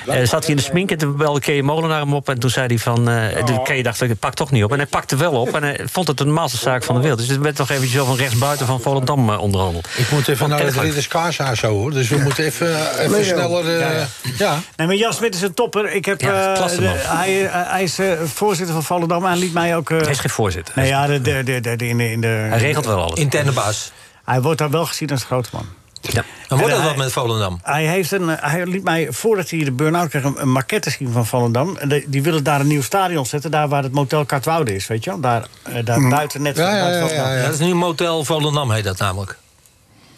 D: eh, zat hij in de smink. En toen belde Kee Molenaar hem op. En toen zei hij van. eh de Kee dacht, ik pak toch niet op. En hij pakte wel op. En hij vond het de normaalste zaak van de wereld. Dus het werd nog eventjes zo van rechtsbuiten van Volendam eh, onderhandeld.
B: Ik moet even naar het Ridders Kaashuis zo hoor. Dus we moeten even, eh, even
A: Leo.
B: sneller. eh,
A: Ja, ja.
B: ja.
A: Nee, maar Jan Smit is een topper. Ik heb,
B: Ja,
A: eh,
B: klasseman.
A: de- hij, eh, hij is eh, voorzitter van Volendam. Hij liet mij ook... eh,
D: Hij is geen voorzitter.
A: Nou ja, de, de, de, de- de- in de, in de... Hij
D: regelt wel alles.
I: Interne baas.
A: Hij wordt daar wel gezien als grote man.
D: Ja.
I: Dan wordt
A: En
I: dat
A: hij-
I: wat met Volendam.
A: Hij, heeft een, eh, hij liet mij, voordat hij de burn-out kreeg, een, een maquette zien van Volendam. En de- die willen daar een nieuw stadion zetten, daar waar het motel Katwoude is, weet je wel? Daar, eh, daar buiten net... buiten Volendam.
I: Dat is nu Motel Volendam, heet dat namelijk.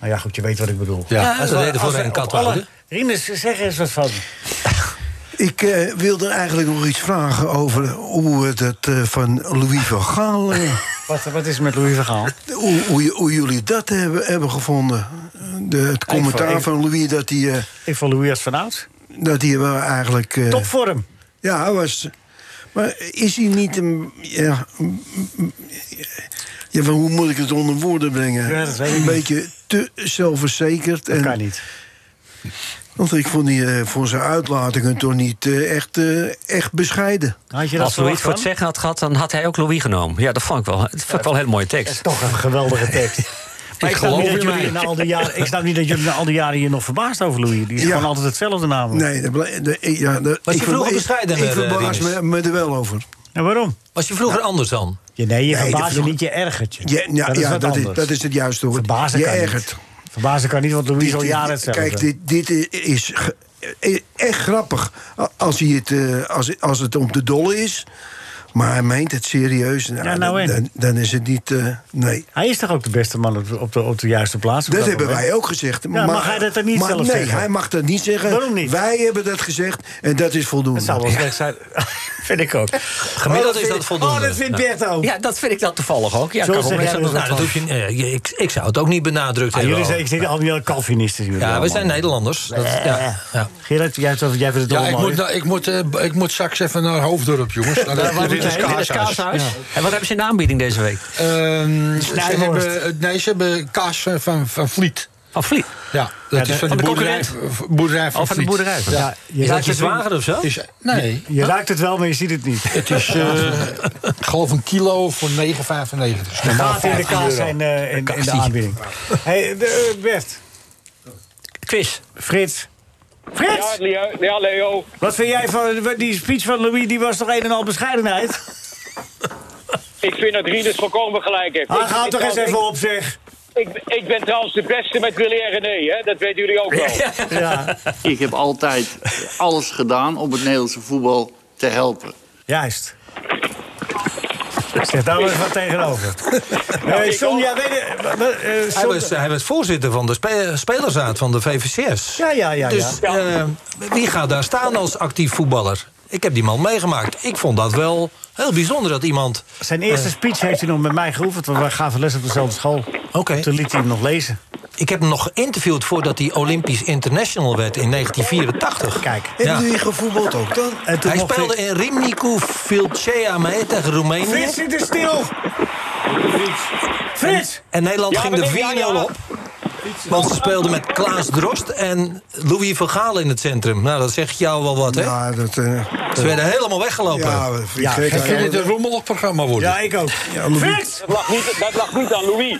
A: Nou ja, goed, je weet wat ik bedoel.
I: Ja, dat is de reden voor
A: als we
I: een
A: op
I: katwouder.
A: alle- Rinus, zeg eens wat van.
E: Ik eh, wilde eigenlijk nog iets vragen over hoe het dat, eh, van Louis van Gaal... eh,
A: Wat, wat is er met Louis Vergaal?
E: hoe, hoe, je- hoe jullie dat hebben, hebben gevonden. De, het commentaar
A: ik-
E: van Louis dat hij... eh,
A: Ik vond Louis als vanouds.
E: dat hij wel eigenlijk... eh,
A: Topvorm.
E: Ja, hij was... Maar is hij niet een... Ja, mm, mm, ja, van hoe moet ik het onder woorden brengen?
A: Ja, dat weet ik
E: een
A: niet.
E: beetje te zelfverzekerd.
A: Dat
E: en,
A: kan niet.
E: Want ik vond die eh, voor zijn uitlatingen toch niet eh, echt, eh, echt bescheiden.
A: Had
D: Als Louis het voor het zeggen had gehad, dan had hij ook Louis genomen. Ja, dat vond ik wel, dat vond ik wel een hele mooie tekst.
A: Toch een geweldige tekst. Maar ik, snap
D: geloof
A: niet dat
D: in
A: jullie
D: mij.
A: na al die jaren, ik snap niet dat jullie na al die jaren hier nog verbaasd over Louis. Die is
E: Ja.
A: gewoon altijd hetzelfde naam.
E: Nee, dat ble- dat- ik- eh, ja, dat-
I: Was je
E: ik verba-
I: vroeger
E: ik-
I: bescheidener,
E: Ik
I: eh,
E: verbaas
I: Rinus?
E: me, me er wel over.
A: En Nou, waarom?
I: Was je vroeger anders dan?
A: Je, nee, je
E: Nee, dat
A: verbaast je
E: vroeg-
A: niet, je ergert je.
E: Ja, ja,
A: dat is
E: ja,
A: wat
E: dat, is,
A: anders.
E: dat is het juiste woord.
A: Verbazen
E: je
A: kan niet.
E: ergert.
A: Verbazen kan niet, want Louis is al
E: Dit is-
A: jaren hetzelfde.
E: Kijk, dit, dit i- is ge- i- echt grappig A- als, hij het, eh, als, als het om de dolle is. Maar hij meent het serieus. Nou,
A: Ja, nou
E: dan,
A: en?
E: dan, dan is het niet... eh, nee.
A: Hij is toch ook de beste man op de, op de, op de juiste plaats? op
E: Dat hebben
A: moment?
E: wij ook gezegd.
A: Ja, mag hij dat dan niet
E: maar
A: zelf
E: nee,
A: zeggen?
E: hij mag dat niet zeggen.
A: Waarom niet?
E: Wij hebben dat gezegd en dat is voldoende.
A: Dat zou wel slecht zijn. vind ik ook.
I: Gemiddeld
A: Oh,
I: is
A: vind-
I: dat voldoende.
A: Oh, dat vindt
I: Ja.
A: Bert ook.
D: Ja, dat vind ik dan toevallig ook. Ja,
A: Zo
D: kan ook
A: zeg
D: best
A: jij
D: wel
A: dat
I: Nou,
D: dat
I: dat
D: wel.
I: hoef je, eh, je- ik, ik zou het ook niet benadrukt
A: Oh. Ah,
I: hebben.
A: jullie zeggen, ik zit allemaal Calvinisten. jullie
I: ja, we
A: allemaal. Eh.
I: zijn Nederlanders. Dat, ja, ja.
A: Gerard, jij, jij vindt het
B: Ja, ik
A: allemaal
B: moet, nou, ik, moet, eh, ik moet straks even naar Hoofddorp, jongens. Naar
D: Waar moeten we heen? Dit is Kaashuis. En wat hebben ze in de aanbieding deze week?
B: Ehm, ze
D: Snijhorst.
B: hebben, nee, ze hebben kaas eh, van, van Vliet.
D: Van Vliet?
B: Ja, dat
D: de-
B: is van
D: van
B: de,
D: de
B: boerderij,
D: concurrent?
B: v- boerderij van
D: Oh, van de
B: Vliet.
D: boerderij van-
A: Ja, je
I: Is
A: raakt
I: dat je
A: het niet.
I: zwager of zo?
B: Is, nee,
A: Je raakt het wel, maar je ziet het niet.
B: het is eh, ik geloof een kilo voor 9,95. Normaal
A: Gaat in de
B: 15
A: kaas
B: euro.
A: zijn eh, in, in de aanbieding. hey, de- eh, Bert,
D: Quiz.
A: Frits. Frits!
N: Ja, Leo. Ja, Leo.
A: Wat vind jij van eh, die speech van Louis? Die was toch een en al bescheidenheid?
N: Ik vind dat Rieders volkomen gelijk heeft.
A: Ah,
N: Ik-
A: ga
N: ik
A: toch eens
N: trouwens-
A: even op, zeg.
N: Ik, ik, ik ben trouwens de beste met Willy en René, hè? dat weten jullie ook wel.
A: Ja,
O: Ik heb altijd alles gedaan om het Nederlandse voetbal te helpen.
A: juist. Zeg daar maar eens wat tegenover. Eh John, jij weet het- wa- wa- eh,
I: Hij
A: John-
I: was, hij was voorzitter van de spe- spelersraad van de VVCS.
A: Ja, ja, ja,
I: Dus
A: ja.
I: eh, wie gaat daar staan als actief voetballer? Ik heb die man meegemaakt. Ik vond dat wel heel bijzonder dat iemand...
A: Zijn eerste speech heeft hij nog met mij geoefend, want wij gaven les op dezelfde school.
I: Oké.
A: Toen liet hij hem nog lezen.
I: Ik heb hem nog geïnterviewd voordat hij Olympisch International werd in 1984.
A: Kijk.
I: Ja.
E: Hebben jullie gevoetbald ook dan?
A: En toen
I: Hij
A: mocht
I: speelde
A: ik-
I: in Rimnicu Filcea mee tegen Roemenië.
A: Frits, zit er stil! Frits!
I: En Nederland
N: Ja,
I: ging de 4-0
N: meneer, ja, ja.
I: op. Want ze speelden met Klaas Drost en Louis van Gaal in het centrum. Nou, dat zegt jou wel wat, hè?
E: Ja, dat... eh,
I: Ze werden helemaal weggelopen.
E: ja, ik
A: Ja,
E: kreeg
B: Ik vind dit
E: eigenlijk-
B: een rommelig programma worden.
A: Ja, ik ook. Frits!
N: Dat lag, niet, dat lag niet aan Louis.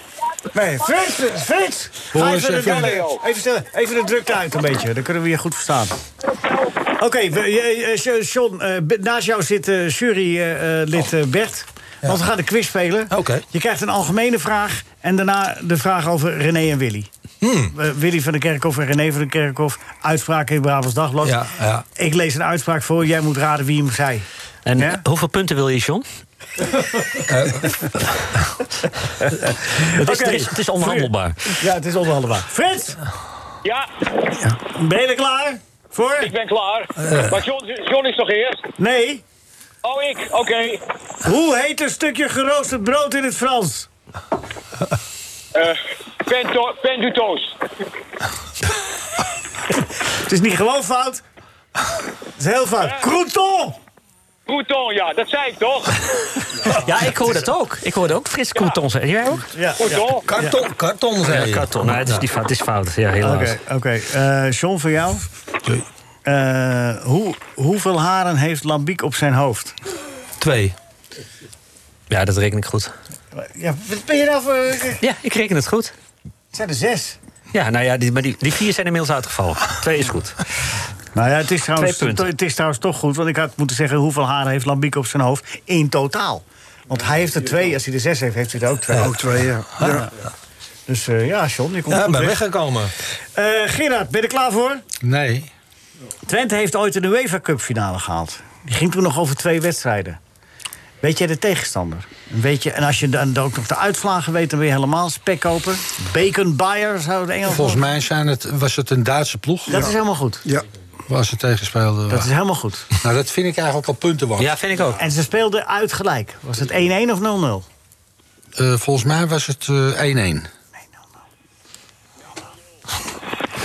A: Nee, Frits! Frits!
B: Hoor
A: Ga
B: eens
A: even, de
B: even.
A: druk, even, stil- even de drukte uit een beetje, dan kunnen we je goed verstaan. Oké, we- je- eh, eh, John, eh, be- naast jou zit jurylid eh, Bert. Want we gaan de quiz spelen.
I: Oké.
A: Je krijgt een algemene vraag en daarna de vraag over René en Willy. Eh, Willy van den Kerkhof en René van den Kerkhof. Uitspraken in Brabants Dagblad.
I: Ja, ja.
A: Ik lees een uitspraak voor, jij moet raden wie hem zei.
D: En
A: Ja?
D: eh, hoeveel punten wil je, John? het, is,
A: Oké.
D: er is, het is onhandelbaar.
A: Ja, het is onderhandelbaar. Frits,
N: Ja,
A: ben je er klaar voor?
N: ik ben klaar.
I: Eh.
N: Maar John, John is toch eerst?
A: Nee?
N: Oh, ik? Oké.
A: Hoe heet een stukje geroosterd brood in het Frans?
N: Eh, pento- Pendutoos.
A: Het is niet gewoon fout. Het is heel fout. Crouton!
N: Crouton, ja, dat zei ik toch?
D: Ja, ik hoor dat ook. Ik hoorde ook fris Couton zeggen. Jij ook?
A: Ja, ja. Karton,
I: karton
A: zei je.
D: Ja, karton. Nou, het, is
A: Ja.
D: die fout, het is fout. Ja, helaas.
A: Oké, oké. Eh, John, voor jou. Eh, hoe, hoeveel haren heeft Lambiek op zijn hoofd?
I: Twee.
D: Ja, dat reken ik goed.
A: Ja, wat ben je nou voor...
D: Ja, ik reken het goed.
A: Het zijn er zes.
D: Ja, nou ja, die, maar die, die vier zijn inmiddels uitgevallen. Twee is goed.
A: Nou ja, het is, trouwens,
D: Twee punten.
A: het is trouwens toch goed, want ik had moeten zeggen... hoeveel haren heeft Lambiek op zijn hoofd in totaal? Want hij heeft er twee. Als hij er zes heeft, heeft hij er ook twee.
E: Ook twee, ja.
A: Ja. Dus eh, ja, John, je komt
I: Ja,
A: goed
I: ben
A: weg.
I: weggekomen.
A: Eh, Gerard, ben je er klaar voor?
B: Nee.
A: Twente heeft ooit een UEFA Cup finale gehaald. Die ging toen nog over twee wedstrijden. Weet jij de tegenstander? En Weet je, en als je dan ook nog de uitslagen weet, dan ben je helemaal spekkoper. Bacon Bayer zou de Engels
B: Volgens mij zijn het, was het een Duitse ploeg.
A: Dat is helemaal goed.
E: Ja.
B: Waar ze tegen speelden.
A: Dat is helemaal goed.
B: Nou, dat vind ik eigenlijk al punten waard.
D: Ja, vind ik ook.
A: En ze speelden uitgelijk. Was het 1-1 of 0-0?
B: Eh, volgens mij was het eh, 1-1.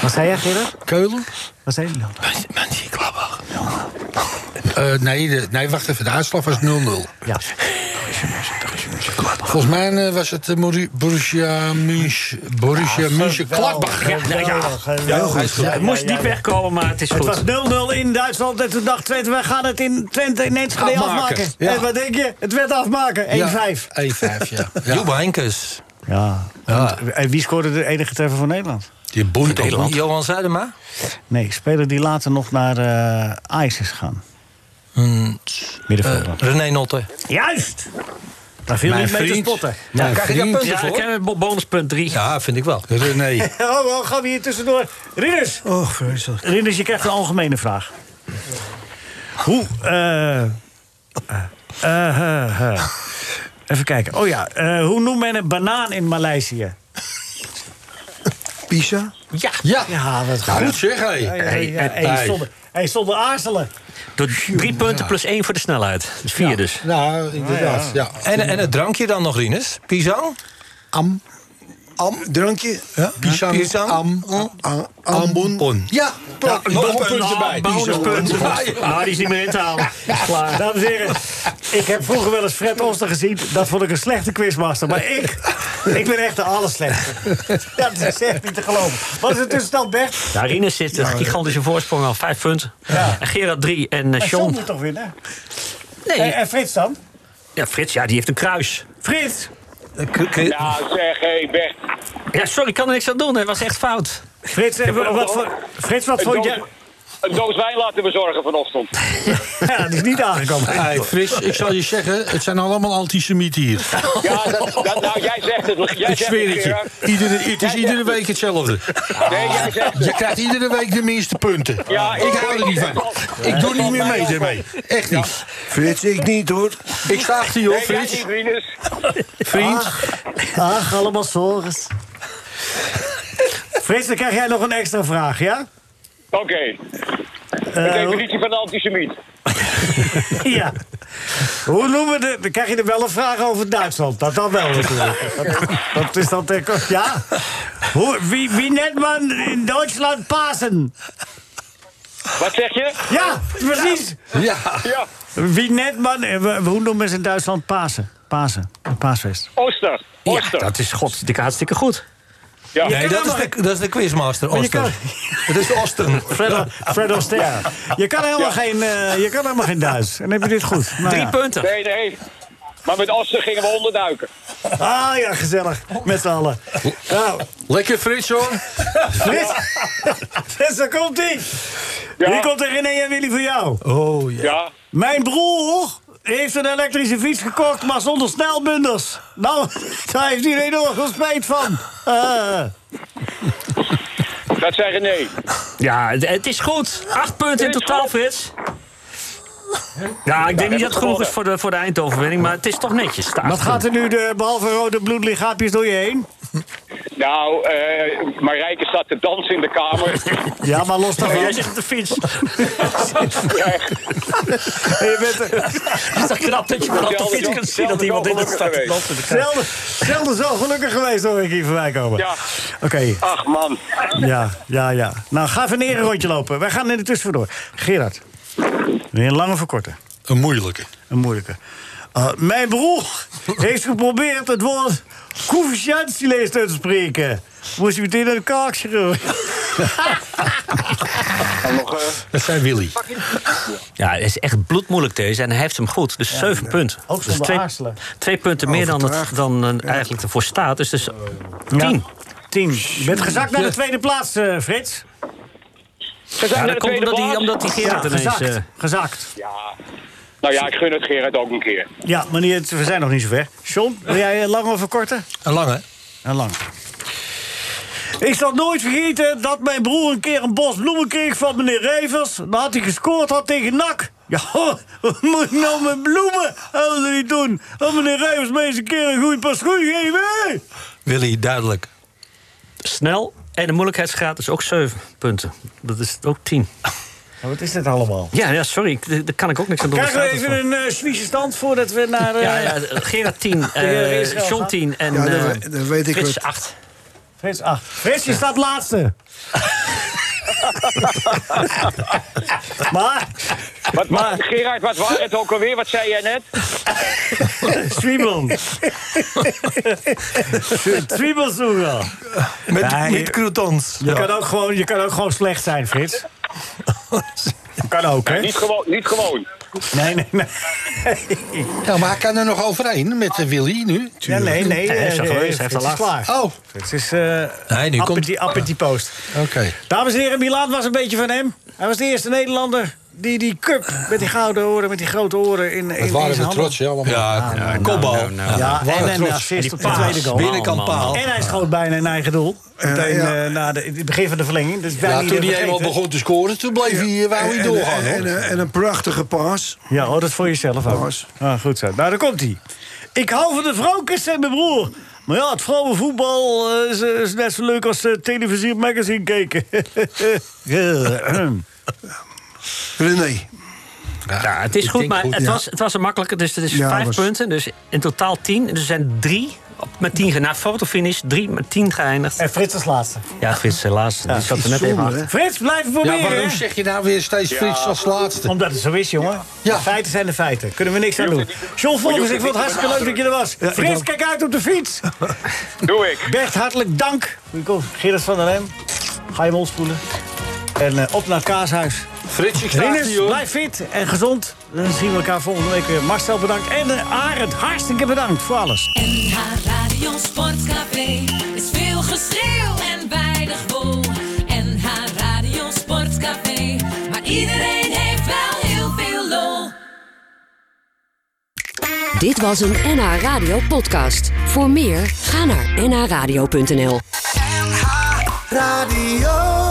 A: Wat zei jij, Gerard?
B: Keulen?
A: Wat zei je?
B: Mensen klapper. Eh, nee, de- nee, wacht even. De uitslag was 0-0.
A: Ja.
B: Volgens mij eh, was het eh, Mori- Borussia München. Borussia München. Gladbach.
D: Ja, nou ja.
B: Ja, heel goed.
D: Hij is goed.
B: Ja,
D: Het
B: ja,
D: moest
B: ja,
D: diep
B: ja.
D: wegkomen, maar het is
A: Het
D: goed.
A: was 0-0 in Duitsland en toen dacht Twente, wij gaan het in Twente in Enschede
I: Afmaken.
A: afmaken.
I: Ja.
A: En wat denk je? Het werd afmaken. 1-5.
B: Ja, 1-5, ja.
I: Ja. Joep Henkes.
A: Ja. En, en wie scoorde de enige treffer van Nederland?
B: Die boeit ook niet.
I: Johan Zuidema?
A: Nee, speler die later nog naar eh Ajax is gegaan.
I: Hmm,
A: Middenvelder.
I: eh, René Notte.
A: Juist! Daar viel niet mee te spotten.
I: Ja, krijg je daar punten
D: Ja, ik
I: voor?
D: heb een bonuspunt 3.
I: Ja, vind ik wel.
B: René.
A: Oh, wel gaan we hier tussendoor. Ridders!
E: Oh, vreselijk.
A: Ridders, je krijgt een algemene vraag. Hoe... eh, eh, eh, eh, eh. Even kijken. Oh ja, eh, hoe noemt men een banaan in Maleisië?
E: Pisa?
D: Ja.
B: Ja.
A: Ja, wat
B: Goed zeg, hé.
A: Ja, ja, ja, ja.
B: Hey.
A: Hey, zonder- hey, zonder aarzelen.
D: Door drie punten plus één voor de snelheid. Dus vier dus.
B: Nou, inderdaad. Ja.
I: En, en het drankje dan nog, Rinus? Pisang?
B: Am.
E: Am, drankje?
I: Ja?
B: eh, Pisang.
I: Pisang?
B: Am.
E: Am- Ambon.
B: Pon. Ja, plak.
I: Ja,
B: nog
I: een
B: een puntje
I: punt.
B: bij.
A: Bonuspunt.
B: Pisang.
A: Ah, die is niet meer in te halen. Klaar. Dames en heren, ik heb vroeger wel eens Fred Oster gezien. Dat vond ik een slechte quizmaster. Maar ik, ik ben echt de allerslechtste. Dat is echt niet te geloven. Wat is de tussenstand, Bert?
D: Ja, Rinus zit een gigantische voorsprong al. Vijf punten. En Gerard drie. En eh,
A: Maar Eh. John
D: Sean.
A: moet toch winnen? En,
D: Nee.
A: en Frits dan?
D: Ja, Frits, ja, die heeft een kruis.
A: Frits!
N: Nou zeg, hé Bert.
D: Ja, sorry, ik kan er niks aan doen. Het was echt fout.
A: Frits, eh, wa- wat, voor, Frits, wat
N: Een
A: vond
N: doos,
A: je?
N: een doos wijn laten bezorgen vanochtend.
A: Ja, die is niet aangekomen.
B: Hey, Frits, ik zal je zeggen, het zijn allemaal antisemieten hier.
N: Ja, dat, dat- nou, jij zegt het. Jij
B: Ik
N: zegt
B: zweer
N: het,
B: het je.
N: Gerard.
B: Iedere, het is iedere week hetzelfde.
N: Nee, jij zegt het.
B: Je krijgt iedere week de minste punten.
N: Ja,
B: ik hou er niet van. Ik doe niet meer mee daarmee. Echt niet.
E: Frits, ik niet hoor.
B: Ik sta achter je hoor,
N: Nee, jij
B: Frits.
N: niet, Rinus.
B: Vriend.
A: Ach, Ah, allemaal zorgens. Frits, dan krijg jij nog een extra vraag, ja?
N: Oké, de
A: Eh, hoe-
N: definitie van de antisemiet.
A: Ja. Hoe noemen we de... Dan krijg je er wel een vraag over Duitsland. Dat dan wel natuurlijk. Dat, dat is dan ter koste. Ja. Hoe, wie, wie net man in Duitsland Pasen?
N: Wat zeg je?
A: Ja, precies.
B: Ja.
N: Ja,
A: Wie net man... eh, we- Hoe noemen ze in Duitsland Pasen? Pasen. Een paasfeest.
N: Oster.
D: Ja,
N: Oster.
D: dat is godsdikke hartstikke goed.
N: Ja.
I: Nee, dat is,
A: maar-
I: de, dat is de quizmaster,
A: je
I: Osten. Dat is Osten.
A: Fred, Fred Astaire. Je kan helemaal,
N: Ja.
A: geen, eh, je kan helemaal geen Duits. En heb je dit goed. Nou
D: Drie
A: ja.
D: punten.
N: Nee, nee. Maar met Oster gingen we onderduiken.
A: Ah ja, gezellig. Met z'n allen. Nou,
B: Lekker Frits hoor.
A: Frits. Dus daar komt hij.
N: Ja.
A: Hier komt er René en Willy voor jou.
I: Oh, ja.
N: Ja.
A: Mijn broer heeft een elektrische fiets gekocht, maar zonder snelbunders. Nou, daar heeft iedereen nog veel spijt van. Eh,
N: Dat zeggen nee.
D: Ja, het, het is goed. Acht punten in
N: Dit is
D: totaal,
N: goed.
D: Frits. Ja, ik denk niet dat het genoeg
N: gewonnen.
D: is voor de, voor de eindoverwinning, maar het is toch netjes. De acht
A: wat gaat er nu, de, behalve rode bloedlichaampjes, door je heen?
N: Nou, eh Marijke staat te dansen in de kamer.
A: Ja, maar los
D: punten. Jij
A: daarvan.
D: zegt de fiets.
N: Ja, echt.
A: Je bent er
D: Het is toch knap dat je vanaf de fiets kunt zien dat iemand in de stad
N: Zelden zo
D: loopt.
A: zelden, zelden zo gelukkig geweest, hoor ik hier voorbij komen.
N: Ja.
A: Oké,
N: Ach man.
A: ja, ja, ja. Nou, ga even neer een rondje lopen. Wij gaan in de tussendoor. Gerard, weer een lange verkorten.
B: Een moeilijke.
A: Een moeilijke. Eh, mijn broer heeft geprobeerd het woord coefficiëntieleest uit te spreken. Moest hij meteen naar de
D: Oh,
A: kaakchirurg.
B: Dat zijn Willy.
D: Ja, het is echt bloedmoeilijk deze. En hij heeft hem goed. Dus zeven punten.
A: Ook
D: dus
A: zonder
D: twee,
A: aarzelen.
D: twee punten meer dan, het,
A: Overtuigd. Oh,
D: dan eh, eigenlijk ervoor staat. Dus, dus tien.
A: Tien. Je bent gezakt naar de tweede plaats, eh, Frits.
N: Gezakt naar de
D: dat komt
N: tweede
D: omdat die,
N: plaats?
D: omdat die Gerard
A: Ja,
D: ineens...
A: gezakt.
D: eh,
A: gezakt.
N: Nou ja, ik gun het Gerard ook een keer.
A: Ja, maar niet, we zijn nog niet zo ver. John, wil jij eh, lang of een korte?
I: Een lange.
A: Een lang. Ik zal nooit vergeten dat mijn broer een keer een bos bloemen kreeg van meneer Rijvers. Nadat hij gescoord had tegen NAC. Ja, wat moet ik nou met bloemen? Dat wil niet doen. Dat meneer Rijvers me eens een keer een goede paar schoenen geven. hè?
I: Willy, duidelijk.
D: Snel. En de moeilijkheidsgraad is ook 7 punten. Dat is ook 10.
A: Wat is dit allemaal?
D: Ja, ja sorry. ik- d- Daar kan ik ook niks aan doen.
A: Krijgen
D: Daar
A: we
D: staat het
A: even
D: voor.
A: een eh Suisse stand voordat we naar... eh,
D: Ja, ja, Gerard 10,
A: eh,
D: eh
A: Israël
D: John
A: gaan?
D: 10 en
A: Ja,
D: eh
A: dat we- dat weet ik
D: Frits
A: wat.
D: 8.
A: Frits, ah, Frits, je staat laatste. maar,
N: Wat, maar... Gerard, wat waren het ook alweer? Wat zei jij net?
A: Zwiebel. Zwiebelsoega.
I: Met,
A: Nee,
I: met croutons.
A: Je, kan ook gewoon, je kan ook gewoon slecht zijn, Frits. kan ook, hè?
N: Niet, gewoon, niet gewoon.
A: Nee, nee, nee.
B: Ja, maar hij kan er nog overheen met eh, Willy nu.
A: Ja, nee, nee.
D: Hij is er
A: eh,
D: geweest, hij heeft
A: Frits
D: al
A: is
D: laatst.
A: klaar.
B: Oh,
A: Frits is eh
I: Nee, nu komt-
A: appeti- appeti post.
B: oké.
A: Dames en heren, Milaan was een beetje van hem. Hij was de eerste Nederlander die die cup met die gouden oren, met die grote oren in, in,
B: Wat waren
A: in zijn
B: we
A: handen-
B: trots, hè, allemaal. Ah,
I: Ja, ja, kopbal.
A: Ja,
B: waren
A: en een
D: eh,
B: trots.
A: assist op de
D: paas.
A: tweede goal.
I: Binnenkant
D: Oh, Man, man,
I: paal.
A: En hij schoot bijna een eigen doel. Meteen,
E: ja.
A: eh, na de, het begin van de verlenging. Dus wij
B: Ja,
A: niet
B: toen hij
A: vergeten.
B: eenmaal begon te scoren, toen bleef hij, eh, wou hij
E: En,
B: doorgaan.
E: en,
B: hoor.
E: en, en een prachtige paas.
A: Ja, hoor dat voor jezelf ook.
E: Jongens.
A: Ah, goed zo. Nou, daar komt hij. Ik hou van de vrouwkens en mijn broer. Maar ja, het vrouwenvoetbal eh, is, is net zo leuk als eh, televisie of magazine kijken.
E: René.
D: Ja, het is
B: ik
D: goed,
B: denk
D: maar het,
B: ja.
D: was, het was een makkelijke. Dus het is
E: Ja,
D: vijf
E: was-
D: punten. Dus in totaal tien. Dus er zijn drie op- met tien geëindigd. Na fotofinish drie met tien geëindigd.
A: en Frits als laatste.
D: Ja, Frits, helaas. die zat er net even
E: Zonde,
D: achter.
E: hè?
A: Frits, blijf proberen.
B: Ja, waarom
A: hè?
B: zeg je nou weer steeds Frits als laatste?
A: Omdat het zo is, jongen.
B: Ja.
A: De feiten zijn de feiten. Kunnen we niks aan doen. John Volkers, ik vond het hartstikke leuk dat je er was. Frits, kijk uit op de fiets.
N: Doe ik.
A: Bert, hartelijk dank. Hier komt Gerrit van der Lem. Ga je mond spoelen. En eh, op naar het kaashuis.
B: Frits, ik sta hier,
A: Rinus,
B: hoor.
A: blijf fit en gezond. Dan zien we elkaar volgende week weer. Marcel, bedankt. En eh, Arend, hartstikke bedankt voor alles.
H: NH Radio Sportcafé is veel geschreeuw en weinig wol. NH Radio Sportcafé, maar iedereen heeft wel heel veel lol.
P: Dit was een NH Radio podcast. Voor meer, ga naar nhradio.nl.
G: Radio.